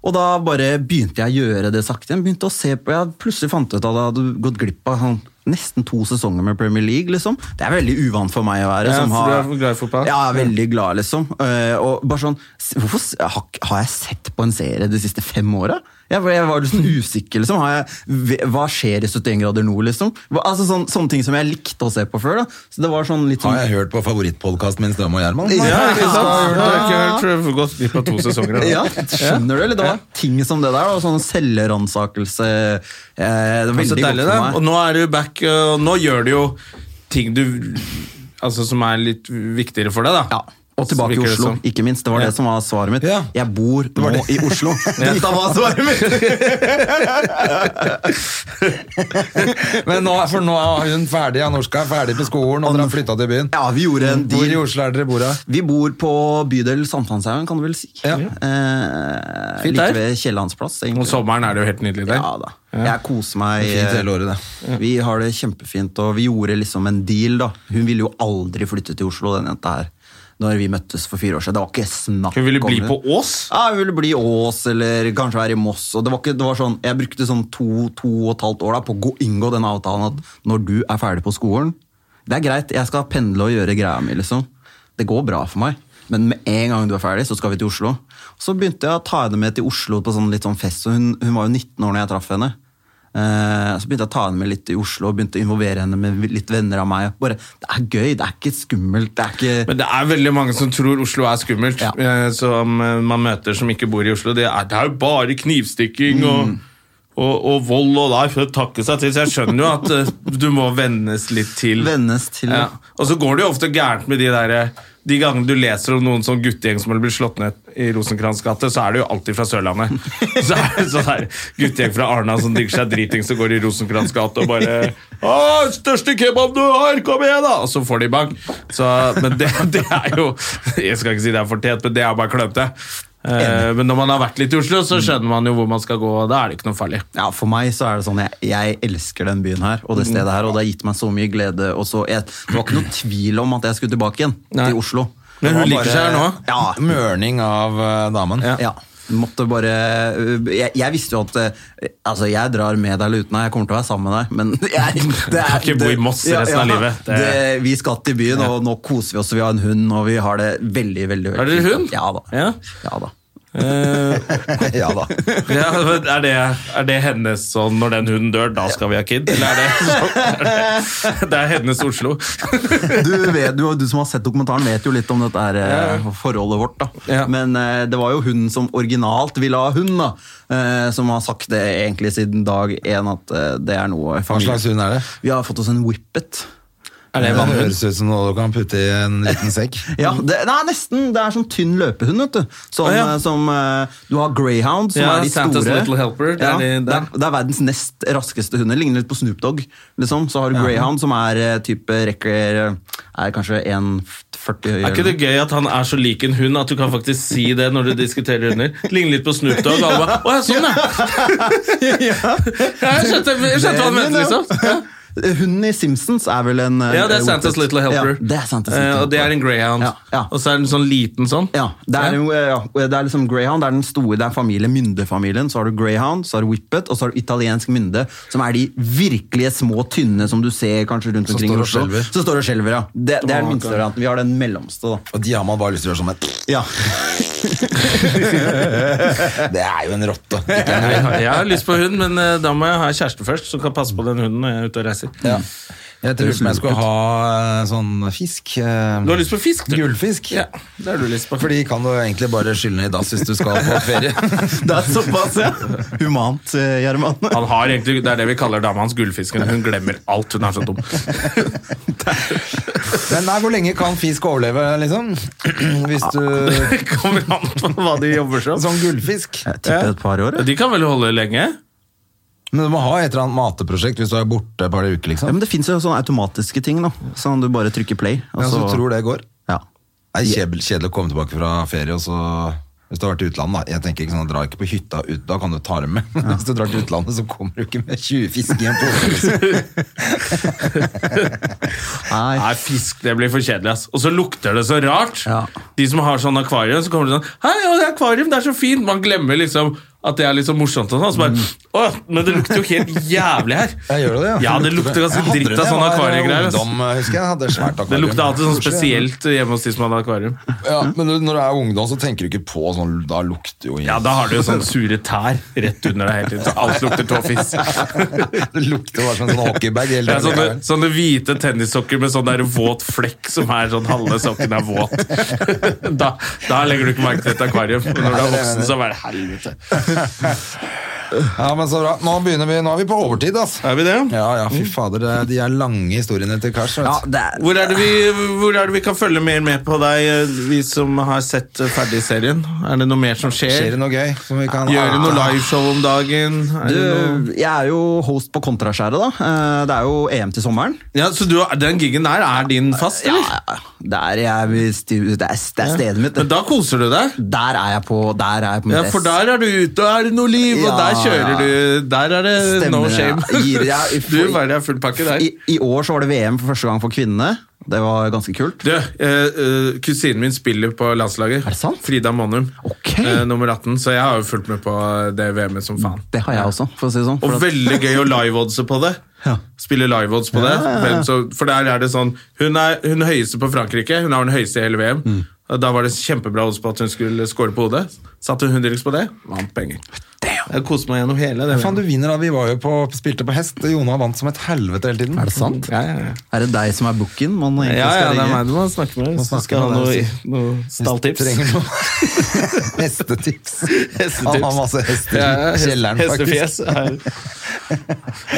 Speaker 1: Og da bare begynte jeg å gjøre det sakte. igjen, begynte å se på, Jeg plutselig fant ut at jeg hadde gått glipp av sånn, nesten to sesonger med Premier League. liksom. Det er veldig uvant for meg å være.
Speaker 4: Ja,
Speaker 1: som
Speaker 4: for
Speaker 1: har-
Speaker 4: du er glad i fotball.
Speaker 1: Ja, jeg er veldig glad, liksom. Eh, Og bare sånn, s- Hvorfor s- har ikke- har jeg sett på en serie de siste fem åra? Jeg, var- jeg var liksom usikker. liksom. Har jeg, ve- hva skjer i 71 grader nord, liksom? Hva- Altså, sånn, Sånne ting som jeg likte å se på før. da. Så det var sånn litt sånn...
Speaker 2: Har jeg hørt på favorittpodkasten min, Strøm og Gjerman?
Speaker 4: Ja,
Speaker 1: Ja,
Speaker 4: ikke sant?
Speaker 1: ja,
Speaker 4: Jeg har ikke hørt, tror jeg har gått glipp av to sesonger. da.
Speaker 1: Ja, skjønner du? Eller det var ting som det der, da, sånn selvransakelse eh, Det var
Speaker 4: Men Så
Speaker 1: veldig
Speaker 4: deilig,
Speaker 1: godt
Speaker 4: da.
Speaker 1: for
Speaker 4: Og
Speaker 1: meg.
Speaker 4: nå er du back, og nå gjør du jo ting du Altså som er litt viktigere for deg, da.
Speaker 1: Ja. Og tilbake i
Speaker 4: Virker det
Speaker 1: Oslo,
Speaker 4: som.
Speaker 1: ikke minst. Det var
Speaker 4: Ja.
Speaker 1: det som var svaret mitt.
Speaker 2: Ja.
Speaker 1: Jeg bor nå i Oslo. Dette var svaret mitt!
Speaker 2: Men nå, for nå er hun ferdig, Anorska. Ferdig på skolen, og dere har flytta til byen.
Speaker 1: Ja, vi gjorde en
Speaker 2: Hvor i
Speaker 1: deal.
Speaker 2: Oslo er dere bor, da?
Speaker 1: Vi bor på bydel Sankthanshaugen, kan du vel si.
Speaker 2: Ja.
Speaker 1: Eh,
Speaker 4: Fint
Speaker 1: like
Speaker 4: der.
Speaker 1: ved Kiellandsplass,
Speaker 4: Om
Speaker 1: egentlig.
Speaker 4: sommeren er det jo helt nydelig der.
Speaker 1: Ja da. Jeg koser meg. eh,
Speaker 2: Fint hele året, det.
Speaker 1: Vi har det kjempefint, og vi gjorde liksom en deal, da. Hun ville jo aldri flytte til Oslo, den jenta her. når vi møttes for fire år siden. Det var ikke snakk
Speaker 4: Hun ville bli
Speaker 1: det.
Speaker 4: på Ås?
Speaker 1: Ja, jeg ville bli i Ås, eller kanskje være i Moss. Og det var ikke, det var sånn, jeg brukte sånn to, to og et halvt år da, på å gå, inngå den avtalen at når du er ferdig på skolen Det er greit, jeg skal pendle og gjøre greia mi, liksom. Det går bra for meg. Men med en gang du er ferdig, så skal vi til Oslo. Så begynte jeg å ta henne med til Oslo på sånn litt sånn fest. og Hun, hun var jo 19 år når jeg traff henne. Eh, så begynte jeg å ta henne med litt i Oslo og begynte å involvere henne med litt venner av meg. Bare, Det er gøy, det er ikke skummelt. det er ikke...
Speaker 4: Men det er veldig mange som tror Oslo er skummelt.
Speaker 1: Ja.
Speaker 4: eh, Som eh, man møter som ikke bor i Oslo. Det er, det er jo bare knivstikking og, og, og vold og der for å takke seg til. Så jeg skjønner jo at eh, du må vennes litt til.
Speaker 1: Vennes til
Speaker 4: Ja. Og så går det jo ofte gærent med de der eh, de gangene du leser om noen sånn guttegjeng som har blitt slått ned i Rosenkrantz gate, så er det jo alltid fra Sørlandet. Så er det sånn der guttegjeng fra Arna som digger seg driting, som går i Rosenkrantz gate og bare «Å, 'Største kebab du har! Kom igjen, da!' Og så får de bang. Så, men det, det er jo Jeg skal ikke si det er fortjent, men det er bare klønete. Eh, men når man har vært litt i Oslo, så skjønner man jo hvor man skal gå. og Da er det ikke noe farlig.
Speaker 1: Ja, For meg så er det sånn, jeg, jeg elsker den byen her og det stedet her, og det har gitt meg så mye glede. Og så, jeg, det var ikke noe tvil om at jeg skulle tilbake igjen
Speaker 4: Nei.
Speaker 1: til Oslo.
Speaker 4: Men
Speaker 1: Det
Speaker 4: hun
Speaker 1: var
Speaker 4: liker seg her nå.
Speaker 1: Ja,
Speaker 2: Mørning av eh, damen.
Speaker 1: ja. Måtte bare jeg, jeg visste jo at eh, Altså, jeg drar med deg eller uten deg, jeg kommer til å være sammen med deg, men jeg, det er
Speaker 4: Ikke bo i Moss resten av livet.
Speaker 1: Det,
Speaker 4: Det-
Speaker 1: vi skal til byen, og nå koser vi oss, og vi har en hund, og vi har det veldig, veldig veldig
Speaker 4: Har dere
Speaker 1: fint.
Speaker 4: hund?
Speaker 1: Ja da.
Speaker 4: Ja. Eh,
Speaker 1: Ja da.
Speaker 2: ja da.
Speaker 4: Ja, men er, det, er det hennes sånn når den hunden dør, da skal vi ha kid? Eller er det sånn? Er det, det er hennes Oslo.
Speaker 1: du, vet, du, du som har sett dokumentaren vet jo litt om dette her, eh, forholdet vårt. Da.
Speaker 4: Ja.
Speaker 1: Men eh, det var jo hun som originalt ville ha hund, da. Eh, som har sagt det egentlig siden dag én, at eh, det er noe
Speaker 2: Hva slags hund er det?
Speaker 1: Vi har fått oss en whippet.
Speaker 4: Er det
Speaker 2: Det
Speaker 4: vannhund?
Speaker 2: høres ut som noe du kan putte i en liten sekk.
Speaker 1: Ja, det, nei, nesten. Det er sånn tynn løpehund, vet du. Sånn,
Speaker 4: Å, ja.
Speaker 1: eh, som, eh, du har greyhound, som
Speaker 4: Ja,
Speaker 1: er de
Speaker 4: Santa's
Speaker 1: store.
Speaker 4: Little Helper, det er
Speaker 1: Ja,
Speaker 4: de der.
Speaker 1: det, er, det er verdens nest raskeste hunder. Ligner litt på Snoop Dogg. Liksom. Så har du greyhound, som er eh, type rekker eh, Er kanskje 1,40 høy.
Speaker 4: Er ikke
Speaker 1: eller
Speaker 4: det gøy at han er så lik en hund at du kan faktisk si det når du diskuterer hunder? Ligner litt på Snoop Dogg. og Alle bare, Å, ja, sånn, ja. ja! Jeg skjønte, jeg skjønte hva han mente, liksom. Ja.
Speaker 1: Hunden i Simpsons er vel en eh,
Speaker 4: Ja, det er
Speaker 1: eh,
Speaker 4: Santa's
Speaker 1: Whippet.
Speaker 4: Little Helper.
Speaker 1: Ja, det er Santa's
Speaker 4: Eh,
Speaker 1: Little
Speaker 4: Og det er en
Speaker 1: Helper.
Speaker 4: greyhound.
Speaker 1: Ja, ja.
Speaker 4: Og så er den sånn liten sånn.
Speaker 1: Ja, det er, jo, eh, ja, det er liksom greyhound, det er den store, det er familie, myndefamilien, så har du greyhound, så har du whippet, og så har du italiensk mynde, som er de virkelige små, tynne som du ser kanskje rundt
Speaker 2: Som
Speaker 1: omkring i
Speaker 2: står og
Speaker 1: Oslo.
Speaker 2: skjelver.
Speaker 1: Som står og skjelver, ja. Det, det er den minste varianten. Vi har den mellomste, da.
Speaker 2: Og de har man bare lyst til å gjøre sånn med.
Speaker 1: Ja.
Speaker 2: Det er jo en rotte.
Speaker 4: Jeg har- Jeg har lyst på hund, men eh, da må jeg ha kjæreste først, som kan passe på den hunden når jeg er ute og reiser.
Speaker 2: Ja. Jeg tror som jeg skulle ha eh, sånn fisk.
Speaker 4: Du har lyst på fisk, du?
Speaker 2: Gullfisk.
Speaker 4: Ja, det har du lyst på.
Speaker 2: For de kan du egentlig bare skylle ned i dass hvis du skal på ferie.
Speaker 1: Det er såpass, ja. Humant, eh, Gjerman.
Speaker 4: Han har egentlig, Det er det vi kaller dama hans gullfisken. Hun glemmer alt. Hun er så dum.
Speaker 2: Men nei, hvor lenge kan fisk overleve, liksom? Hvis du
Speaker 4: Det kommer an på hva de jobber som.
Speaker 2: Sånn gullfisk.
Speaker 1: Jeg tipper et par år, ja.
Speaker 4: De kan vel holde lenge?
Speaker 2: Men du må ha et eller annet mateprosjekt hvis du er borte et par
Speaker 1: Ja,
Speaker 2: uker, liksom.
Speaker 1: men det finnes jo sånne automatiske ting, da. Sånn du bare trykker play. og
Speaker 2: Ja, så
Speaker 1: så-
Speaker 4: Altså-
Speaker 2: du tror det går.
Speaker 1: Ja.
Speaker 2: Det er kjedel- kjedelig å komme tilbake fra ferie, og så hvis du har vært i utlandet, da. Jeg tenker ikke sånn, drar ikke på hytta ut, da kan du ta dem med. Men Hvis du drar til utlandet, så kommer du ikke med 20 fisk hjem på året. liksom.
Speaker 1: Nei.
Speaker 4: Nei, fisk det blir for kjedelig. ass. Og så lukter det så rart.
Speaker 1: Ja.
Speaker 4: De som har sånn akvarium, så kommer det sånn Hei, å, det er akvarium, det er så fint! Man glemmer liksom at det er litt så morsomt og sånn. Så bare, Åh, men det lukter jo helt jævlig her.
Speaker 2: Ja, gjør du det?
Speaker 4: Ja, det lukter ganske
Speaker 2: Jeg hadde
Speaker 4: dritt
Speaker 2: det
Speaker 4: av
Speaker 2: da jeg
Speaker 4: sånne
Speaker 2: var
Speaker 4: akvariegreier, ass.
Speaker 2: Ungdom, husker jeg, jeg hadde svært akvarium.
Speaker 4: Det lukter alltid sånn
Speaker 2: Kanskje-
Speaker 4: spesielt hjemme hos de som hadde akvarium.
Speaker 2: Ja, men du- når du er ungdom, så tenker du ikke på sånn, da lukter jo
Speaker 4: Ja, da har du jo sånn sure tær rett under deg hele tiden, så alt lukter tåfis.
Speaker 2: Det lukter jo bare som en sånn hockeybag. hele
Speaker 4: Ja,
Speaker 2: tiden.
Speaker 4: sånne, sånne hvite tennissokker med sånn der våt flekk som er sånn halve sokken er våt. Da, da legger du ikke merke til et akvarium. Men når du er voksen, så er det helvete.
Speaker 2: Ja, men så bra. Nå begynner vi, nå er vi på overtid, ass.
Speaker 4: Er vi det?
Speaker 2: Ja, ja,
Speaker 4: Mm.
Speaker 2: fy fader, det- de er lange historiene til Kars. vet
Speaker 1: Ja,
Speaker 2: du.
Speaker 1: det er
Speaker 4: Hvor er, det vi, hvor er det vi kan følge mer med på deg, vi som har sett ferdig serien? Er det noe mer som
Speaker 2: Skjer det
Speaker 4: skjer?
Speaker 2: noe gøy som vi kan
Speaker 4: Gjøre noe liveshow om dagen? Er det noe?
Speaker 1: Du, eh, jeg er jo host på Kontraskjæret, da. Eh, Det er jo EM til sommeren.
Speaker 4: Ja, så du, den gigen der er din fast,
Speaker 1: Ja,
Speaker 4: eller?
Speaker 1: ja, ja. Der jeg vil sti- det, er, det er stedet mitt.
Speaker 4: Men da koser du deg?
Speaker 1: der er jeg på, der er jeg på mitt
Speaker 4: Ja, for
Speaker 1: ess.
Speaker 4: der er du ute, og er det noe liv,
Speaker 1: Ja,
Speaker 4: og der kjører du. Der er det
Speaker 1: Stemmer,
Speaker 4: no
Speaker 1: ja.
Speaker 4: shame.
Speaker 1: Gir jeg-
Speaker 4: Du bare er full pakke der.
Speaker 1: I, I år så var det VM for første gang for kvinnene. Det var ganske kult.
Speaker 4: Du, eh, eh, kusinen min spiller på landslaget.
Speaker 1: Er det sant?
Speaker 4: Frida Mannum.
Speaker 1: Ok.
Speaker 4: Eh, nummer 18. Så jeg har jo fulgt med på det VM-et som faen.
Speaker 1: Det har jeg også, for å si det sånn.
Speaker 4: Og
Speaker 1: For at-
Speaker 4: veldig gøy å live-oddse på det.
Speaker 1: Ja.
Speaker 4: Spille live-odds på det.
Speaker 1: Ja, ja, ja.
Speaker 4: Hvem som- For der er det sånn Hun er hun er høyeste på Frankrike. Hun har den høyeste i hele VM.
Speaker 1: Mm.
Speaker 4: Og Da var det kjempebra odds på at hun skulle score på hodet. Satte hun hundrelaps på det, vant penger. Jeg koste meg gjennom hele det.
Speaker 2: Faen, du
Speaker 4: VM.
Speaker 2: vinner da. Vi var jo på, spilte på hest. Jona vant som et helvete hele tiden.
Speaker 1: Er det sant?
Speaker 4: Ja, ja, ja.
Speaker 1: Er det deg som er booken? Man egentlig
Speaker 4: Ja, ja,
Speaker 1: skal
Speaker 4: det er
Speaker 1: ringe?
Speaker 4: meg du må snakke med. Hvis du
Speaker 2: snakke
Speaker 4: skal ha
Speaker 2: med
Speaker 4: noe,
Speaker 2: deg,
Speaker 4: noe stalltips.
Speaker 2: Trenger noe hestetips.
Speaker 4: Hestetips.
Speaker 2: Han har masse hester
Speaker 4: Ja, ja,
Speaker 2: i
Speaker 4: hest-
Speaker 2: kjelleren, faktisk.
Speaker 4: Hestefjes. er-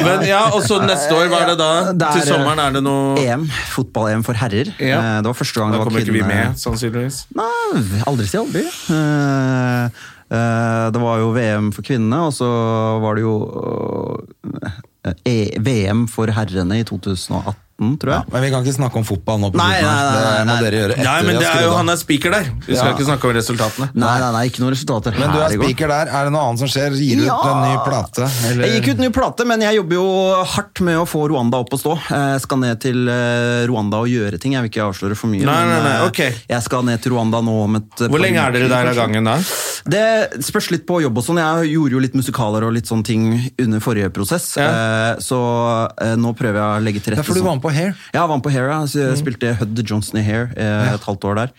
Speaker 4: Men ja, og så neste år, hva er det da?
Speaker 1: Det er,
Speaker 4: Til sommeren er det noe
Speaker 1: EM, fotball-EM for herrer.
Speaker 4: Ja.
Speaker 1: Eh, Det var første gang
Speaker 4: Da
Speaker 1: det var
Speaker 4: kommer ikke vi
Speaker 1: kvinne-
Speaker 4: med, sannsynligvis.
Speaker 1: Nei, aldri si aldri. Eh, eh, det var jo VM for kvinnene, og så var det jo eh, eh, VM for herrene i 2018, tror jeg.
Speaker 2: Men vi kan ikke snakke om fotball nå. på
Speaker 1: Nei,
Speaker 2: slutten her.
Speaker 1: nei, nei,
Speaker 2: Det må
Speaker 1: nei.
Speaker 2: dere gjøre etter
Speaker 4: Nei,
Speaker 2: vi
Speaker 4: men
Speaker 2: har
Speaker 4: det er
Speaker 2: skrudd
Speaker 4: jo,
Speaker 2: av.
Speaker 4: han er spiker der. Vi skal
Speaker 2: Ja.
Speaker 4: ikke snakke om resultatene.
Speaker 1: Nei, nei, nei, ikke noen resultater
Speaker 2: Men du
Speaker 1: her
Speaker 2: er
Speaker 1: i går.
Speaker 2: spiker der. Er det noe annet som skjer? Gir du
Speaker 1: Ja.
Speaker 2: ut en ny plate? eller-
Speaker 1: Jeg gikk ut ny plate, men jeg jobber jo hardt med å få Rwanda opp og stå. Jeg skal ned til eh, Rwanda og gjøre ting. Jeg vil ikke avsløre for mye.
Speaker 4: Nei, nei, nei,
Speaker 1: men, eh,
Speaker 4: ok.
Speaker 1: Jeg skal ned til Rwanda nå om et eh, par
Speaker 4: Hvor lenge er dere
Speaker 1: uker,
Speaker 4: der av
Speaker 1: kanskje.
Speaker 4: gangen da?
Speaker 1: Det spørs litt på jobb og sånn. Jeg gjorde jo litt musikaler og litt sånne ting under forrige prosess,
Speaker 4: Ja.
Speaker 1: eh, så eh, nå prøver jeg å legge til rette.
Speaker 2: Det er fordi du var med på Hair.
Speaker 1: Ja, jeg var med på Hair, ja. Så
Speaker 4: Mm.
Speaker 1: jeg spilte Hud Johnson i Hair eh, et halvt år der.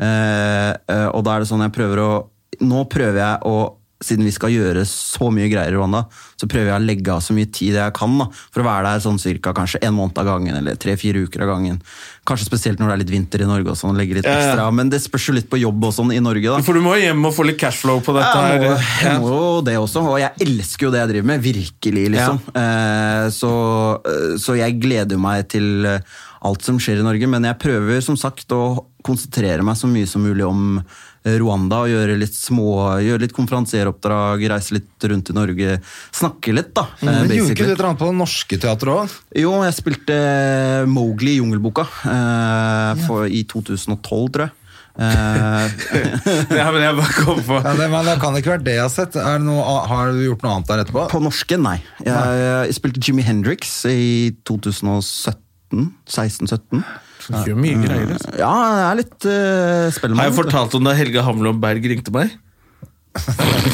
Speaker 1: Eh, eh, og da er det sånn jeg prøver å Nå prøver jeg å siden vi skal gjøre så mye greier i Rwanda, så prøver jeg å legge av så mye tid jeg kan da, for å være der sånn cirka kanskje en måned av gangen, eller tre-fire uker av gangen. Kanskje spesielt når det er litt vinter i Norge og sånn, legge litt
Speaker 4: Ja, ja.
Speaker 1: ekstra, men det spørs jo litt på jobb og sånn i Norge da.
Speaker 4: For du må jo hjem og få litt cashflow på dette
Speaker 1: Jeg må,
Speaker 4: her.
Speaker 1: jeg må jo det også, og jeg elsker jo det jeg driver med, virkelig, liksom. Eh, så, eh, så jeg gleder meg til eh, alt som skjer i Norge, men jeg prøver som sagt å konsentrere meg så mye som mulig om eh, Rwanda, og gjøre litt små, gjøre litt konferansieroppdrag, reise litt rundt i Norge, snakke litt, da. eh,
Speaker 2: Mm, Men gjorde ikke du
Speaker 1: basically.
Speaker 2: et eller annet på det norske teatret òg?
Speaker 1: Jo, jeg spilte Mowgli i Jungelboka eh, for, i 2012, tror jeg. Eh,
Speaker 4: Ja, men jeg bare kom på
Speaker 2: Ja, det, men det kan ikke være det jeg har sett. Er det noe, har du gjort noe annet der etterpå?
Speaker 1: På norske, nei. Jeg, jeg spilte Jimmy Hendrix i 2017. 16-17.
Speaker 4: Det er jo mye greier, altså.
Speaker 1: Ja, jeg er litt uh, spellemann.
Speaker 4: Har jeg fortalt om da Helge Hamlom Berg ringte meg?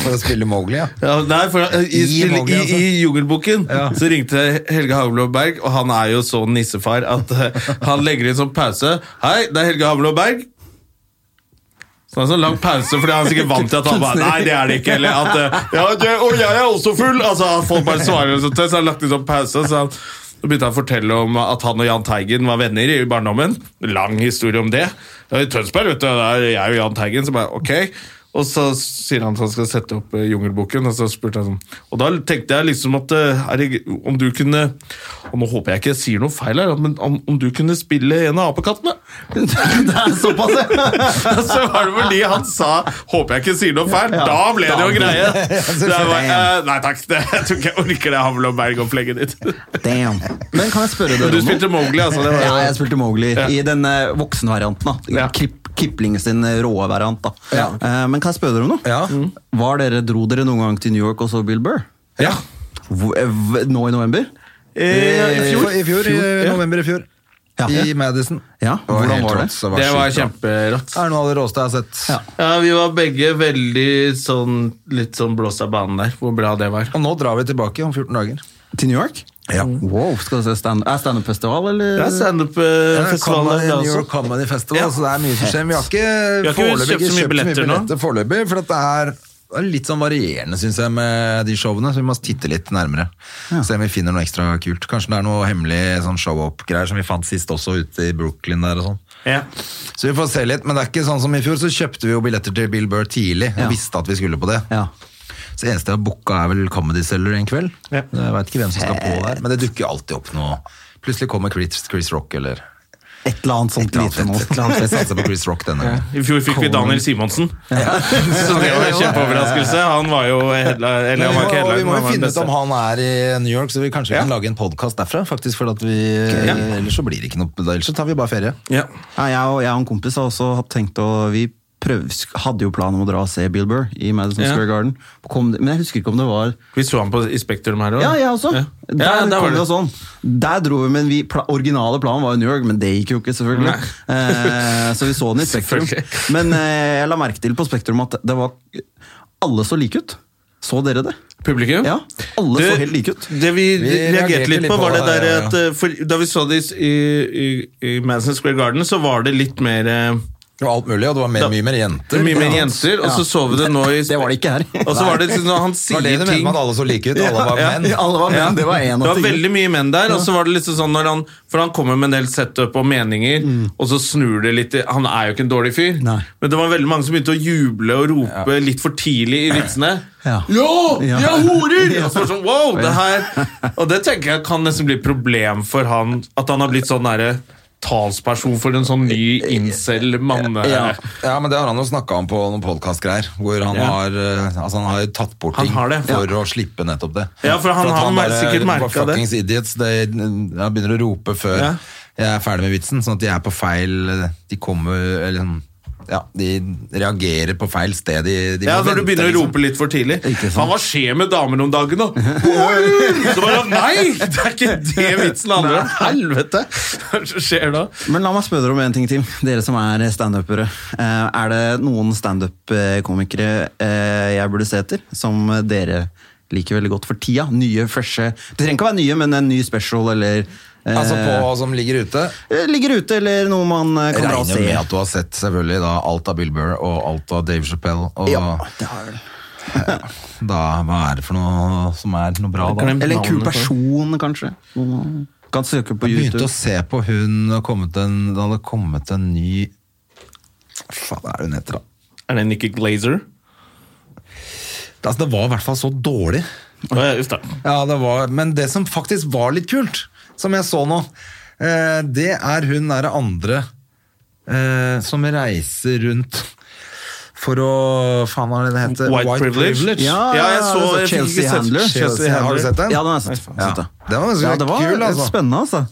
Speaker 2: For å spille Mowgli, ja.
Speaker 4: Ja, nei, for eh, I,
Speaker 2: I
Speaker 4: i,
Speaker 2: Mowgli,
Speaker 4: i,
Speaker 2: altså.
Speaker 4: i Jungelboken
Speaker 2: Ja.
Speaker 4: så ringte Helge Hamlom Berg, og han er jo så nissefar at eh, han legger inn sånn pause. Hei, det er Helge Hamlom Berg. Så det er en sånn lang pause, fordi han er sikkert vant til at han bare Nei, det er det ikke. Eller at eh, ja, det, Og jeg er også full! Altså, Folk bare svarer og sånt, så han lagt inn sånn pause. Så han så begynte han å fortelle om at han og Jahn Teigen var venner i barndommen. Lang historie om det. Ja, I Tønsberg, vet du, der er jeg og Jahn Teigen, så bare ok. Og så sier han at han skal sette opp eh, Jungelboken, og så spurte jeg sånn Og da tenkte jeg liksom at eh, er det, om du kunne Og nå håper jeg ikke jeg sier noe feil her, men om, om du kunne spille en av apekattene?
Speaker 1: det er såpass, ja!
Speaker 4: Og så var det fordi han sa 'håper jeg ikke sier noe feil'. Da ble det jo greie. Så jeg bare, eh, nei takk, det, jeg tror ikke jeg orker det Hamlom-berg-opplegget ditt.
Speaker 1: Damn. Men kan jeg spørre
Speaker 4: Men
Speaker 1: dere
Speaker 4: du
Speaker 1: om
Speaker 4: spilte
Speaker 1: noe?
Speaker 4: Mowgli, altså. Det var,
Speaker 1: Ja, jeg spilte Mowgli
Speaker 4: Ja.
Speaker 1: i den eh, voksenvarianten. da.
Speaker 4: Ja.
Speaker 1: Kip, Kipling sin råe variant. da.
Speaker 2: Ja.
Speaker 1: Eh, men kan jeg spørre dere om noe? Mm.
Speaker 2: Ja.
Speaker 1: Var dere, Dro dere noen gang til New York og så Bill Burr?
Speaker 2: ja.
Speaker 1: Hvor- eh, v- Nå i november?
Speaker 4: Eh, i fjor.
Speaker 2: I fjor, i
Speaker 4: Ja.
Speaker 2: november i fjor.
Speaker 1: Ja.
Speaker 2: I Madison.
Speaker 1: Ja,
Speaker 2: Det var
Speaker 1: hvordan
Speaker 2: helt
Speaker 1: var det?
Speaker 2: rått, så
Speaker 4: det var
Speaker 2: sjukt bra.
Speaker 4: kjemperått.
Speaker 2: Det er noe av det råeste jeg har sett.
Speaker 1: Ja.
Speaker 4: Ja, vi var begge veldig sånn litt sånn blåst av banen der, hvor bra det var.
Speaker 2: Og nå drar vi tilbake om 14 dager.
Speaker 1: Til New York?
Speaker 2: Ja.
Speaker 1: Wow, skal du se stand Er standup-festival, eller?
Speaker 4: Det er standup-festival
Speaker 2: Comedy,
Speaker 4: der
Speaker 2: New York
Speaker 4: eh, også.
Speaker 2: Comedy Festival,
Speaker 4: Ja.
Speaker 2: så det er mye som skjer. Men vi har ikke,
Speaker 4: har ikke
Speaker 2: foreløpig
Speaker 4: kjøpt så mye billetter nå.
Speaker 2: foreløpig, for at det er det er litt sånn varierende, syns jeg, med de showene. Så vi må titte litt nærmere. Se om vi finner noe ekstra kult. Kanskje det er noe hemmelig sånn show-up-greier som vi fant sist også ute i Brooklyn der og sånn.
Speaker 4: Ja.
Speaker 2: Så vi får se litt, men det er ikke sånn som i fjor, så kjøpte vi jo billetter til Bill Burr tidlig og
Speaker 1: Ja.
Speaker 2: visste at vi skulle på det.
Speaker 1: Ja.
Speaker 2: Så eneste jeg har booka er vel Comedy Cellar en kveld.
Speaker 4: Ja. Eh.
Speaker 2: Jeg vet ikke hvem som skal på der, men det dukker jo alltid opp noe. Plutselig kommer Chris, Chris Rock eller
Speaker 1: Et eller annet sånt
Speaker 2: et eller annet
Speaker 1: lite
Speaker 2: fett.
Speaker 1: nå.
Speaker 2: Et eller annet fett. Jeg satser på Chris Rock denne gangen.
Speaker 4: I fjor fikk vi Daniel Simonsen, så det var en kjempeoverraskelse. Han var jo headline, eller han var ikke
Speaker 2: og
Speaker 4: headline,
Speaker 2: vi må jo
Speaker 4: men han var den
Speaker 2: finne ut
Speaker 4: beste.
Speaker 2: om han er i New York, så vi kanskje
Speaker 4: Ja.
Speaker 2: kan lage en podkast derfra. faktisk, for at vi, Ellers så blir det ikke noe, ellers så tar vi bare ferie.
Speaker 4: Ja.
Speaker 1: Ja, jeg, og, jeg og en kompis har også hatt tenkt å Vi prøv, hadde jo planen om å dra og se Bill Burr i Madison
Speaker 4: Ja.
Speaker 1: Square Garden. Kom, men jeg husker ikke om det var
Speaker 4: Vi så han på i Spektrum her òg.
Speaker 1: Ja, jeg også.
Speaker 4: Ja.
Speaker 1: Der,
Speaker 4: Ja, der
Speaker 1: kom det.
Speaker 4: var
Speaker 1: jo
Speaker 4: det.
Speaker 1: sånn. Der dro vi, men vi, pla, originale planen var jo New York, men det gikk jo ikke, selvfølgelig. Eh, så vi så den i Spektrum.
Speaker 4: Selvfølgelig.
Speaker 1: Men eh, jeg la merke til på Spektrum at det var alle så like ut. Så dere det?
Speaker 4: Publikum?
Speaker 1: Ja, alle
Speaker 4: Det-
Speaker 1: så helt like ut.
Speaker 4: Det vi, reagerte litt på, var det der
Speaker 2: ja, ja.
Speaker 4: at eh, for, Da vi så det i, i, i Madison Square Garden, så var det litt mer eh,
Speaker 2: Det var alt mulig, og det var mer,
Speaker 4: Da-
Speaker 2: mye mer
Speaker 4: det
Speaker 2: jenter.
Speaker 4: var Mye mer
Speaker 2: Ja.
Speaker 4: jenter, og så så vi det nå i
Speaker 1: Det var det ikke her.
Speaker 4: Og så var det sånn, han
Speaker 2: Det var det
Speaker 4: sier
Speaker 2: du mente
Speaker 4: ting
Speaker 2: med at alle så like ut? Alle var
Speaker 4: Ja,
Speaker 2: menn?
Speaker 1: Ja, alle var menn. Det var en
Speaker 4: Det
Speaker 1: av
Speaker 4: var
Speaker 1: tingene.
Speaker 4: veldig mye menn der, og så var det liksom sånn når han For han kommer med en del setup og meninger, og så snur det litt i- Han er jo ikke en dårlig fyr,
Speaker 1: Mm. Nei.
Speaker 4: men det var veldig mange som begynte å juble og rope litt for tidlig i vitsene.
Speaker 1: Ja. Ja.
Speaker 4: jeg er horer! Og så var det sånn, wow, det her Og det tenker jeg kan nesten bli et problem for han, at han har blitt sånn derre talsperson for en sånn ny incel-manne...
Speaker 1: Ja.
Speaker 2: Ja, men det har han jo snakka om på noen podkast-greier. Hvor han
Speaker 4: Ja.
Speaker 2: har eh, altså han har jo tatt bort
Speaker 4: Han
Speaker 2: ting
Speaker 4: har det.
Speaker 2: for å slippe nettopp det.
Speaker 4: Ja, for han
Speaker 2: at
Speaker 4: har mer-
Speaker 2: bare-
Speaker 4: sikkert merket
Speaker 2: bare fuckings Idiots, det, han begynner å rope før
Speaker 4: Ja.
Speaker 2: jeg er ferdig med vitsen, sånn at de er på feil De kommer eller, sånn, Ja, de reagerer på feil sted. De, de
Speaker 4: Ja,
Speaker 2: må
Speaker 4: når du
Speaker 2: vente,
Speaker 4: begynner å
Speaker 2: liksom.
Speaker 4: rope litt for tidlig.
Speaker 1: Ikke sant.
Speaker 4: Faen, hva skjer med damer om dagen, da? Så bare, nei! Det er ikke det vitsen handler om! Helvete! Hva er det som skjer da?
Speaker 1: Men la meg spørre dere om en ting til, dere som er standupere. Eh, Er det noen standup-komikere eh, jeg burde se etter, som dere liker veldig godt for tida? Nye, freshe Det trenger ikke å være nye, men en ny special eller eh,
Speaker 2: Altså på som ligger ute.
Speaker 1: eh, Ligger ute, eller noe man eh, kan
Speaker 2: Regner
Speaker 1: dra og
Speaker 2: jo med
Speaker 1: se.
Speaker 2: at du har sett selvfølgelig da, alt av Bill Burr og alt av Dave Chappelle. Og
Speaker 1: Ja, det har jeg vel.
Speaker 2: da, hva er det for noe som er noe bra, da?
Speaker 1: Eller en kul
Speaker 4: Navnet på-
Speaker 1: person, kanskje. Noe man Kan søke på
Speaker 2: Jeg
Speaker 1: YouTube.
Speaker 2: begynte å se på hun det hadde kommet en, Det hadde kommet en ny Hva er hun heter da?
Speaker 4: Er det Nikki Glazer?
Speaker 2: Altså, det var i hvert fall så dårlig
Speaker 4: Å, ja, Uff da.
Speaker 2: ja, det var, Men det som faktisk var litt kult Som jeg så nå eh, Det er hun der andre eh, Som reiser rundt For å Faen hva er det det heter?
Speaker 4: White privilege?
Speaker 1: Ja, altså,
Speaker 4: Ja, jeg så- jeg fikk ikke
Speaker 1: Chelsea
Speaker 4: sett-
Speaker 1: Handler.
Speaker 4: Chelsea
Speaker 2: Har du sett den?
Speaker 1: Ja, den har jeg sett.
Speaker 2: Ja.
Speaker 1: sett det.
Speaker 2: Det var ganske
Speaker 1: ja, det var
Speaker 2: kul, altså.
Speaker 1: spennende, altså.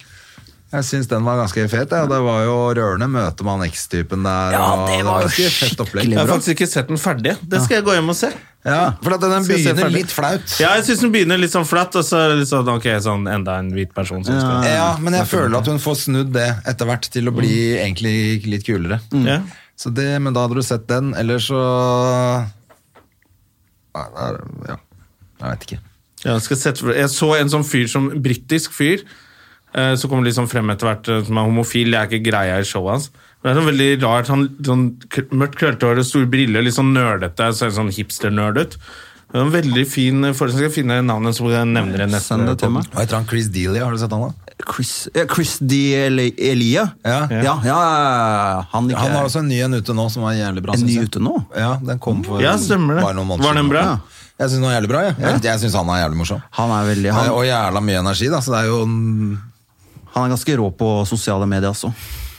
Speaker 2: Jeg synes den var ganske fet ja. Det var jo rørende møte med han X-typen der
Speaker 1: Ja,
Speaker 2: og
Speaker 1: det var jo
Speaker 2: ganske fett opplegg.
Speaker 1: skikkelig
Speaker 4: Jeg har
Speaker 1: bra.
Speaker 4: faktisk ikke sett den ferdig. Det skal jeg gå hjem og se.
Speaker 2: Ja, for at den
Speaker 4: Skal jeg se
Speaker 2: begynner
Speaker 4: ferdig?
Speaker 2: litt flaut
Speaker 4: Ja, jeg syns den begynner litt sånn flatt, og så er det litt sånn, ok, sånn enda en hvit person som skal
Speaker 2: Ja, men jeg føler at hun får snudd det etter hvert til å bli egentlig litt kulere.
Speaker 4: Ja.
Speaker 2: Så det, Men da hadde du sett den, eller så Nei, det er, ja. Jeg vet ikke.
Speaker 4: Ja, jeg, skal sette, jeg så en sånn fyr som brittisk fyr, eh, som kommer liksom frem etter hvert, eh, som er homofil. Det er ikke greia i showet hans. Men det er sånn veldig rart. Han, sånn k- mørkt krøllete hår og store briller, litt sånn nerdete. Ser sånn hipster-nerd ut. Det er En veldig fin eh, forestilling. Skal jeg finne navnet, så jeg nevner det neste
Speaker 1: Send det til meg.
Speaker 2: Hva heter han? Chris Dealy, har du sett han da?
Speaker 1: Chris, ja, Chris D. Eli- Elia?
Speaker 2: Ja.
Speaker 1: ja, ja, ja, ja. Han, ikke,
Speaker 2: Han har også en ny en ute nå som er jævlig bra.
Speaker 1: En
Speaker 2: synes
Speaker 1: ny
Speaker 2: jeg.
Speaker 1: ute nå?
Speaker 2: Ja, den kom for
Speaker 4: Ja, stemmer det.
Speaker 2: bare noen måneder
Speaker 4: Var den
Speaker 2: siden.
Speaker 4: bra?
Speaker 2: Ja. Jeg syns den var jævlig bra. Jeg, jeg, jeg synes han er jævlig morsom.
Speaker 1: Han er veldig
Speaker 2: Han,
Speaker 1: han,
Speaker 2: og jævla mye energi, da, så det er jo
Speaker 1: han er ganske rå på sosiale medier også.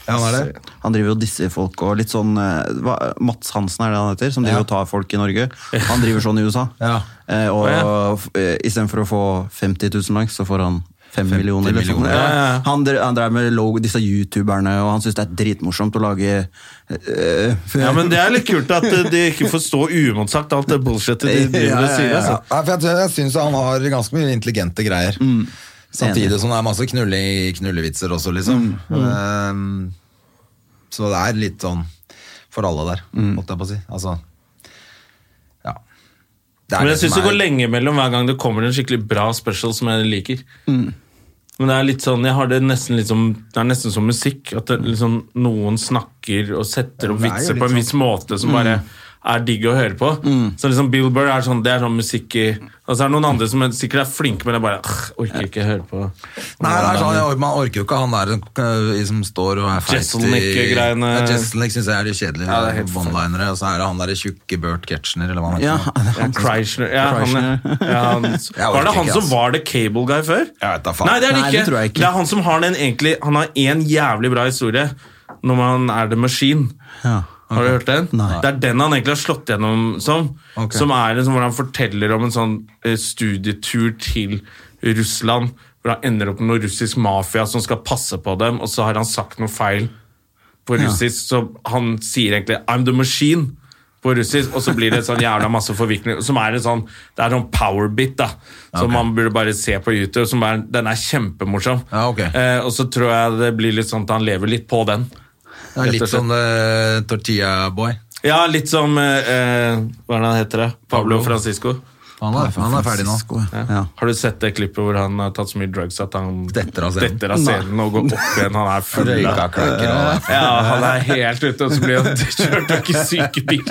Speaker 2: ja, han er det.
Speaker 1: Han driver og disser folk og litt sånn eh, hva, Mats Hansen er det han heter, som driver og tar folk i Norge. Han driver sånn i USA.
Speaker 2: Ja.
Speaker 1: Eh, og
Speaker 4: Å,
Speaker 1: f- eh, istedenfor å få 50 000 likes, så får han 5 millioner. eller sånn.
Speaker 2: millioner.
Speaker 1: Ja.
Speaker 4: Ja, ja.
Speaker 1: Han, dre- han drev med logo, disse youtuberne, og han syns det er dritmorsomt å lage eh,
Speaker 4: Ja, men Det er litt kult at eh, de ikke får stå uimotsagt, alt det bullshitet de driver og
Speaker 1: Ja, ja,
Speaker 4: sier.
Speaker 1: ja.
Speaker 4: Altså.
Speaker 2: Ja, for jeg jeg syns han har ganske mye intelligente greier.
Speaker 4: Mm.
Speaker 2: Samtidig som det er masse knulle, knullevitser også, liksom.
Speaker 4: Mm.
Speaker 2: Ehm, så det er litt sånn for alle der,
Speaker 4: Mm.
Speaker 2: måtte jeg på å si. Altså, ja. Det er
Speaker 4: Men jeg
Speaker 2: som
Speaker 4: syns det
Speaker 2: er-
Speaker 4: går lenge mellom hver gang det kommer en skikkelig bra special som jeg liker. Men det er litt sånn, jeg har det nesten litt som, det er nesten som musikk. At det, liksom, noen snakker og setter opp
Speaker 2: det er jo
Speaker 4: vitser
Speaker 2: litt sånn. Mm.
Speaker 4: på en viss måte som bare er digg å høre på. Så liksom Bill Burr er sånn, det er sånn musikk i Og så er det noen andre som er, sikkert er flinke, men jeg bare «Åh, orker ikke høre på.
Speaker 2: Nei, det er sånn, jeg, man orker jo ikke han der øh, som står og er feit
Speaker 4: Jeselnik-greiene.
Speaker 2: Ja, Jesselnik syns jeg er litt kjedelig.
Speaker 4: Ja, det er helt
Speaker 2: One-linere, Og så er det han derre tjukke Bert Ketchner, eller hva han
Speaker 1: ja,
Speaker 2: heter.
Speaker 1: han,
Speaker 4: Kreischer ja, han,
Speaker 1: Kreischer.
Speaker 4: ja, han, Var det
Speaker 2: orker
Speaker 4: han
Speaker 2: ikke,
Speaker 4: som
Speaker 2: altså.
Speaker 4: var the cable guy før?
Speaker 2: Jeg vet da faen.
Speaker 4: Nei, det er det
Speaker 1: Nei,
Speaker 4: ikke.
Speaker 1: det tror jeg ikke.
Speaker 4: Det er han som har den egentlig Han har én jævlig bra historie når man er The Machine.
Speaker 1: Ja.
Speaker 4: Har du hørt den?
Speaker 1: Nei.
Speaker 4: Det er den han egentlig har slått gjennom som.
Speaker 2: Ok.
Speaker 4: Som er liksom hvor han forteller om en sånn eh, studietur til Russland. Hvor han ender opp med noe russisk mafia som skal passe på dem, og så har han sagt noe feil på russisk, så han sier egentlig 'I'm the machine' på russisk, og så blir det sånn jævla masse forviklinger, som er en sånn, det er sånn powerbit, da, som man burde bare se på YouTube, som er, den er kjempemorsom.
Speaker 2: Ja, ok.
Speaker 4: Eh, og så tror jeg det blir litt sånn at han lever litt på den.
Speaker 2: Det er
Speaker 4: Rett og
Speaker 2: litt
Speaker 4: slett.
Speaker 2: sånn eh, tortilla boy.
Speaker 4: Ja, litt som, eh, eh, hva er det han heter det? Pablo Francisco.
Speaker 2: Han er, han er ferdig nå.
Speaker 1: Ja. Ja.
Speaker 4: Har du sett det klippet hvor han har tatt så mye drugs at han
Speaker 2: Detter av scenen.
Speaker 4: detter av scenen og går opp igjen? Han er full av
Speaker 2: Røyka kløker og
Speaker 4: Ja, han er helt ute, og så blir han kjørt av ikke syke bil.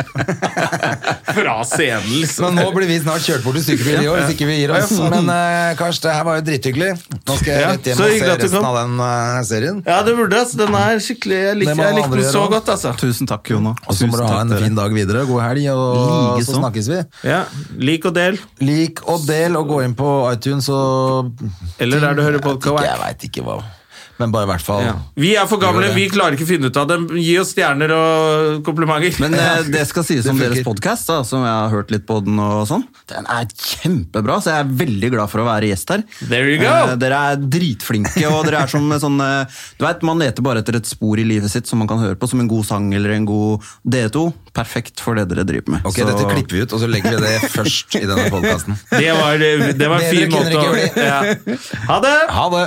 Speaker 4: Fra scenen,
Speaker 2: Men
Speaker 4: liksom.
Speaker 2: nå blir vi snart kjørt bort til sykebil i år, hvis ikke vi gir oss. Men eh, Kars, det her var jo drithyggelig. Nå skal jeg
Speaker 4: Ja,
Speaker 2: rett hjem
Speaker 4: så
Speaker 2: og
Speaker 4: hyggelig
Speaker 2: se
Speaker 4: at du
Speaker 2: resten
Speaker 4: kom.
Speaker 2: av den eh, serien.
Speaker 4: Ja, det burde altså. Den er skikkelig Jeg
Speaker 2: Det
Speaker 4: liker
Speaker 2: må
Speaker 4: jeg
Speaker 2: alle
Speaker 4: likte den
Speaker 2: gjøre
Speaker 4: så
Speaker 2: også.
Speaker 4: godt, altså.
Speaker 1: Tusen takk, Jono.
Speaker 2: Og så må du
Speaker 1: Tusen
Speaker 2: ha
Speaker 1: takk,
Speaker 2: en
Speaker 1: dere.
Speaker 2: fin dag videre. God helg, og
Speaker 1: Likeså.
Speaker 2: så snakkes vi.
Speaker 4: Ja, Lik og del.
Speaker 2: Lik og del, og gå inn på iTunes og
Speaker 4: Eller der du hører
Speaker 2: Ikke- Jeg
Speaker 4: podkast.
Speaker 2: veit ikke hva. Men bare i hvert fall.
Speaker 4: Ja. Vi er for gamle, vi klarer ikke å finne ut av det. Gi oss stjerner og komplimenter.
Speaker 1: Men eh, det skal sies om
Speaker 2: funker.
Speaker 1: deres podkast, som jeg har hørt litt på den og sånn. Den er kjempebra, så jeg er veldig glad for å være gjest her.
Speaker 4: There you go.
Speaker 1: Eh, dere er dritflinke, og dere er som sånn eh, Du vet, man leter bare etter et spor i livet sitt som man kan høre på, som en god sang eller en god Dere to, perfekt for det dere driver med.
Speaker 2: Ok,
Speaker 1: Så-
Speaker 2: dette klipper vi ut, og så legger vi det først i denne podkasten.
Speaker 4: det var, eh, det var en
Speaker 2: Bedre
Speaker 4: fin
Speaker 2: kunne det
Speaker 4: måte å
Speaker 2: ikke bli.
Speaker 4: ja. Ha det!
Speaker 2: Ha det!